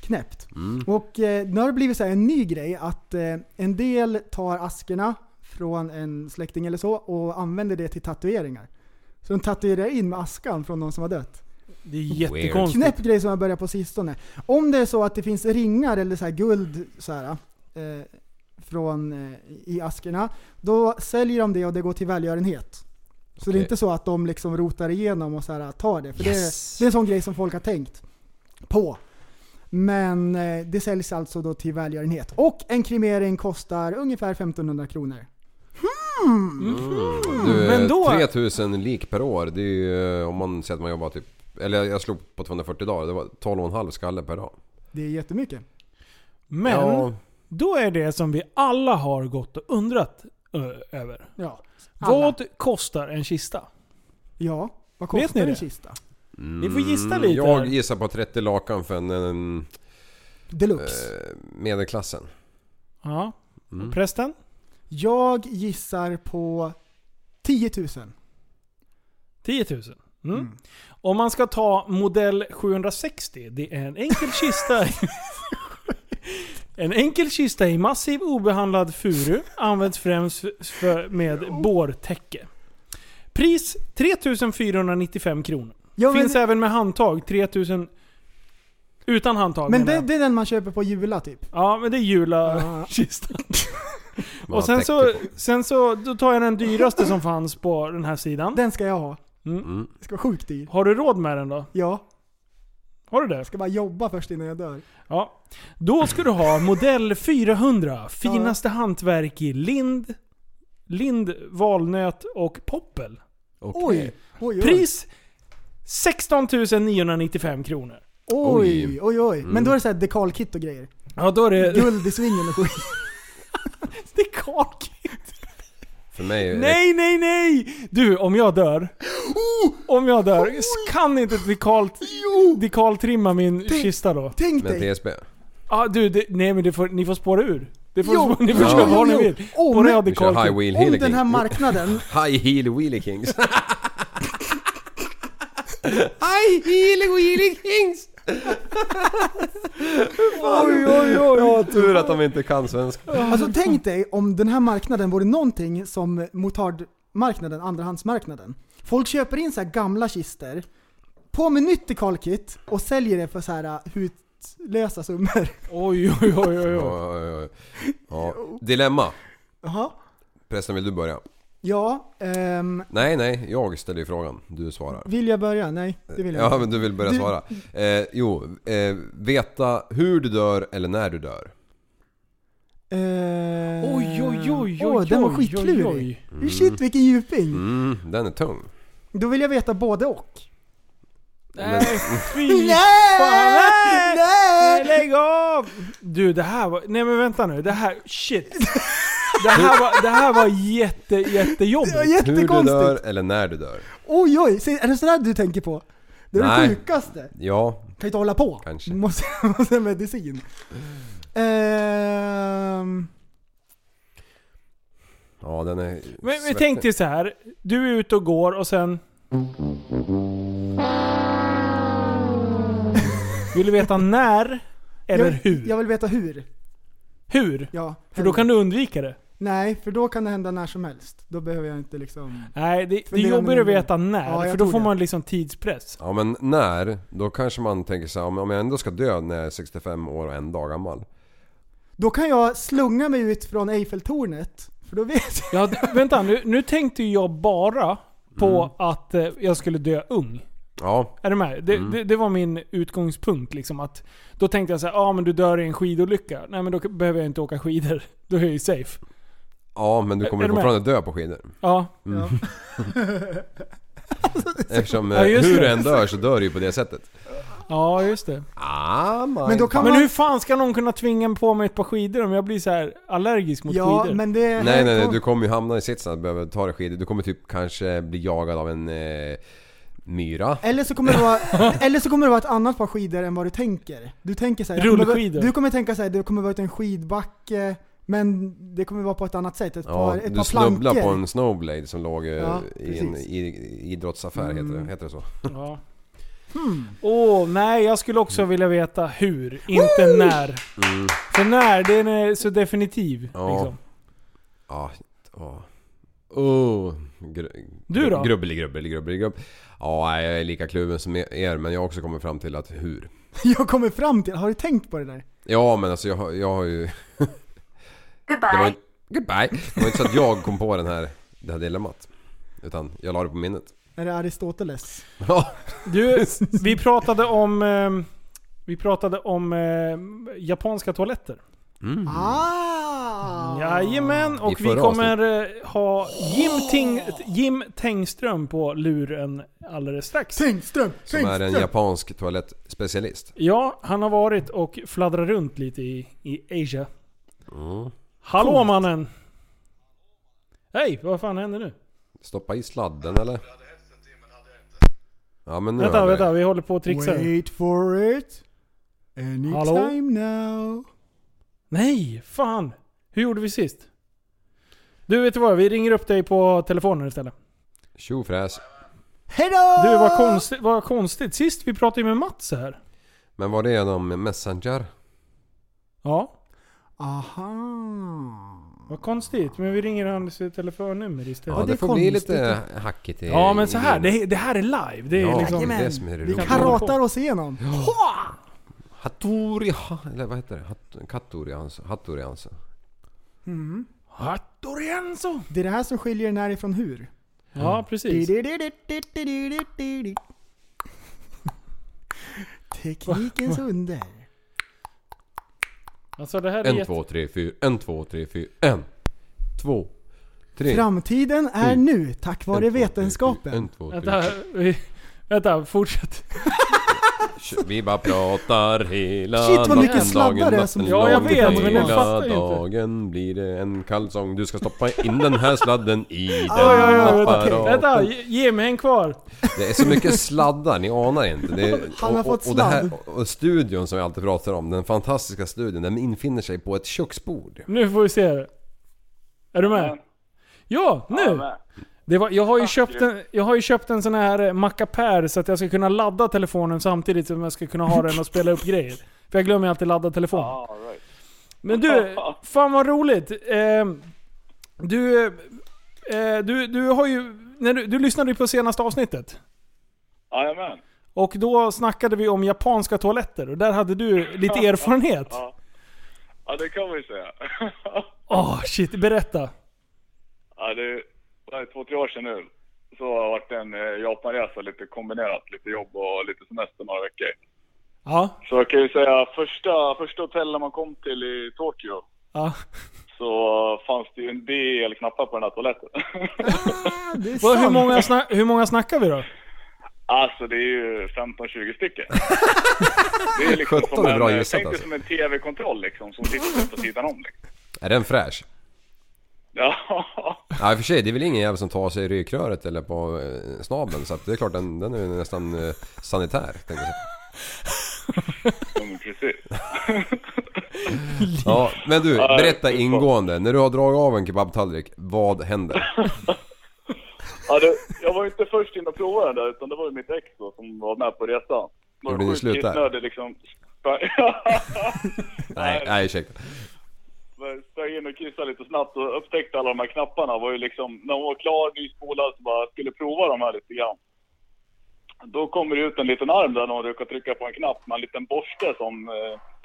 S5: Knäppt.
S6: Mm.
S5: Och eh, nu har det blivit så här en ny grej att eh, en del tar askerna från en släkting eller så och använder det till tatueringar. Så de tatuerar in med askan från någon som har dött.
S4: Det är jättekonstigt.
S5: Knäpp grej som har börjat på sistone. Om det är så att det finns ringar eller så här guld så här, eh, från, eh, i askerna, då säljer de det och det går till välgörenhet. Så det
S6: Okej.
S5: är inte så att de liksom rotar igenom och så här, tar det. För det, det är en sån grej som folk har tänkt på. Men eh, det säljs alltså då till välgörenhet. Och en kremering kostar ungefär 1500 kronor.
S6: Du,
S5: Mm, Men
S6: men
S5: då-
S6: 3000 lik per år. Det är ju eh, om man säger att man jobbar typ... Eller jag slog på 240 dagar. Det var 12,5 skalle per dag.
S5: Det är jättemycket.
S4: Men
S6: Ja.
S4: då är det som vi alla har gått och undrat ö, över.
S5: Ja.
S4: Vad kostar en kista?
S5: Ja, vad
S4: Vet
S5: kostar
S4: ni
S5: en
S4: det?
S5: kista?
S4: Ni får gissa
S6: Mm,
S4: lite
S6: Jag
S4: här.
S6: gissar på 30 lakan för en... en
S5: Deluxe.
S6: eh, medelklassen.
S4: Ja.
S6: Mm.
S4: Prästen?
S5: Jag gissar på 10 000.
S4: 10 000. Mm. Om man ska ta modell 760, det är en enkel kista. en enkel kista i massiv obehandlad furu används främst för, med bårtäcke. Pris 3495 kronor.
S5: Ja, men
S4: Finns
S5: det-
S4: även med handtag 3000 utan handtag
S5: Men
S4: menar
S5: det,
S4: jag.
S5: det är den man köper på Jula typ.
S4: Ja, men det är Jula-kistan. Och sen
S6: typ
S4: så, sen så då tar jag den dyraste som fanns på den här sidan.
S5: Den ska jag ha.
S4: Mm.
S5: Det ska vara sjukt dyr.
S4: Har du råd med den då?
S5: Ja.
S4: Har du det?
S5: Ska bara jobba först innan jag dör.
S4: Ja. Då ska du ha modell 400. Finaste hantverk i lind, lind, valnöt och poppel.
S5: Oj, oj, oj.
S4: Pris 16 995 kronor.
S5: Oj, oj, oj.
S4: Mm.
S5: Men då är det såhär dekalkit och grejer.
S4: Ja, då är det...
S5: Guld i svingen och skit.
S6: För mig...
S4: Nej, nej, nej! Du, om jag dör. Om jag dör, kan inte dekal, dekaltrimma min kista då?
S5: Tänk
S6: Med DSB.
S4: Ja du, det, nej men det får, ni får spåra ur. Det får,
S5: Jo,
S4: ni får
S6: jo,
S4: köra
S6: jo,
S4: vad ni
S6: jo.
S4: vill.
S5: Om-
S4: På
S6: Vi
S4: radikalt.
S6: kör high wheel
S5: Om
S6: healing.
S5: den här marknaden...
S6: High heel wheelie kings.
S8: Aj, healing och healing kings!
S5: Oj, oj, oj.
S6: Ja, tur att de inte kan svenska.
S5: Alltså tänk dig om den här marknaden vore någonting som motardmarknaden, andrahandsmarknaden. Folk köper in så här gamla kister, på med nytt dekalkit och säljer det för så här uh, hutlösa summor.
S4: Oj, oj, oj, oj.
S6: Ja, ja, ja. Ja. Dilemma.
S5: Jaha.
S6: Prästen, vill du börja?
S5: Ja, ehm,
S6: Nej, nej. Jag ställer ju frågan. Du svarar.
S5: vill jag börja? Nej, det vill jag
S6: Ja
S5: inte.
S6: men du vill börja
S5: Du-
S6: svara. Eh, jo, eh, veta hur du dör eller när du dör.
S5: Eh,
S4: Oj, oj, oj,
S5: åh,
S4: oj,
S5: den var
S4: oj,
S5: skitklurig.
S4: oj, oj.
S6: Mm.
S5: Shit vilken djuping.
S6: Mm, den är tung.
S5: Då vill jag veta både och.
S4: Nej, fy
S5: Nej!
S4: Mm. fan. Nej!
S5: Nej!
S4: Lägg av! Du, det här var... Nej men vänta nu. Det här... Shit. Det här var, det här var jätte, jättejobbigt.
S5: Det var jättekonstigt.
S6: Hur du dör eller när du dör.
S5: Oj, oj, se- är det sådär du tänker på? Det är
S6: Nej.
S5: det sjukaste.
S6: Ja,
S5: Kan ju inte hålla på.
S6: Kanske.
S5: Måste, måste ha medicin. Ehm,
S6: ja den är...
S4: Men, men tänk dig så här. Du är ute och går och sen... Vill du veta när? Eller
S5: jag,
S4: hur?
S5: Jag vill veta hur.
S4: Hur?
S5: Ja.
S4: För då kan du undvika det.
S5: Nej, för då kan det hända när som helst. Då behöver jag inte liksom...
S4: Nej, det, det är
S5: Fundera om
S4: jobbigare
S5: det-
S4: att veta när.
S5: Ja, jag
S4: för då
S5: tror
S4: får
S5: det.
S4: man liksom tidspress.
S6: Ja men när? Då kanske man tänker så här, om om jag ändå ska dö när jag är 65 år och en dag gammal.
S5: Då kan jag slunga mig ut från Eiffeltornet. För då vet jag.
S4: Ja, d- vänta, nu, nu tänkte ju jag bara på att eh, jag skulle dö ung.
S6: Ja.
S4: Är du med? Det,
S6: Mm.
S4: det, det var min utgångspunkt. Liksom, att då tänkte jag så här, ja ah, men du dör i en skidolycka. Nej men då k- behöver jag inte åka skidor. Då är jag ju safe.
S6: Ja men du kommer
S4: Är
S6: ju
S4: du med?
S6: fortfarande dö på skidor.
S4: Ja.
S6: Mm.
S4: Ja.
S6: Eftersom eh,
S4: Ja, just
S6: hur
S4: det.
S6: du än dör så dör du ju på det sättet.
S4: Ja, just det.
S6: Ah, my
S4: Men,
S6: God.
S4: hur fan ska någon kunna tvinga på mig ett par skidor om jag blir så här allergisk mot
S5: Ja,
S4: skidor?
S5: men det...
S6: Nej nej nej, du kommer ju hamna i sitsen att behöva ta dig skidor. Du kommer typ kanske bli jagad av en eh, myra.
S5: Eller så, kommer det vara, eller så kommer det vara ett annat par skidor än vad du tänker. Du tänker så här, jag
S6: Rullskidor.
S5: Kommer, du kommer tänka såhär, det kommer vara en skidbacke, men det kommer vara på ett annat sätt. Ett
S6: Ja,
S5: par, ett
S6: du
S5: par plankor.
S6: snubblar på en snowblade som låg eh,
S5: Ja,
S6: i en
S5: precis.
S6: i, idrottsaffär, heter, det, heter det så?
S4: Ja. Åh, nej jag skulle också vilja veta hur, inte när.
S6: Mm.
S4: För när, den är så definitiv.
S6: Ja.
S4: Liksom.
S6: Ja. ja. Oh. Gr-
S4: Du då?
S6: Grubbeli, grubbeli, grubbeli, grubb. Ja, nej, jag är lika kluven som e-, er men jag har också kommit fram till att hur.
S5: Jag kommer fram till, har du tänkt på det där?
S6: Ja men alltså jag, har- jag har ju... Goodbye. Det var, inte- goodbye. Det var inte så att jag kom på den här, det här dilemmat. Utan jag la det på minnet.
S5: Är det Aristoteles?
S6: Ja.
S4: Du, vi pratade om... Eh, vi pratade om eh, japanska toaletter.
S6: Mm.
S5: Ah!
S4: Jajamän,
S6: I
S4: och vi
S6: förra
S4: kommer eh, ha Jim, Ting, Jim Tengström på luren alldeles strax.
S5: Tengström!
S6: Som är en japansk toalettspecialist.
S4: Ja, han har varit och fladdrat runt lite i, i Asia.
S6: Mm.
S4: Hallå
S6: Coolt.
S4: mannen! Hej, vad fan händer nu?
S6: Stoppa i sladden eller? Ja men nu
S4: vänta,
S6: har vi det.
S4: vänta, vi håller på att trixa.
S5: Wait for it. Anytime
S4: Hallå?
S5: now.
S4: Nej, fan! Hur gjorde vi sist? Du, vet du vad? Vi ringer upp dig på telefonen istället.
S6: Tjofräs.
S5: Hejdå!
S4: Du, vad konstigt, vad konstigt. Sist vi pratade ju med Mats här.
S6: Men var det genom Messenger?
S4: Ja.
S5: Aha.
S4: Vad konstigt, men vi ringer hans telefonnummer istället.
S6: Ja, det, får bli lite hackigt i...
S4: Ja men så här,
S6: i-
S4: det, det här är live. Det är
S6: Ja,
S4: liksom...
S6: det är det som är det
S4: Vi
S6: roliga.
S4: kan hålla på.
S5: Pratar oss igenom.
S6: Hattori... ha- Eller vad heter det? Hat, kattori Hansa. Hattori Hansa.
S5: Mm.
S4: Hattorienzo!
S5: Det är det här som skiljer när ifrån hur.
S6: Mm.
S4: Ja, precis.
S5: Teknikens under.
S4: Alltså det här är
S6: En,
S4: jätte...
S6: två, tre, fyra. En, två, tre, fyra. En, två, tre.
S5: Framtiden är
S6: Fy.
S5: nu tack
S6: En, två,
S5: vare
S6: tre,
S5: vetenskapen.
S6: En, två, tre.
S4: Vänta, vi... Vänta, fortsätt.
S6: Kör. Vi bara pratar hela
S4: Shit, vad mycket
S6: natten,
S4: sladdar
S6: dagen,
S4: det är som-
S6: natten,
S4: Ja, jag
S6: dagen,
S4: vet, men jag
S6: hela
S4: fattar ju inte.
S6: dagen blir det en kalsong. Du ska stoppa in den här sladden i den
S4: Oj, oj, oj, vänta,
S6: apparaten.
S4: vänta, ge- ge mig en kvar.
S6: Det är så mycket sladdar, ni anar inte. Det är,
S4: Han har
S6: och,
S4: fått
S6: och, och det här,
S4: sladd.
S6: och studion som vi alltid pratar om, den fantastiska studion, den infinner sig på ett köksbord.
S4: Nu får vi se det. Är du med? Ja, nu! Det var, jag, har ju köpt en, jag har ju köpt en sån här eh, mackapär så att jag ska kunna ladda telefonen samtidigt som jag ska kunna ha den och spela upp grejer. För jag glömmer ju alltid ladda telefonen. Men du, fan vad roligt. Eh, du, eh, du, du har ju... När du, du lyssnade ju på senaste avsnittet.
S3: Jajamän.
S4: Och då snackade vi om japanska toaletter och där hade du lite erfarenhet.
S3: Ja. ja, det kan man ju säga.
S4: Åh shit, berätta.
S3: ja, det det här är två, tre år sedan nu. Så har det varit en eh, Japanresa lite kombinerat. Lite jobb och lite semester några veckor.
S4: Ja.
S3: Så jag kan ju säga första, första hotellet man kom till i Tokyo
S4: Ja.
S3: så fanns det ju en del knappar på den här toaletten.
S4: Vad, hur, många sna- hur många snackar vi då?
S3: Alltså det är ju 15-20 stycken. Det är liksom
S6: 17
S3: som
S6: är
S3: en,
S6: bra
S3: eh,
S6: gissat,
S3: tänk dig
S6: alltså.
S3: typ som en TV-kontroll liksom som sitter på sidan om. Liksom.
S6: Är den fräsch?
S3: Ja,
S6: Ja i och för sig, det är väl ingen jävel som tar sig i ryggröret eller på eh, snabeln så att det är klart den, den är ju nästan eh, sanitär. tänker jag säga.
S3: ja, men precis.
S6: Ja, men du,
S3: Ja,
S6: berätta
S3: fy fan.
S6: ingående. När du har dragit av en kebabtallrik, vad händer?
S3: Ja, det, jag var ju inte först in och provade den där, utan det var ju mitt ex då som var med på resan. Var
S6: Gjorde ni
S3: sjukt
S6: slut där?
S3: kissnödig, liksom.
S6: Nej, nej ursäkta.
S3: Men Sprang in och kissade lite snabbt och upptäckte alla de här knapparna. Var ju liksom, när hon var klar, nyspolad, så bara skulle prova de här lite grann. Då kommer det ut en liten arm där någon råkar trycka på en knapp med en liten borste som eh,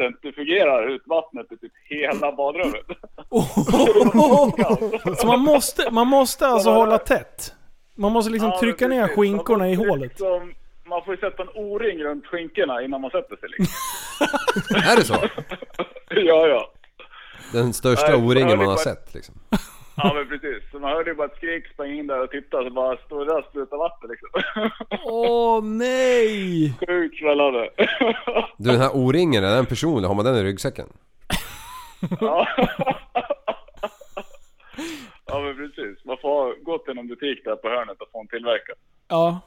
S3: centrifugerar ut vattnet i typ hela badrummet.
S4: Så man måste, man måste alltså hålla tätt. Man måste liksom
S3: Ja,
S4: trycka
S3: men
S4: ner
S3: precis. Man
S4: skinkorna i
S3: måste
S4: hålet.
S3: Liksom, man får ju sätta en O-ring runt skinkorna innan man sätter sig liksom.
S6: Är det så?
S3: ja, ja.
S6: Den största
S3: Nej, jag
S6: O-ringen man
S3: vill
S6: har
S3: bara-
S6: sett liksom.
S3: Ja men precis. Så man hörde ju bara ett skrik, sprang in där och tittade så bara stod det där och sprutade vatten liksom.
S4: Åh nej!
S3: Sjukt svällande.
S6: Du den här O-ringen, är den personlig? Har man den i ryggsäcken?
S3: ja. ja men precis. Man får ha- gå till någon butik där på hörnet och få en tillverkad.
S4: Ja.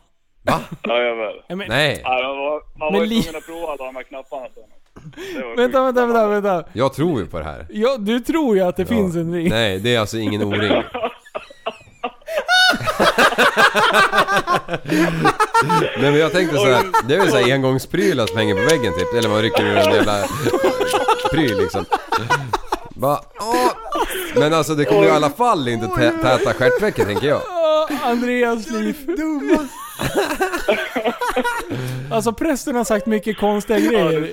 S3: Ja jag vet.
S4: Men-
S6: Nej.
S3: man var, man
S4: Men
S3: var
S4: li-
S3: ju tvungen att prova alla de här knapparna sen. Det var
S4: Vänta, vänta, vänta, vänta.
S6: Jag tror ju på det här.
S4: Ja, du tror ju att det finns en ring.
S6: Nej, det är alltså ingen O-ring. Nej men jag tänkte så här, det är väl såhär engångsprylar som hänger på väggen typ, eller man rycker ur en jävla pryl liksom. Va? Åh! Men alltså det kommer ju i alla fall inte tä- täta stjärtvecket tänker jag.
S4: Åh, Andreas liv. alltså prästen har sagt mycket konstiga grejer.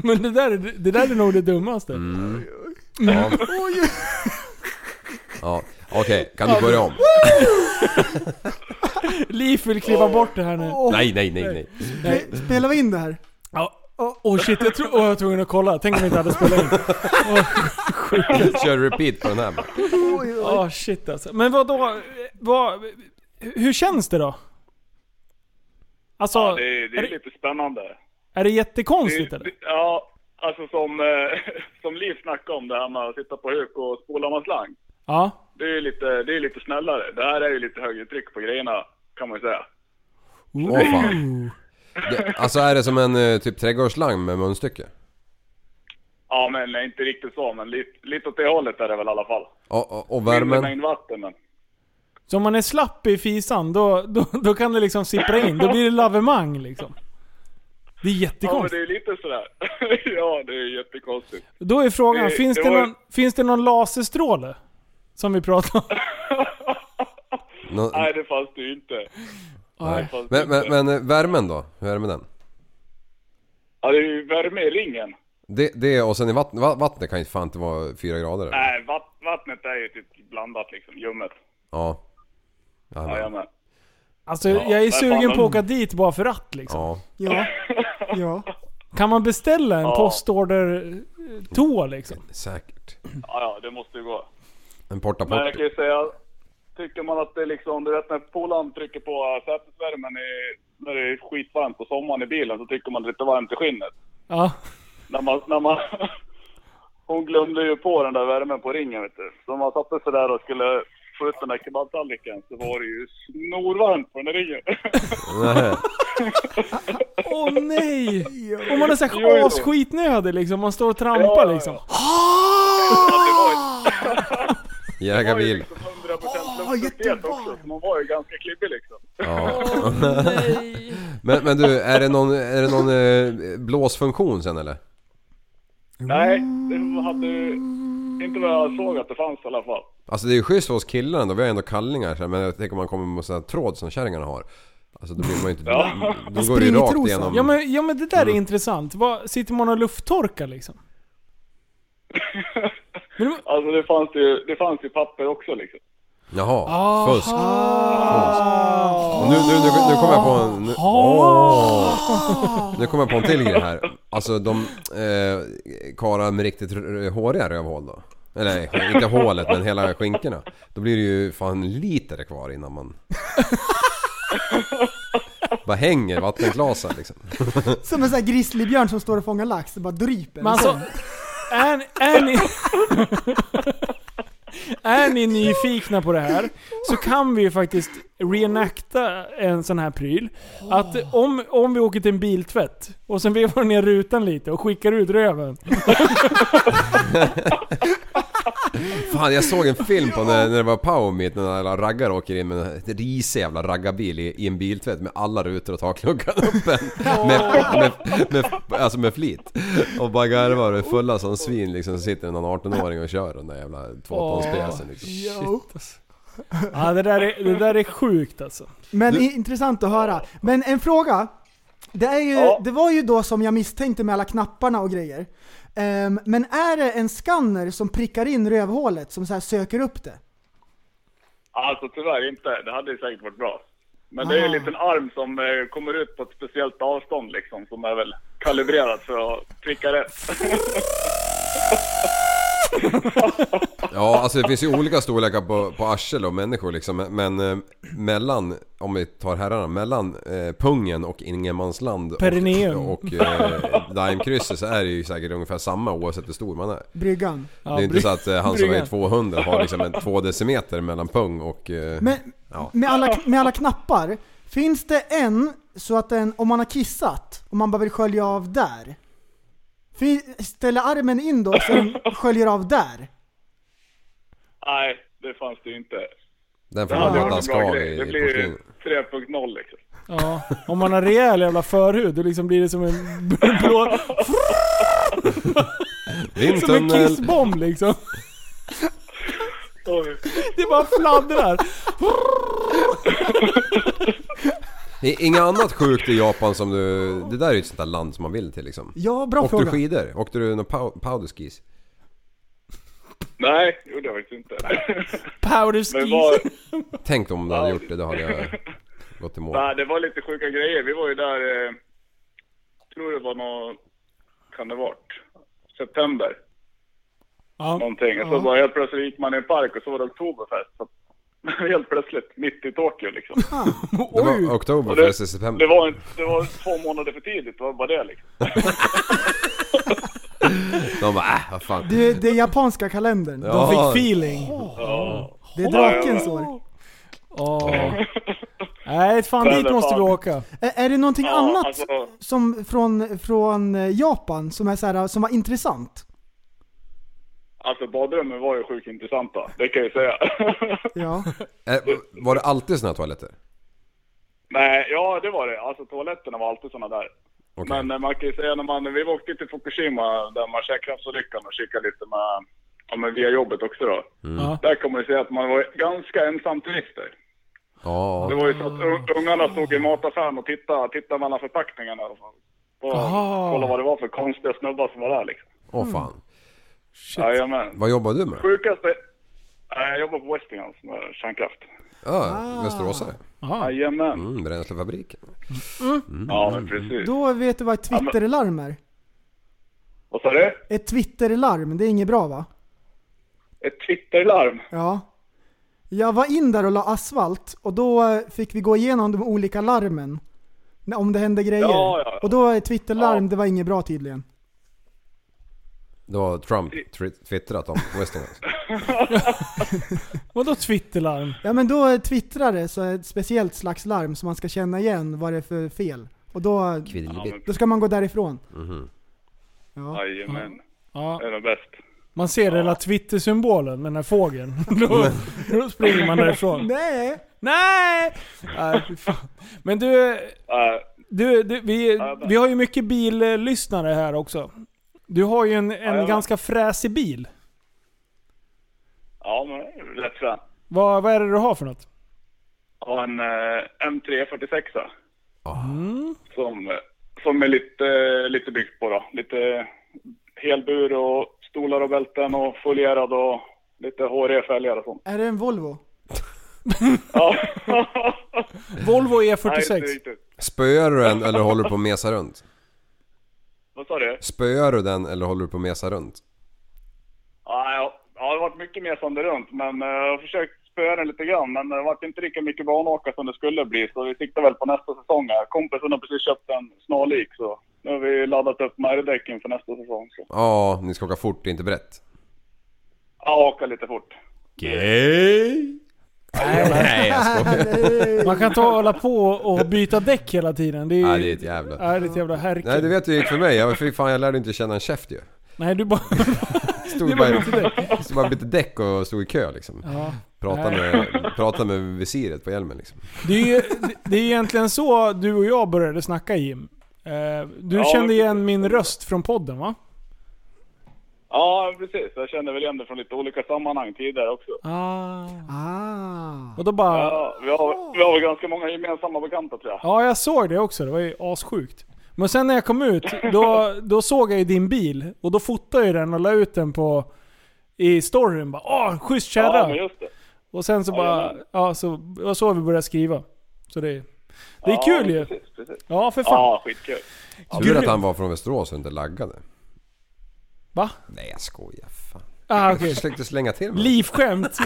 S4: Men det där, är- det där är nog det dummaste.
S6: Mm.
S4: Mm.
S6: Ja, ja. okej, kan du börja om?
S4: Liv vill klippa bort det här nu.
S6: Nej, nej, nej, nej.
S4: Nej.
S5: Spelar vi in det här?
S4: Ja. Åh shit, jag, tro, åh, jag var tvungen att kolla. Tänk om vi inte hade spelat in. Åh, sjukt.
S6: Kör repeat på den här bara.
S4: Åh shit alltså. Men vad då? Vad, hur känns det då? Alltså,
S3: Ja, det, är-
S4: är,
S3: det är
S4: det,
S3: lite spännande.
S4: är det jättekonstigt
S3: Det-
S4: eller?
S3: det- Ja, alltså som, eh, som Liv snackade om det här med att sitta på huk och spola med slang.
S4: Ja.
S3: Det är ju lite, det är lite snällare. Det här är ju lite högre tryck på grejerna kan man ju säga.
S6: Åh fan. Det, alltså är det som en eh, typ trädgårdsslang med munstycke?
S3: Ja men nej, inte riktigt så, men lite, lite åt det hållet är det väl i alla fall.
S6: Och, och, och
S3: Mindre
S6: värmen?
S3: mängd vatten men.
S4: Så om man är slapp i fisan, då, då, då kan det liksom sippra in. Då blir det lavemang liksom. Det är
S3: Ja men
S4: jättekonstigt.
S3: det är lite sådär. ja det är jättekonstigt.
S4: Då är frågan,
S3: Det-
S4: finns,
S3: det
S4: det
S3: var-
S4: någon, finns det någon laserstråle? Som vi pratade om.
S6: Nå-
S3: Nej det fanns det ju inte.
S6: nej.
S3: fast
S6: Men, men,
S3: inte.
S6: men eh, värmen då? Hur är det med den?
S3: Ja det är ju värme i ringen.
S6: Det, det och sen i vattnet, va- vattnet kan ju fan inte vara fyra grader eller?
S3: Nej vatt, vattnet är ju typ blandat liksom, ljummet.
S6: Ja. Ja, men-
S3: Jajamän.
S4: Alltså
S6: Ja,
S4: jag är
S3: där fan,
S4: sugen på
S3: de-
S4: att åka dit bara för att liksom.
S6: ja.
S5: Ja. Ja.
S4: Kan man beställa en
S3: Ja.
S4: postorder eh, toa liksom?
S6: Säkert.
S3: Ja ja, det måste ju gå.
S6: En porta
S3: Men jag
S6: porta.
S3: kan ju säga, tycker man att det är liksom, du vet när polaren trycker på sätesvärmen i, när det är skitvarmt på sommaren i bilen så tycker man det är lite varmt i skinnet.
S4: Ja.
S3: När man, när man, hon glömde ju på den där värmen på ringen vet du. Så när man satte sig där och skulle få ut den där kebabtallriken så var det ju snorvarmt på den där ringen.
S6: Nej.
S4: Åh nej! Om man är
S3: Jo, jo.
S4: såhär asskitnödig liksom, man står och trampar liksom.
S6: Jägarbil.
S3: liksom 100% luftfuktighet också, så man var ju ganska klibbig liksom.
S6: Ja. men, men du, är det någon, är det någon eh, blåsfunktion sen eller?
S3: Nej, det hade ju inte vad jag såg att det fanns i alla fall.
S6: Alltså det är ju schysst för oss killar ändå, vi har ändå kallingar så här, men jag tänker om man kommer med sån här tråd som kärringarna har. Alltså då blir man ju inte...
S3: Ja.
S6: Då går det ju rakt igenom...
S4: Ja men, ja men det där
S6: Mm.
S4: är intressant. Vad, sitter man och lufttorkar liksom?
S3: Alltså det fanns ju, det fanns ju papper också liksom.
S6: Jaha,
S4: Ah.
S6: fusk. Fusk. Nu, nu, nu, nu kommer jag på en... Nu,
S4: Ah.
S6: åh. nu kommer jag på en till grej här. Alltså de eh, karlar med riktigt r- håriga rövhål då. Eller nej, inte hålet men hela skinkorna. Då blir det ju fan liter kvar innan man... Bara hänger vattenglasen liksom.
S5: Som en sån här grizzlybjörn som står och fångar lax,
S3: Mm.
S5: det bara dryper.
S4: Men alltså, är, är ni... är ni nyfikna på det här så kan vi ju faktiskt reenacta en sån här pryl.
S3: Ah.
S4: Att om, om vi åker till en biltvätt och sen vevar ner rutan lite och skickar ut röven.
S6: Fan jag såg en film på när, när det var power meet när alla jävla raggare åker in med en risig jävla raggarbil i, i en biltvätt med alla rutor och takluckan öppen. Med, med, med, alltså med flit. Och bara garvar och är fulla som svin liksom. Så sitter någon 18-åring och kör den där jävla tvåtonspjäsen liksom.
S4: Shit, alltså. Ja, det där är, det där är sjukt alltså.
S5: Men i- intressant att höra. Men en fråga. Det, är ju, det var ju då som jag misstänkte med alla knapparna och grejer. Ehm, men är det en skanner som prickar in rövhålet, som så här söker upp det?
S3: Alltså tyvärr inte. Det hade säkert varit bra. Men det är ju en liten arm som eh, kommer ut på ett speciellt avstånd liksom som är väl kalibrerad för att pricka rätt.
S6: Ja, alltså det finns ju olika storlekar på, på arsel och människor liksom. Men eh, mellan, om vi tar herrarna, mellan eh, pungen och ingenmansland
S4: Perineum.
S6: och, och eh, daimkrysset så är det ju säkert ungefär samma oavsett hur stor man är.
S5: Bryggan.
S6: det är inte
S5: bry-
S6: så att eh, han som är
S5: bryggan.
S6: 200 har liksom en, två decimeter mellan pung och... Eh,
S5: Men
S6: ja.
S5: med, alla, med alla knappar, finns det en så att den, om man har kissat, och man bara vill skölja av där? Fin- Ställer armen in då så den sköljer av där?
S3: Nej, det fanns det ju inte.
S6: Den
S4: får man
S3: hade
S4: ha
S3: varit en bra
S6: daskav
S3: grej.
S6: i-
S3: Det
S6: i
S3: blir ju
S6: porslin.
S3: 3.0 liksom.
S4: Ja, om man har rejäl jävla förhud, då liksom blir det som en blå... Som en
S6: Vindtunnel.
S4: kissbomb liksom. Det bara fladdrar.
S6: Det är Inget annat sjukt i Japan som du... Det där är ju ett sånt där land som man vill till liksom.
S5: Ja, bra
S6: Åkte
S5: fråga.
S6: du skidor? Åkte du några pow- powderskis?
S3: Nej, det gjorde jag faktiskt inte.
S4: Powderskis.
S3: Men var,
S6: Tänk om du hade gjort det, då hade jag gått i mål.
S3: nej, det var lite sjuka grejer. Vi var ju där, eh, tror det var någon, kan det varit, september. Någonting. Och så
S4: Ja.
S3: bara helt plötsligt gick man i en park och så var det oktoberfest. Så, helt plötsligt, mitt i Tokyo liksom.
S6: Det var oktober,
S3: Och det,
S6: förresten september.
S3: det, var, en- det var två månader för tidigt, det var bara det liksom.
S6: De bara äh, vad fan.
S5: Det, det är japanska kalendern.
S6: Ja. De fick feeling.
S3: Ja.
S5: Det är drakens år.
S4: Ja. Nej, fan dit måste vi åka.
S5: Ä- Är det någonting
S4: Ja,
S5: annat
S4: alltså-
S5: som från, från eh, Japan som, är så här, som var intressant?
S3: Alltså badrummen var ju sjukt intressanta, det kan jag ju säga.
S5: Ja.
S6: Eh, Var det alltid såna här toaletter?
S3: Nej, ja det var det. Alltså toaletterna var alltid såna där. Men eh, man kan ju säga när man, vi åkte till Fukushima där man kärnkraftsolyckan och kikade lite med, ja, men via jobbet också då.
S6: Ja.
S3: Där kommer det säga att man var ganska ensam turister.
S6: Ja.
S3: Det var ju så att un- ungarna stod i mataffären och tittade, tittade mellan förpackningarna i alla fall. Och
S6: Aha.
S3: kolla vad det var för konstiga snubbar som var där liksom.
S6: Åh fan.
S3: Jajamän.
S6: Vad jobbar du med?
S3: Sjukaste... Nej, Jag jobbar på Westinghouse med kärnkraft.
S6: Ja, Ah,
S3: Ah.
S6: västeråsare.
S3: Jajamän.
S6: Mm, bränslefabriken.
S5: Mm.
S6: Mm.
S3: Ja, men precis.
S5: Då vet du vad ett twitterlarm är.
S3: Vad sa du?
S5: Ett twitterlarm, det är inget bra va?
S3: Ett Twitterlarm?
S5: Ja. Jag var in där och la asfalt och då eh, fick vi gå igenom de olika larmen. När- Om det hände grejer.
S6: Ja, ja, ja.
S5: Och då är twitterlarm, det var inget bra tydligen.
S6: Det var Trump twi- twittrat om Westinghouse.
S4: Vadå twitterlarm?
S5: Ja men då eh, twittrar det så är ett speciellt slags larm som man ska känna igen vad det är för fel. Och då,
S6: Kvidelibit.
S5: då ska man gå därifrån.
S6: Mhm.
S5: Ja.
S3: Jajamän.
S4: Ja.
S3: Det är den bäst.
S4: Man ser den där Twitter-symbolen med den här fågeln. Då, då springer man därifrån.
S5: Nej!
S4: Nej! Nej, fy fan. Men du, du, du vi, vi har ju mycket billyssnare här också. Du har ju en, en
S3: Jajamän.
S4: ganska fräsig bil.
S3: Ja, men det är rätt fram.
S4: Vad, vad är det du har för något?
S3: Jag har en eh, M346
S4: Mm.
S3: som, eh, som är lite, eh, lite byggt på då. Lite helbur och stolar och bälten och folierad och lite håriga fälgar och sånt.
S5: Är det en Volvo?
S3: Ja.
S4: Volvo E
S3: Nej,
S4: E46.
S3: inte riktigt.
S6: Spöar du den eller håller du på att mesa runt?
S3: Vad sa du?
S6: Spöar du den eller håller du på att mesa runt?
S3: Ja, jag- ja, det har varit mycket mer som det runt, men eh, jag har försökt spöa den lite grann, men det har varit inte lika mycket banåka som det skulle bli, så vi siktar väl på nästa säsong här. Kompisen har precis köpt en snarlik, så nu har vi laddat upp Märgdäcken för nästa säsong. Så.
S6: Ja, ni ska åka fort, det är inte brett.
S3: Ja, åka lite fort.
S7: Gay? Nej, jag skojar.
S4: Man kan inte hålla på och byta däck hela tiden. Det är, ju-
S6: Nej, det är ett jävla-
S4: Ja, det är ett jävla härke.
S6: Nej du vet hur det gick för mig. Jag, fy fan, jag lärde inte känna en käft ju.
S4: Nej, du bara...
S6: Stod
S4: Det var
S6: bara,
S4: inte det.
S6: stod bara bytte däck och stod i kö liksom.
S4: Ja.
S6: Pratade, med, pratade med visiret på hjälmen liksom.
S4: Det är, ju, det är egentligen så du och jag började snacka Jim. Eh, Du
S3: Ja,
S4: kände
S3: men-
S4: igen min röst från podden va?
S3: Ja, precis. Jag känner väl igen det från lite olika sammanhang tidigare också.
S4: Ah.
S5: Ah.
S4: Och då bara... Ja.
S3: Ja, vi har, vi har väl ganska många gemensamma bekanta tror jag.
S4: jag såg det också. Det var ju assjukt. Men sen när jag kom ut, då, då såg jag ju din bil. Och då fotade jag den och la ut den på... I storyn bara Åh, schysst kärra!
S3: Ja, men just det.
S4: Och sen så
S3: Ja,
S4: bara...
S3: jajamän.
S4: Ja, så det var så vi började skriva. Så det, det är
S3: Ja,
S4: kul ju.
S3: Precis, precis.
S4: Ja, för fan.
S3: Ja, skitkul.
S6: Tur att han var från Västerås och inte laggade.
S4: Va?
S6: Nej jag skojar fan.
S4: Ah, okej.
S6: Jag försökte slänga till mig.
S4: Livskämt.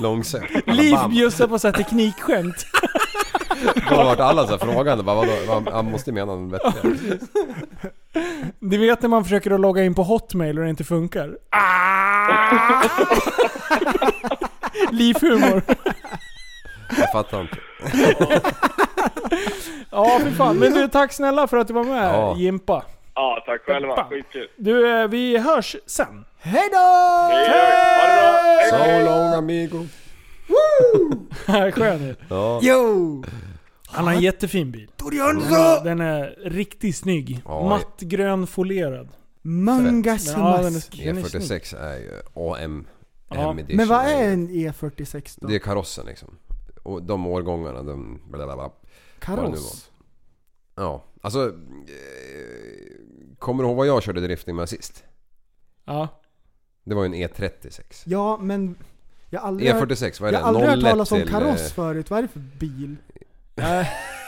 S6: Långsökt.
S4: Liv
S6: Bam.
S4: bjussar på så här teknikskämt.
S6: Då vart alla så här frågande. Bara, vadå, Vad- han måste ju mena något vettigare.
S4: Du vet när man försöker att logga in på Hotmail och det inte funkar? Ah! Livhumor.
S6: Jag fattar inte.
S4: Ja, för fan. Men du, tack snälla för att du var med
S6: Ja.
S4: Jimpa.
S3: Ja, tack själva.
S4: Fan.
S3: Skitkul.
S4: Du, eh, vi hörs sen.
S5: Hej då!
S6: So long amigo.
S4: Skön ju.
S6: Ja.
S4: Yo! Han har en jättefin bil.
S5: Jönsson!
S4: Den är riktigt snygg.
S6: Ja.
S4: Matt grön folerad.
S5: Mangasimask.
S4: Ja, den är- den är snygg.
S6: E46 E är ju AM.
S5: Ja.
S6: AM edition.
S5: Men vad är en E46 då?
S6: Det är karossen liksom. Och de årgångarna, de... Bla bla bla.
S5: Kaross?
S6: Vad det nu var. Ja, alltså... Eh, kommer du ihåg vad jag körde drifting med sist?
S4: Ja.
S6: Det var ju en E E36.
S5: Ja, men... Jag har aldrig
S6: E46, E vad är
S5: jag
S6: det?
S5: har aldrig hört
S6: 01
S5: talas om
S6: till,
S5: kaross
S6: eh,
S5: förut. Vad är det för bil?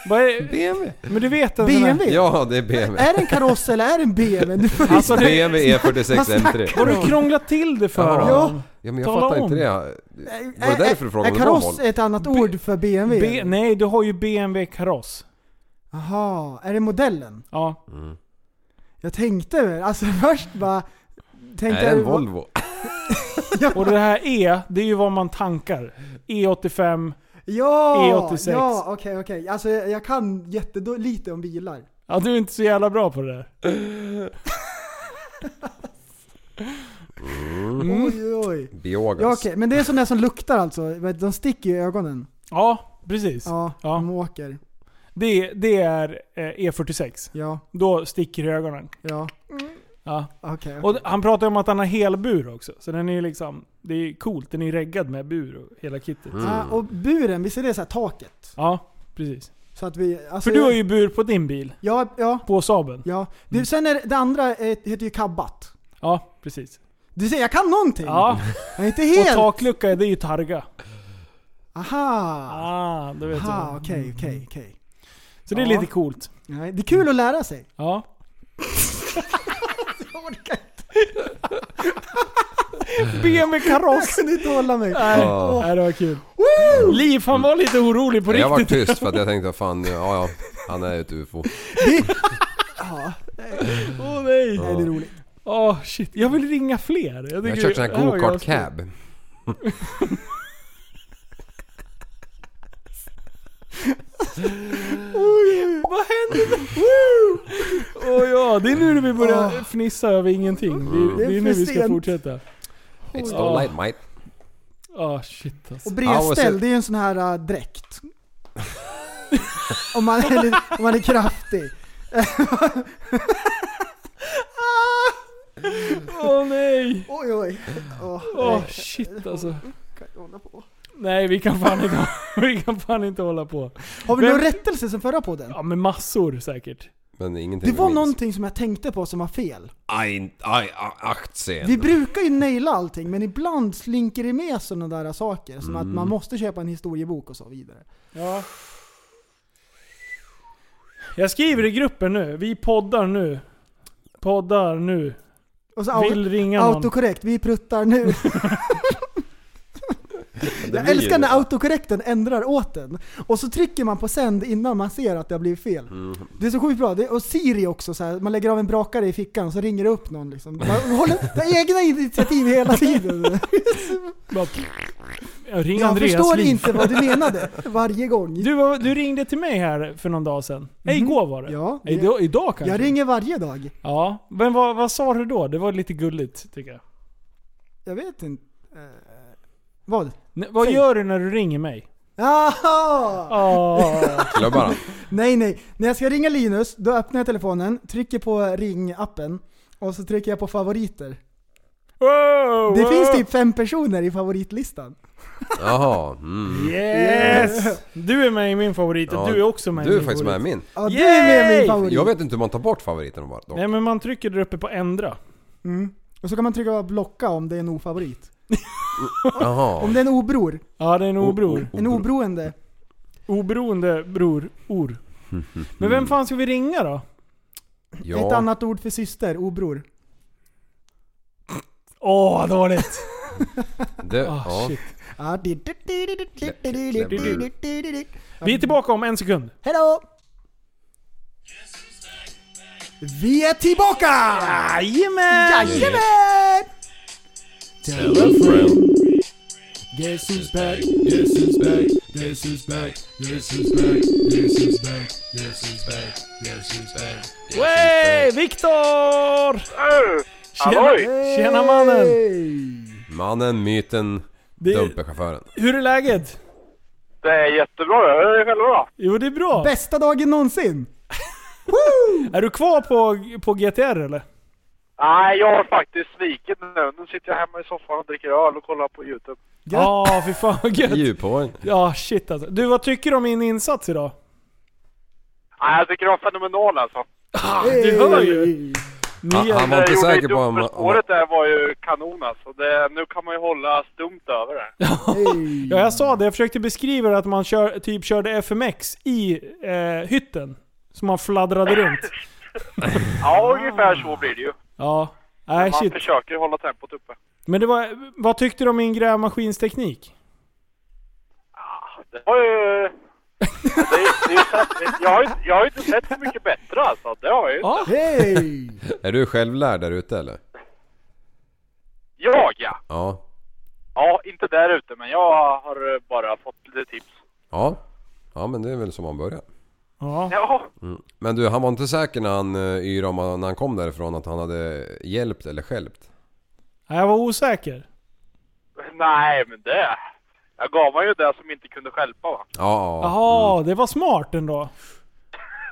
S4: Vad är... BMW. Men du vet en sån här-
S5: BMW?
S6: Ja, det är BMW.
S5: Är det en kaross eller är det en BMW? Du får
S4: Alltså, det-
S6: BMW E46
S5: Vad snackar
S6: M3.
S4: Har du krånglat till det för
S6: Ja.
S4: honom?
S6: Ja, men
S4: Tala
S6: jag fattar
S4: om.
S6: inte det. Var det därför du frågade
S5: Är
S6: om det var Volvo?
S5: kaross ett annat ord för BMW?
S4: B- nej, du har ju BMW kaross.
S5: Jaha, är det modellen?
S4: Ja.
S5: Jag tänkte väl, alltså först bara... Tänkte
S6: Är det en
S5: jag, vad-
S6: Volvo?
S4: Och det här E, det är ju vad man tankar. E E85.
S5: Ja!
S4: E86.
S5: Ja, okej okej. Alltså jag, jag kan jättelite om bilar.
S4: Ja, du är inte så jävla bra på det där.
S6: Mm.
S5: Oj oj oj.
S6: Biogas.
S5: Ja, okej, men det är sådana som luktar alltså? Vet du, De sticker ju i ögonen.
S4: Ja, precis.
S5: Ja, de åker.
S4: Det, det är eh, E46.
S5: Ja.
S4: Då sticker det i ögonen.
S5: Ja.
S4: Ja.
S5: Okej, okej.
S4: Och han pratar ju om att han har helbur också. Så den är ju liksom, det är ju coolt. Den är ju reggad med bur och hela kittet.
S5: Ah, och buren, visst är det så här taket?
S4: Ja, precis.
S5: Så att vi,
S4: För
S5: alltså,
S4: du har ju Mm. bur på din bil.
S5: Ja, ja.
S4: På Saaben.
S5: Ja. Du, Sen är det, det andra eh, heter ju kabbat.
S4: Ja, precis.
S5: Du ser, jag kan någonting!
S4: Ja.
S5: Jag är inte helt...
S4: Och taklucka, det är ju targa.
S5: Aha!
S4: Ah, då vet
S5: Aha,
S4: du.
S5: okej, okej, okej.
S4: Så det är
S5: Ja.
S4: lite coolt.
S5: Nej, Det är kul att lära sig.
S4: Ja. BMW kaross!
S5: Jag kunde inte hålla mig.
S4: Nej,
S6: Ja.
S4: nej, det var kul. Liv, han var lite orolig på
S6: Jag var
S4: riktigt.
S6: tyst för att jag tänkte, vad fan, ja ja, han är ett UFO.
S4: Åh nej.
S6: Nej, det är
S5: roligt.
S4: Åh shit, jag vill ringa fler. Jag,
S6: Jag har
S4: tycker-
S6: kört sån
S4: det
S6: här
S4: var
S6: go-kart
S4: ganska-
S6: cab.
S4: Oj, vad händer? Woo! Åh ja, det är nu vi börjar fnissa över ingenting.
S6: Mm.
S4: Det, det
S5: Det
S4: är,
S5: är för
S4: nu vi ska
S5: sent.
S4: fortsätta.
S6: It's
S4: Oj.
S6: the light mate.
S4: Åh shit alltså.
S5: Och
S6: Ja, och så-
S5: bredställ, det är ju en sån här äh, dräkt. om, man är, lite- om man är kraftig.
S4: Åh nej!
S5: Oj oj. Åh,
S4: Åh
S5: nej.
S4: shit alltså.
S5: Kan jag hålla på?
S4: Nej vi kan fan inte, vi kan fan inte hålla på.
S5: Har vi
S4: Vem-
S5: någon rättelse sen förra podden?
S4: Ja men massor säkert.
S6: Men ingenting
S5: Det var
S6: vi minns.
S5: någonting som jag tänkte på som var fel.
S6: Ein, aj, a- aktien.
S5: Vi brukar ju naila allting, men ibland slinker det med sådana där saker. Som
S6: Mm.
S5: att man måste köpa en historiebok och så vidare.
S4: Ja. Jag skriver i gruppen nu. Vi poddar nu. Poddar nu.
S5: Och så au-
S4: Vill ringa någon.
S5: Autokorrekt, vi pruttar nu. Jag
S6: blir ju
S5: älskar när
S6: det.
S5: autokorrekten ändrar åt den. Och så trycker man på sänd innan man ser att det har blivit fel. Det är så sjukt bra. Det, och Siri också, så här, man lägger av en brakare i fickan och så ringer det upp någon. Liksom. Man håller det är egna initiativ hela tiden.
S4: Ring
S5: jag
S4: Andreas
S5: förstår
S4: Liv.
S5: inte vad du menade varje gång.
S4: Du, var- du ringde till mig här för någon dag sedan. Nej, igår var det.
S5: Mhm. Ja,
S4: Nej, idag, idag kanske.
S5: Jag ringer varje dag.
S4: Ja, men vad, vad sa du då? Det var lite gulligt tycker jag.
S5: Jag vet inte. Eh, vad?
S4: Nej, vad
S5: Säg.
S4: gör du när du ringer mig? Ah.
S5: Jaha!
S6: Klubbarna.
S5: Nej, nej. När jag ska ringa Linus, då öppnar jag telefonen, trycker på ringappen och så trycker jag på favoriter. det finns typ fem personer i favoritlistan.
S6: Jaha. Mm.
S4: Yes! Du är med i min favorit och
S6: Ja,
S4: du är också med i
S6: Du är
S4: min
S6: faktiskt med i
S4: favorit.
S6: min.
S5: Ja, du är med i min
S4: Yay!
S5: favorit.
S6: Jag vet inte hur man tar bort favoriten bara. dock.
S4: Nej men man trycker där uppe på ändra.
S5: Mm. Och så kan man trycka på blocka om det är en ofavorit.
S6: Jaha.
S5: Om det är en obror.
S4: Ja det är en
S5: O-
S4: obror.
S5: En oberoende.
S4: Oberoende bror. Or. Men vem fan ska vi ringa då?
S6: Ja.
S5: Ett annat ord för syster, obror.
S4: Åh, dåligt!
S6: Det,
S4: Ah,
S6: ja.
S4: shit.
S5: Ja, di- di- di- di- di- di- di- di- di- di- di- di- di- di.
S4: Vi är tillbaka om en sekund.
S5: Hejdå! Vi är tillbaka!
S4: Jajamän!
S5: Jajamän!
S7: Tell a friend. Guess who's back? Guess who's back? Guess who's back? Guess who's back? Guess who's back? Guess who's back? Guess who's back?
S4: Wey! Viktor! Tjena,
S7: halloj!
S4: tjena mannen!
S6: Mannen, myten,
S4: Det-
S6: dumperchauffören.
S4: Hur är läget?
S2: Det är jättebra. Hur är det själva då?
S4: Jo det är bra.
S5: Bästa dagen någonsin!
S4: Är du kvar på, på GTR eller?
S2: Nej, jag har faktiskt svikit nu. Nu sitter jag hemma i soffan och dricker öl och kollar på Youtube.
S4: Ja, fy fan vad gött.
S6: Djupåren.
S4: Ja, shit alltså. Du, vad tycker du om min insats idag?
S2: Nej, jag tycker det var fenomenal alltså.
S4: Du hör ju!
S6: Ah, han var inte säker på om- om-
S2: Året där var ju kanon alltså. Det, nu kan man ju hålla stumt över det.
S4: Ja, jag sa det. Jag försökte beskriva det att man kör, typ körde FMX i eh, hytten. Så man fladdrade runt.
S2: Ja, ungefär så blir det ju.
S4: Ja.
S2: Men
S4: Nej,
S2: man
S4: shit.
S2: försöker hålla tempot uppe.
S4: Men det var, vad tyckte du om min grävmaskinsteknik?
S2: Det var ju... Det är, det är, ju- jag, har ju, jag har ju inte sett så mycket bättre alltså. Det har jag ju inte.
S5: Hej!
S6: Är du självlärd där ute eller?
S2: Jag ja.
S6: Ja.
S2: Ja, inte där ute men jag har eh, bara fått lite tips.
S6: Ja. Ja men det är väl som man börjar.
S2: Ja.
S6: Mm. Men du, han var inte säker när han eh, yrade om när han kom därifrån att han hade hjälpt eller stjälpt?
S4: Nej, jag var osäker.
S2: Nej, men det... Jag gav mig ju det som inte kunde stjälpa va.
S6: Ja.
S4: Jaha, det var smart ändå.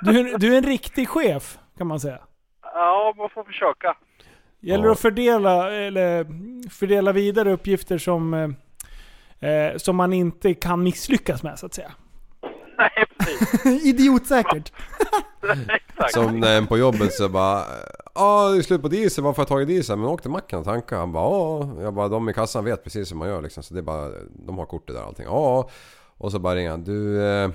S4: Du, du är en riktig chef, kan man säga.
S2: Ja, man får försöka.
S4: Gäller det att fördela, eller fördela vidare uppgifter som, eh, eh, som man inte kan misslyckas med så att säga.
S5: Idiotsäkert.
S6: Som när en på jobbet så bara Ja, det är slut på diesel. Varför har jag tagit diesel? Men åk till macken och tanka. Han bara ja. Jag bara de i kassan vet precis hur man gör liksom. Så det är bara, de har kortet där och allting. Ja. Och så bara ringer han. Du, eh,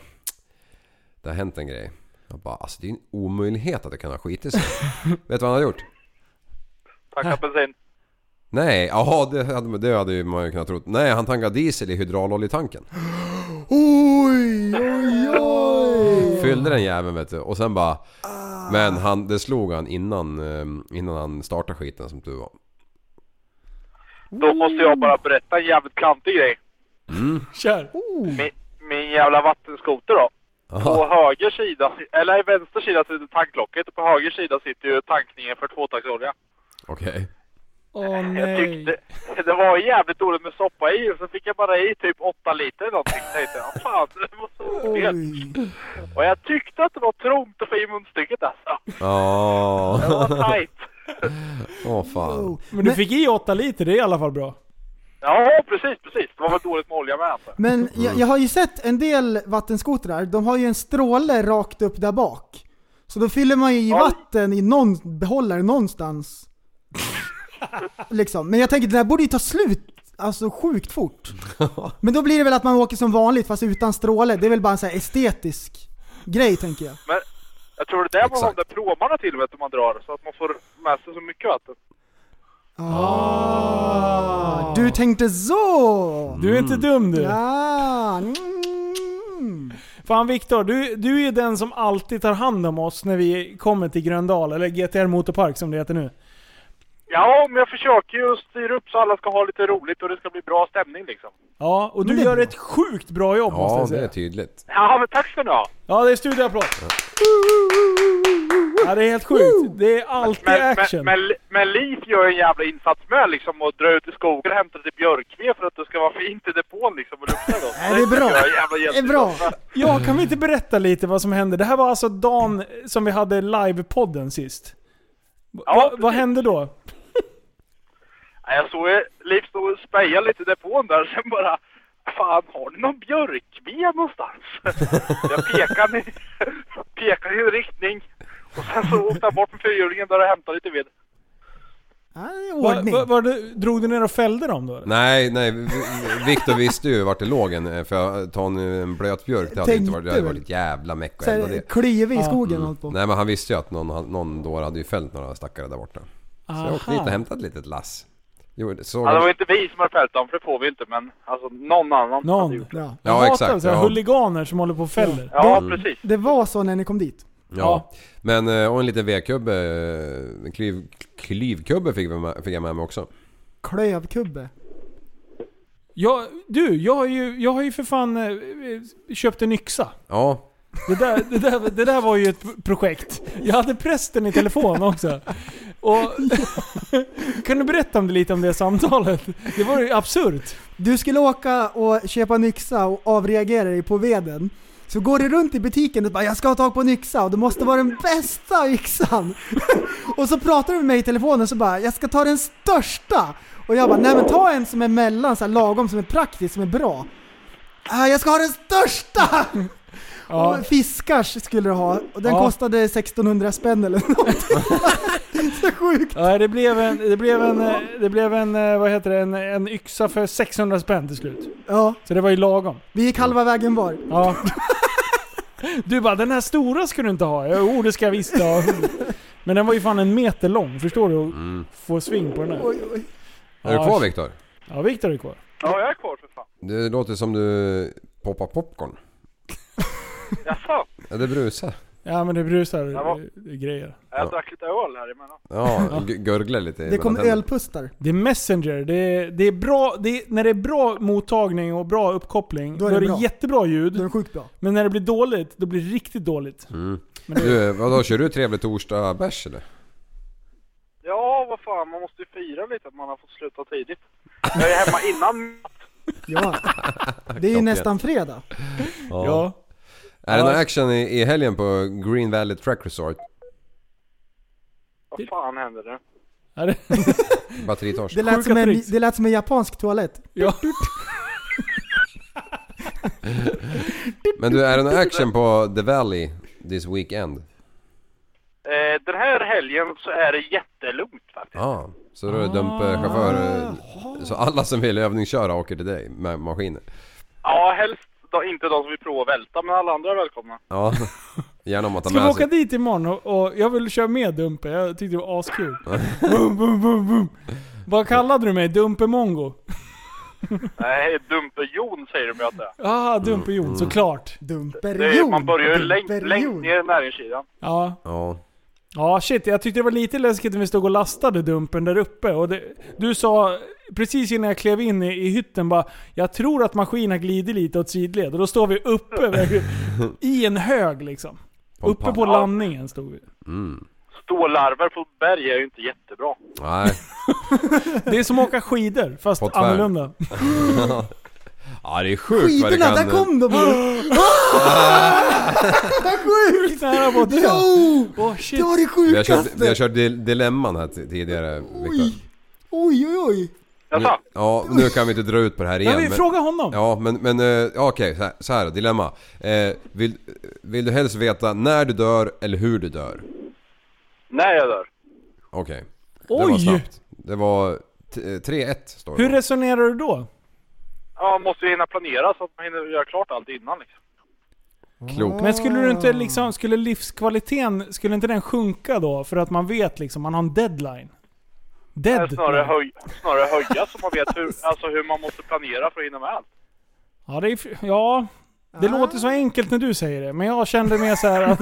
S6: det har hänt en grej. Jag bara alltså det är ju en omöjlighet att det kan ha skitit sig. vet du vad han har gjort?
S2: Tacka bensin.
S6: Nej, jaha det hade, det hade ju man ju kunnat tro. Nej, han tankade diesel i hydrauloljetanken.
S5: Oj, oj, oj!
S6: Fyllde den jäveln vet du och sen bara...
S4: Ah.
S6: Men han, det slog han innan, eh, innan han startade skiten som tur var.
S2: Då måste jag bara berätta en jävligt klantig grej.
S6: Mm.
S4: Kör!
S2: Min, min jävla vattenskoter då. På höger sida, eller i vänster sida sitter tanklocket och på höger sida sitter ju tankningen för tvåtaktsolja.
S6: Okej.
S4: Åh oh,
S2: Jag
S4: nej.
S2: tyckte det var jävligt dåligt med soppa i och så fick jag bara i typ åtta liter eller någonting. Tänkte jag, fan det måste vara fel. Och jag tyckte att det var trångt att få i munstycket alltså.
S6: Ja.
S2: Det var tajt.
S6: Åh fan.
S4: Men du fick i 8 liter, det är i alla fall bra.
S2: Ja precis, precis. Det var väl dåligt med olja med alltså.
S5: Men jag, jag har ju sett en del vattenskotrar, de har ju en stråle rakt upp där bak. Så då fyller man ju i vatten i någon behållare någonstans. liksom. Men jag tänker det där borde ju ta slut alltså sjukt fort. Men då blir det väl att man åker som vanligt fast utan stråle. Det är väl bara en sån här estetisk grej tänker jag.
S2: Men jag tror det där var de där pråmarna till vet du man drar så att man får med sig så mycket vatten.
S5: Ah, Du tänkte så!
S4: Du är inte dum du.
S5: Ja. Mm.
S4: Fan Viktor, du, du är ju den som alltid tar hand om oss när vi kommer till Gröndal, eller GTR Motorpark som det heter nu.
S2: Ja, men jag försöker ju styra upp så alla ska ha lite roligt och det ska bli bra stämning liksom.
S4: Ja, och du gör ett sjukt bra jobb måste
S6: Ja,
S4: jag säga.
S6: det är tydligt.
S2: Ja, men tack ska ni ha.
S4: Ja, det är studioapplåd. Ja, det är helt sjukt. Det är alltid
S2: Men,
S4: action.
S2: men, men, men Liv gör ju en jävla insats med liksom och drar ut i skogen och hämtar lite björkved för att det ska vara fint i depån liksom och lukta gott.
S4: Nej, det är bra.
S2: tycker jag jävla
S4: Det är
S2: hjälte.
S4: bra. Ja, kan vi inte berätta lite vad som hände? Det här var alltså dagen som vi hade livepodden sist. Va, vad hände då?
S2: Ja, Jag såg ju Liv stå och speja lite i depån där sen bara Fan, har ni någon björkved någonstans? Jag pekade, i- pekade i en riktning och sen så åkte jag bort med fyrhjulingen där och hämtade lite ved.
S4: Var, var, var det, drog du ner och fällde dem då? eller?
S6: Nej, nej. vi- vi- Viktor visste ju vart det låg en. eh, För att ta en, en blöt björk, det hade, inte varit, det hade varit ett jävla meck att
S5: Så här,
S6: elda det.
S5: klyvig i
S6: Ja. Mm.
S5: skogen och hållit på.
S6: Nej men han visste ju att någon, någon dåre hade ju fällt några stackare där borta. Så jag åkte
S2: Aha.
S6: dit och hämtade ett litet lass. Jo, det- så
S2: Ja, det var inte vi som hade fällt dem, för det får vi inte, men alltså någon annan.
S4: Någon. Ja,
S6: Ja, exakt,
S4: Sådär,
S6: ja.
S4: Huliganer som håller på och fäller.
S6: Ja, Mm. precis.
S5: Det var så när ni kom dit.
S6: Ja. Men, eh, och en liten vedkubbe, eh, en klyv, klyvkubbe fick, vi med, fick jag med mig också.
S5: Klövkubbe.
S4: Jag, du, jag har, ju, jag har ju för fan eh, eh, köpt en yxa.
S6: Ja.
S4: Det där, det, där, det där var ju ett projekt. Jag hade prästen i telefon också. Och, kan du berätta om det, lite om det samtalet? Det var ju absurt.
S5: Du skulle åka och köpa en yxa och avreagera dig på veden. Så går du runt i butiken och bara “Jag ska ha tag på en yxa” och det måste vara den bästa yxan. och så pratar du med mig i telefonen så bara “Jag ska ta den största” och jag bara “Nej men ta en som är mellan, så här, lagom, som är praktisk, som är bra”. "Ah, “Jag ska ha den största!”
S4: Ja.
S5: Och fiskars skulle du ha och den
S4: Ja.
S5: kostade 1600 spänn eller någonting. så sjukt.
S4: Ja, det blev en, det blev en, eh, det blev en eh, vad heter det, en, en yxa för 600 spänn till slut.
S5: Ja.
S4: Så det var ju lagom.
S5: Vi gick halva vägen var.
S4: Ja. Du bara, den här stora ska du inte ha. Jo, oh, det ska jag visst ha. Men den var ju fan en meter lång, förstår du? Och Få sving på den här.
S6: Är du kvar Viktor?
S4: Ja, Viktor är kvar.
S2: Ja, jag är kvar för fan.
S6: Det låter som du poppar popcorn.
S2: Jaså?
S6: Ja, det brusar.
S4: Ja, men det brusar
S2: Det var-
S4: eh, grejer.
S2: Jag drack lite öl här emellan.
S6: Ja, gu- gurglar lite.
S4: Det kom
S6: mellan tänderna.
S4: öl- Det är Messenger. Det är, det är bra, det är, när det är bra mottagning och bra uppkoppling, då är det,
S5: bra.
S4: jättebra ljud. Då
S5: är det sjukt bra.
S4: Men när det blir dåligt, då blir det riktigt dåligt.
S6: Mm. Du, vadå, kör du trevlig torsdag bärs eller?
S2: Ja, vad fan, man måste ju fira lite att man har fått sluta tidigt. Jag är hemma innan
S5: Ja. Det är ju
S6: Klockrent.
S5: nästan fredag.
S4: Ja.
S6: Är det någon
S4: Ja.
S6: action i, i helgen på Green Valley Track Resort?
S2: Vad fan händer nu?
S6: Batteritorsk?
S5: Det lät, som en, det lät som en japansk toalett.
S4: Ja.
S6: Men du, är det någon action på The Valley this weekend?
S2: Eh, den här helgen så är det jättelugnt faktiskt.
S6: Ja, ah, så då är det dumpchaufför...
S4: Ah.
S6: eh, Så alla som vill övningsköra åker till dig med maskiner?
S2: Ja, helst då, inte de som vill prova att välta, men alla andra är välkomna.
S6: Ja, gärna om man tar
S4: Ska vi
S6: med
S4: åka
S6: sig...
S4: dit imorgon och, och jag vill köra med Dumpe? Jag tyckte det var askul. boom, boom, boom, boom. Vad kallade du mig? Dumpe Mongo?
S2: Nej, Dumpe-Jon säger de ju att det är.
S4: Ah, Dumpe Jon, såklart.
S5: Dumpe
S2: det är man börjar ju längst, längst ner i näringskedjan.
S4: Ja.
S6: Ja.
S4: Ja shit, jag tyckte det var lite läskigt när vi stod och lastade Dumpen där uppe. Och det, du sa precis innan jag klev in i, i hytten bara Jag tror att maskinen glider lite åt sidled. Och då står vi uppe vid- i en hög liksom.
S6: På en
S4: uppe
S6: pall.
S4: på landningen stod vi.
S6: Mm.
S2: Stålarver på berg är ju inte jättebra.
S6: Nej.
S4: Det är som att åka skidor fast
S6: På tvären.
S4: annorlunda.
S6: Ja, det är sjukt vad det
S5: Skidorna,
S6: kan...
S5: där kom de ju! Ah! Vad sjukt!
S4: Nära på att dö.
S5: Jo!
S4: Åh, shit.
S5: Det var det
S6: Vi har kört,
S5: sjukaste!
S6: vi har kört di- dilemman här ti- tidigare Viktor.
S5: Oj, oj, oj.
S6: Nu- Ja, nu kan vi inte dra ut på det här igen.
S4: Men vi frågar honom.
S6: Ja, men, men eh, ja, okej, så här- så här dilemma. Eh, vill, vill du helst veta när du dör eller hur du dör?
S2: Nej, jag dör.
S6: Okej. Det var
S4: Oj!
S6: snabbt. Det var t- eh, 3-1 står det.
S4: Hur resonerar du då?
S2: Ja, man måste ju hinna planera så att man hinner göra klart allt innan liksom.
S6: Klokt.
S4: Men skulle du inte liksom, skulle livskvaliteten, skulle inte den sjunka då? För att man vet liksom, man har en deadline. Dead.
S2: Eh, Snarare, höj, snarare höja så man vet hur, alltså hur man måste planera för att hinna med allt.
S4: Ja, det, är, f- ja,
S5: Ah.
S4: det låter så enkelt när du säger det, men jag kände mer så här att,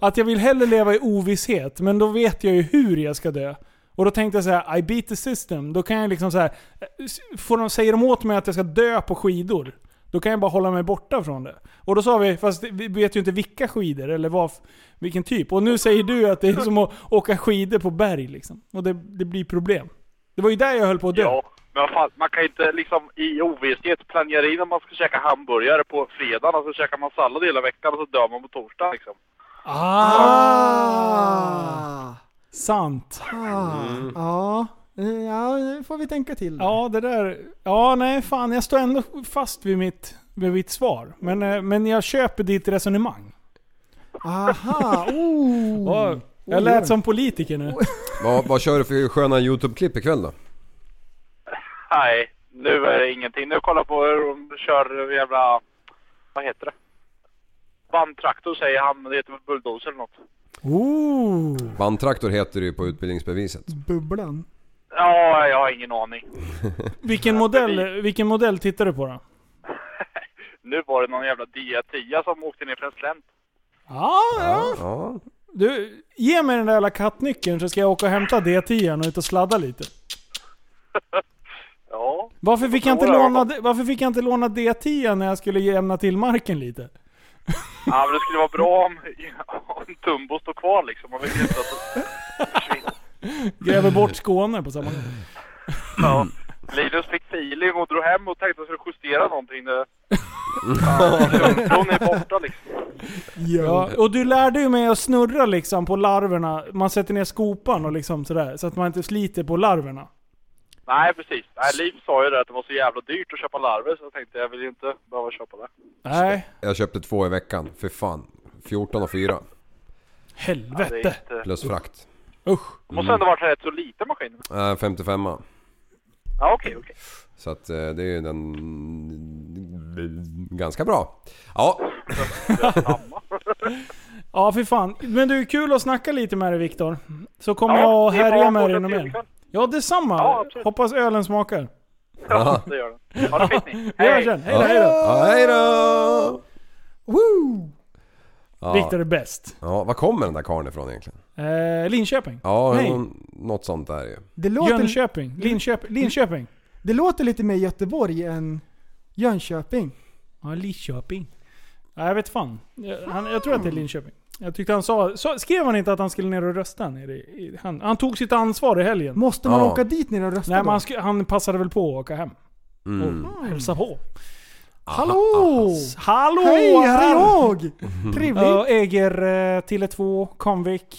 S4: att jag vill hellre leva i ovisshet, men då vet jag ju hur jag ska dö. Och då tänkte jag så här: I beat the system. Då kan jag liksom så här, s- får de, säger de åt mig att jag ska dö på skidor, då kan jag bara hålla mig borta från det. Och då sa vi, fast vi vet ju inte vilka skidor eller vad, f- vilken typ. Och nu säger du att det är som att åka skidor på berg liksom. Och det, det blir problem. Det var ju där jag höll på att dö.
S2: Ja, men vad fan, man kan ju inte liksom i ovisshet planera in om man ska käka hamburgare på fredagen och så käkar man sallad hela veckan och så dör man på torsdagen liksom.
S4: Ah! Sant.
S5: Mm. Ja, eh, ja, nu får vi tänka till.
S4: Ja, det där... Ja, nej fan. Jag står ändå fast vid mitt, vid mitt svar. Men, eh, men jag köper ditt resonemang.
S5: Aha, oh.
S4: Ja, jag lät som politiker nu.
S6: Vad, vad kör du för sköna YouTube-klipp ikväll då?
S2: Nej, nu är det ingenting. Nu kollar jag på hur de kör jävla... Vad heter det? Bandtraktor säger han, men det heter väl bulldozer eller något.
S4: Ooh.
S6: Bandtraktor heter det ju på utbildningsbeviset.
S5: Bubblan.
S2: Ja, jag har ingen aning.
S4: Vilken modell, vilken modell tittar du på då?
S2: Nu var det någon jävla dia som åkte ner för en slänt.
S4: Ja, ja. Du, ge mig den där jävla kattnyckeln så ska jag åka och hämta D10 och ut och sladda lite.
S2: Ja.
S4: Varför fick jag inte
S2: Då är det
S4: låna, varför fick jag inte låna D10 när jag skulle jämna till marken lite?
S2: Ja, men det skulle vara bra om, om Tumbo står kvar liksom. Man vet ju inte att
S4: Gräver bort Skåne på samma gång.
S2: Ja. Linus fick feeling och drog hem och tänkte att jag skulle justera någonting. Det-
S4: Ja.
S2: Hon är borta liksom.
S4: Ja, och du lärde ju mig att snurra liksom på larverna. Man sätter ner skopan och liksom sådär, så att man inte sliter på larverna.
S2: Nej, precis. Nej, Liv sa ju det att det var så jävla dyrt att köpa larver så jag tänkte jag vill ju inte behöva köpa det.
S4: Nej.
S6: Jag köpte två i veckan. För fan. 14 och 4.
S2: Ja, det är
S4: Helvete.
S2: inte-
S6: Plus frakt.
S4: Usch.
S2: Det måste ändå varit rätt så liten maskin.
S6: Äh, 55
S2: Ja, okej, okej.
S6: Så att eh, det är ju den... Ganska bra. Ja.
S4: Ja, för fan. Men du, kul att snacka lite med dig Viktor. Så kommer
S6: Ja,
S4: jag att
S6: det är
S4: härja
S6: bara
S4: med
S6: att
S4: dig
S6: fortsätta
S4: något mer.
S6: ikväll.
S4: Ja, detsamma.
S6: Ja,
S4: Hoppas ölen smakar.
S6: Ja,
S2: det gör den. Ha det fint ni.
S4: Vi hörs sen. Hej då, hej då.
S6: Ja, hej då!
S4: Woo!
S6: Ja.
S4: Viktor är bäst.
S6: Ja, var kommer den där karln ifrån egentligen?
S4: Eh, Linköping.
S6: Ja,
S4: Nej.
S6: någon, något sånt där ju.
S5: Det låter,
S4: Jönköping. Linköping. Linköping.
S5: Det låter lite mer Göteborg än Jönköping.
S4: Ja, Linköping. Ja, jag vet fan. Jag, han, jag tror att det är Linköping. Jag tyckte han sa... Så, skrev han inte att han skulle ner och rösta? Nere i, i, han, han tog sitt ansvar i helgen.
S5: Måste man Ja. åka dit ner och rösta
S4: Nej,
S5: då?
S4: men han, sk- han passade väl på att åka hem.
S6: Mm.
S4: Och hälsa på.
S5: Hallå!
S4: Hallå!
S5: Hej, här är jag! Trevligt.
S4: Jag äger eh, Tele2, Comvik.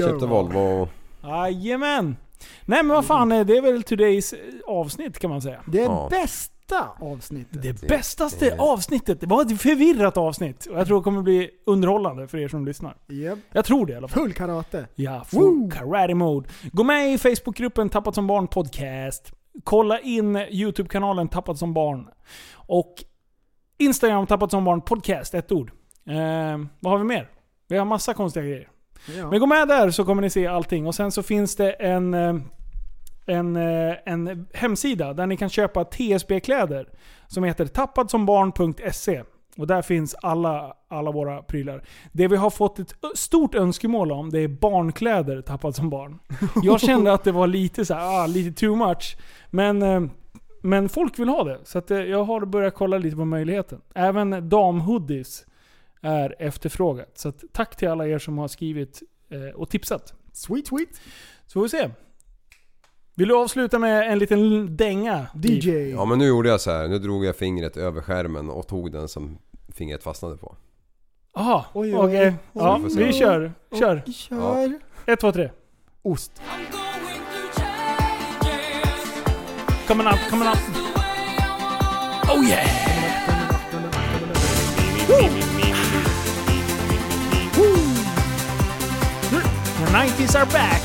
S6: Köpte Volvo.
S4: Jajamän! Nej men vad fan, eh, det är väl today's eh, avsnitt kan man säga.
S5: Det
S6: Ja.
S5: bästa avsnittet.
S4: Det bästaste avsnittet. Det var ett förvirrat avsnitt. Och jag tror det kommer bli underhållande för er som lyssnar. Jag tror det i alla fall.
S5: Full karate.
S4: Ja, full karate mode. Gå med i Facebookgruppen Tappat som barn podcast. Kolla in YouTube-kanalen Tappat som barn. Och Instagram Tappat som barn podcast, ett ord. Eh, vad har vi mer? Vi har massa konstiga grejer.
S5: Ja.
S4: Men gå med där så kommer ni se allting. Och sen så finns det en, eh, en, eh, en hemsida där ni kan köpa TSB-kläder. Som heter tappadsombarn.se. E. Och där finns alla, alla våra prylar. Det vi har fått ett ö- stort önskemål om det är barnkläder tappat som barn. Jag kände att det var lite så här, ah, lite too much. Men, eh, men folk vill ha det. Så att eh, jag har börjat kolla lite på möjligheten. Även damhoodies är efterfrågat. Så att tack till alla er som har skrivit eh, och tipsat.
S5: Sweet, sweet.
S4: Så får vi se. Vill du avsluta med en liten dänga? DJ.
S6: Ja men nu gjorde jag så här. Nu drog jag fingret över skärmen och tog den som fingret fastnade på.
S4: Jaha,
S5: Oj,
S4: okej.
S5: oj, oj.
S4: Ja,
S6: Oj,
S4: vi
S6: oj.
S4: kör. Kör.
S5: Oj, kör.
S4: Ett, två, tre.
S5: Ost.
S4: Coming up, coming up. Oh yeah! The 90s are back!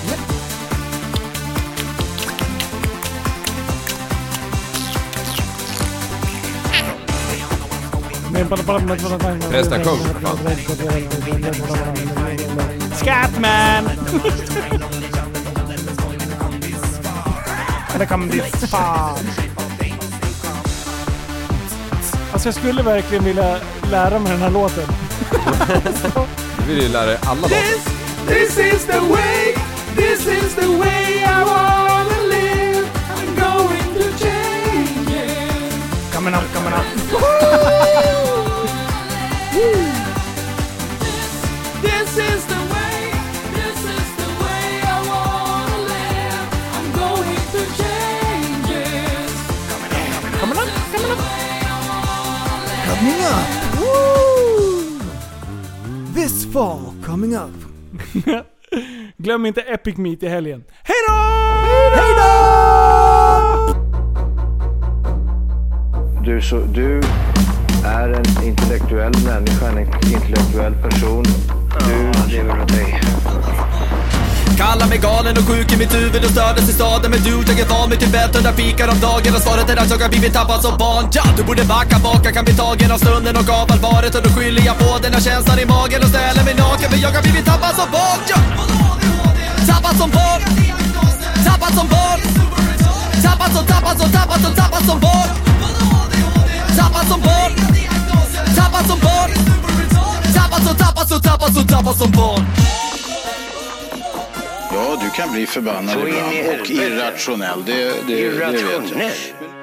S6: Resten sjung för fan.
S4: Scatman! Det kom ditt fan. Alltså jag skulle verkligen vilja lära mig den här låten.
S6: Du vill ju lära dig alla låtar.
S8: This is the way, this is the way I wanna live. I'm going to change it.
S4: Coming up, coming up.
S8: This is the way, this is the way I wanna live. I'm going to change it. Coming up, coming up, coming
S5: Coming up! Woo! This fall, coming up.
S4: Glöm inte Epic Meet i helgen. Hej då!
S5: Hej då!
S18: Du, så, du är en intellektuell människa, en intellektuell person. Du lever dig.
S1: Kallar mig galen och sjuk i mitt huvud och stördes i staden Men du, jag är van vid Tibet och där fikar om dagen Och svaret är att jag har blivit tappad som barn ja! Du borde backa bak, jag kan bli tagen av stunden och av allvaret Och då skyller jag på den här känslan i magen och ställer mig naken För jag har blivit tappad som barn ja! Tappad som barn Tappad som barn Tappad som, tappad som, tappad som, tappad som barn Tappad som barn Tappad som barn Tappad som, tappad som, tappad som, tappad som barn
S20: Ja, du kan bli förbannad
S18: Så in i
S20: ibland och
S18: helvete.
S20: irrationell. Det, det, det vet jag.
S18: Irrationell?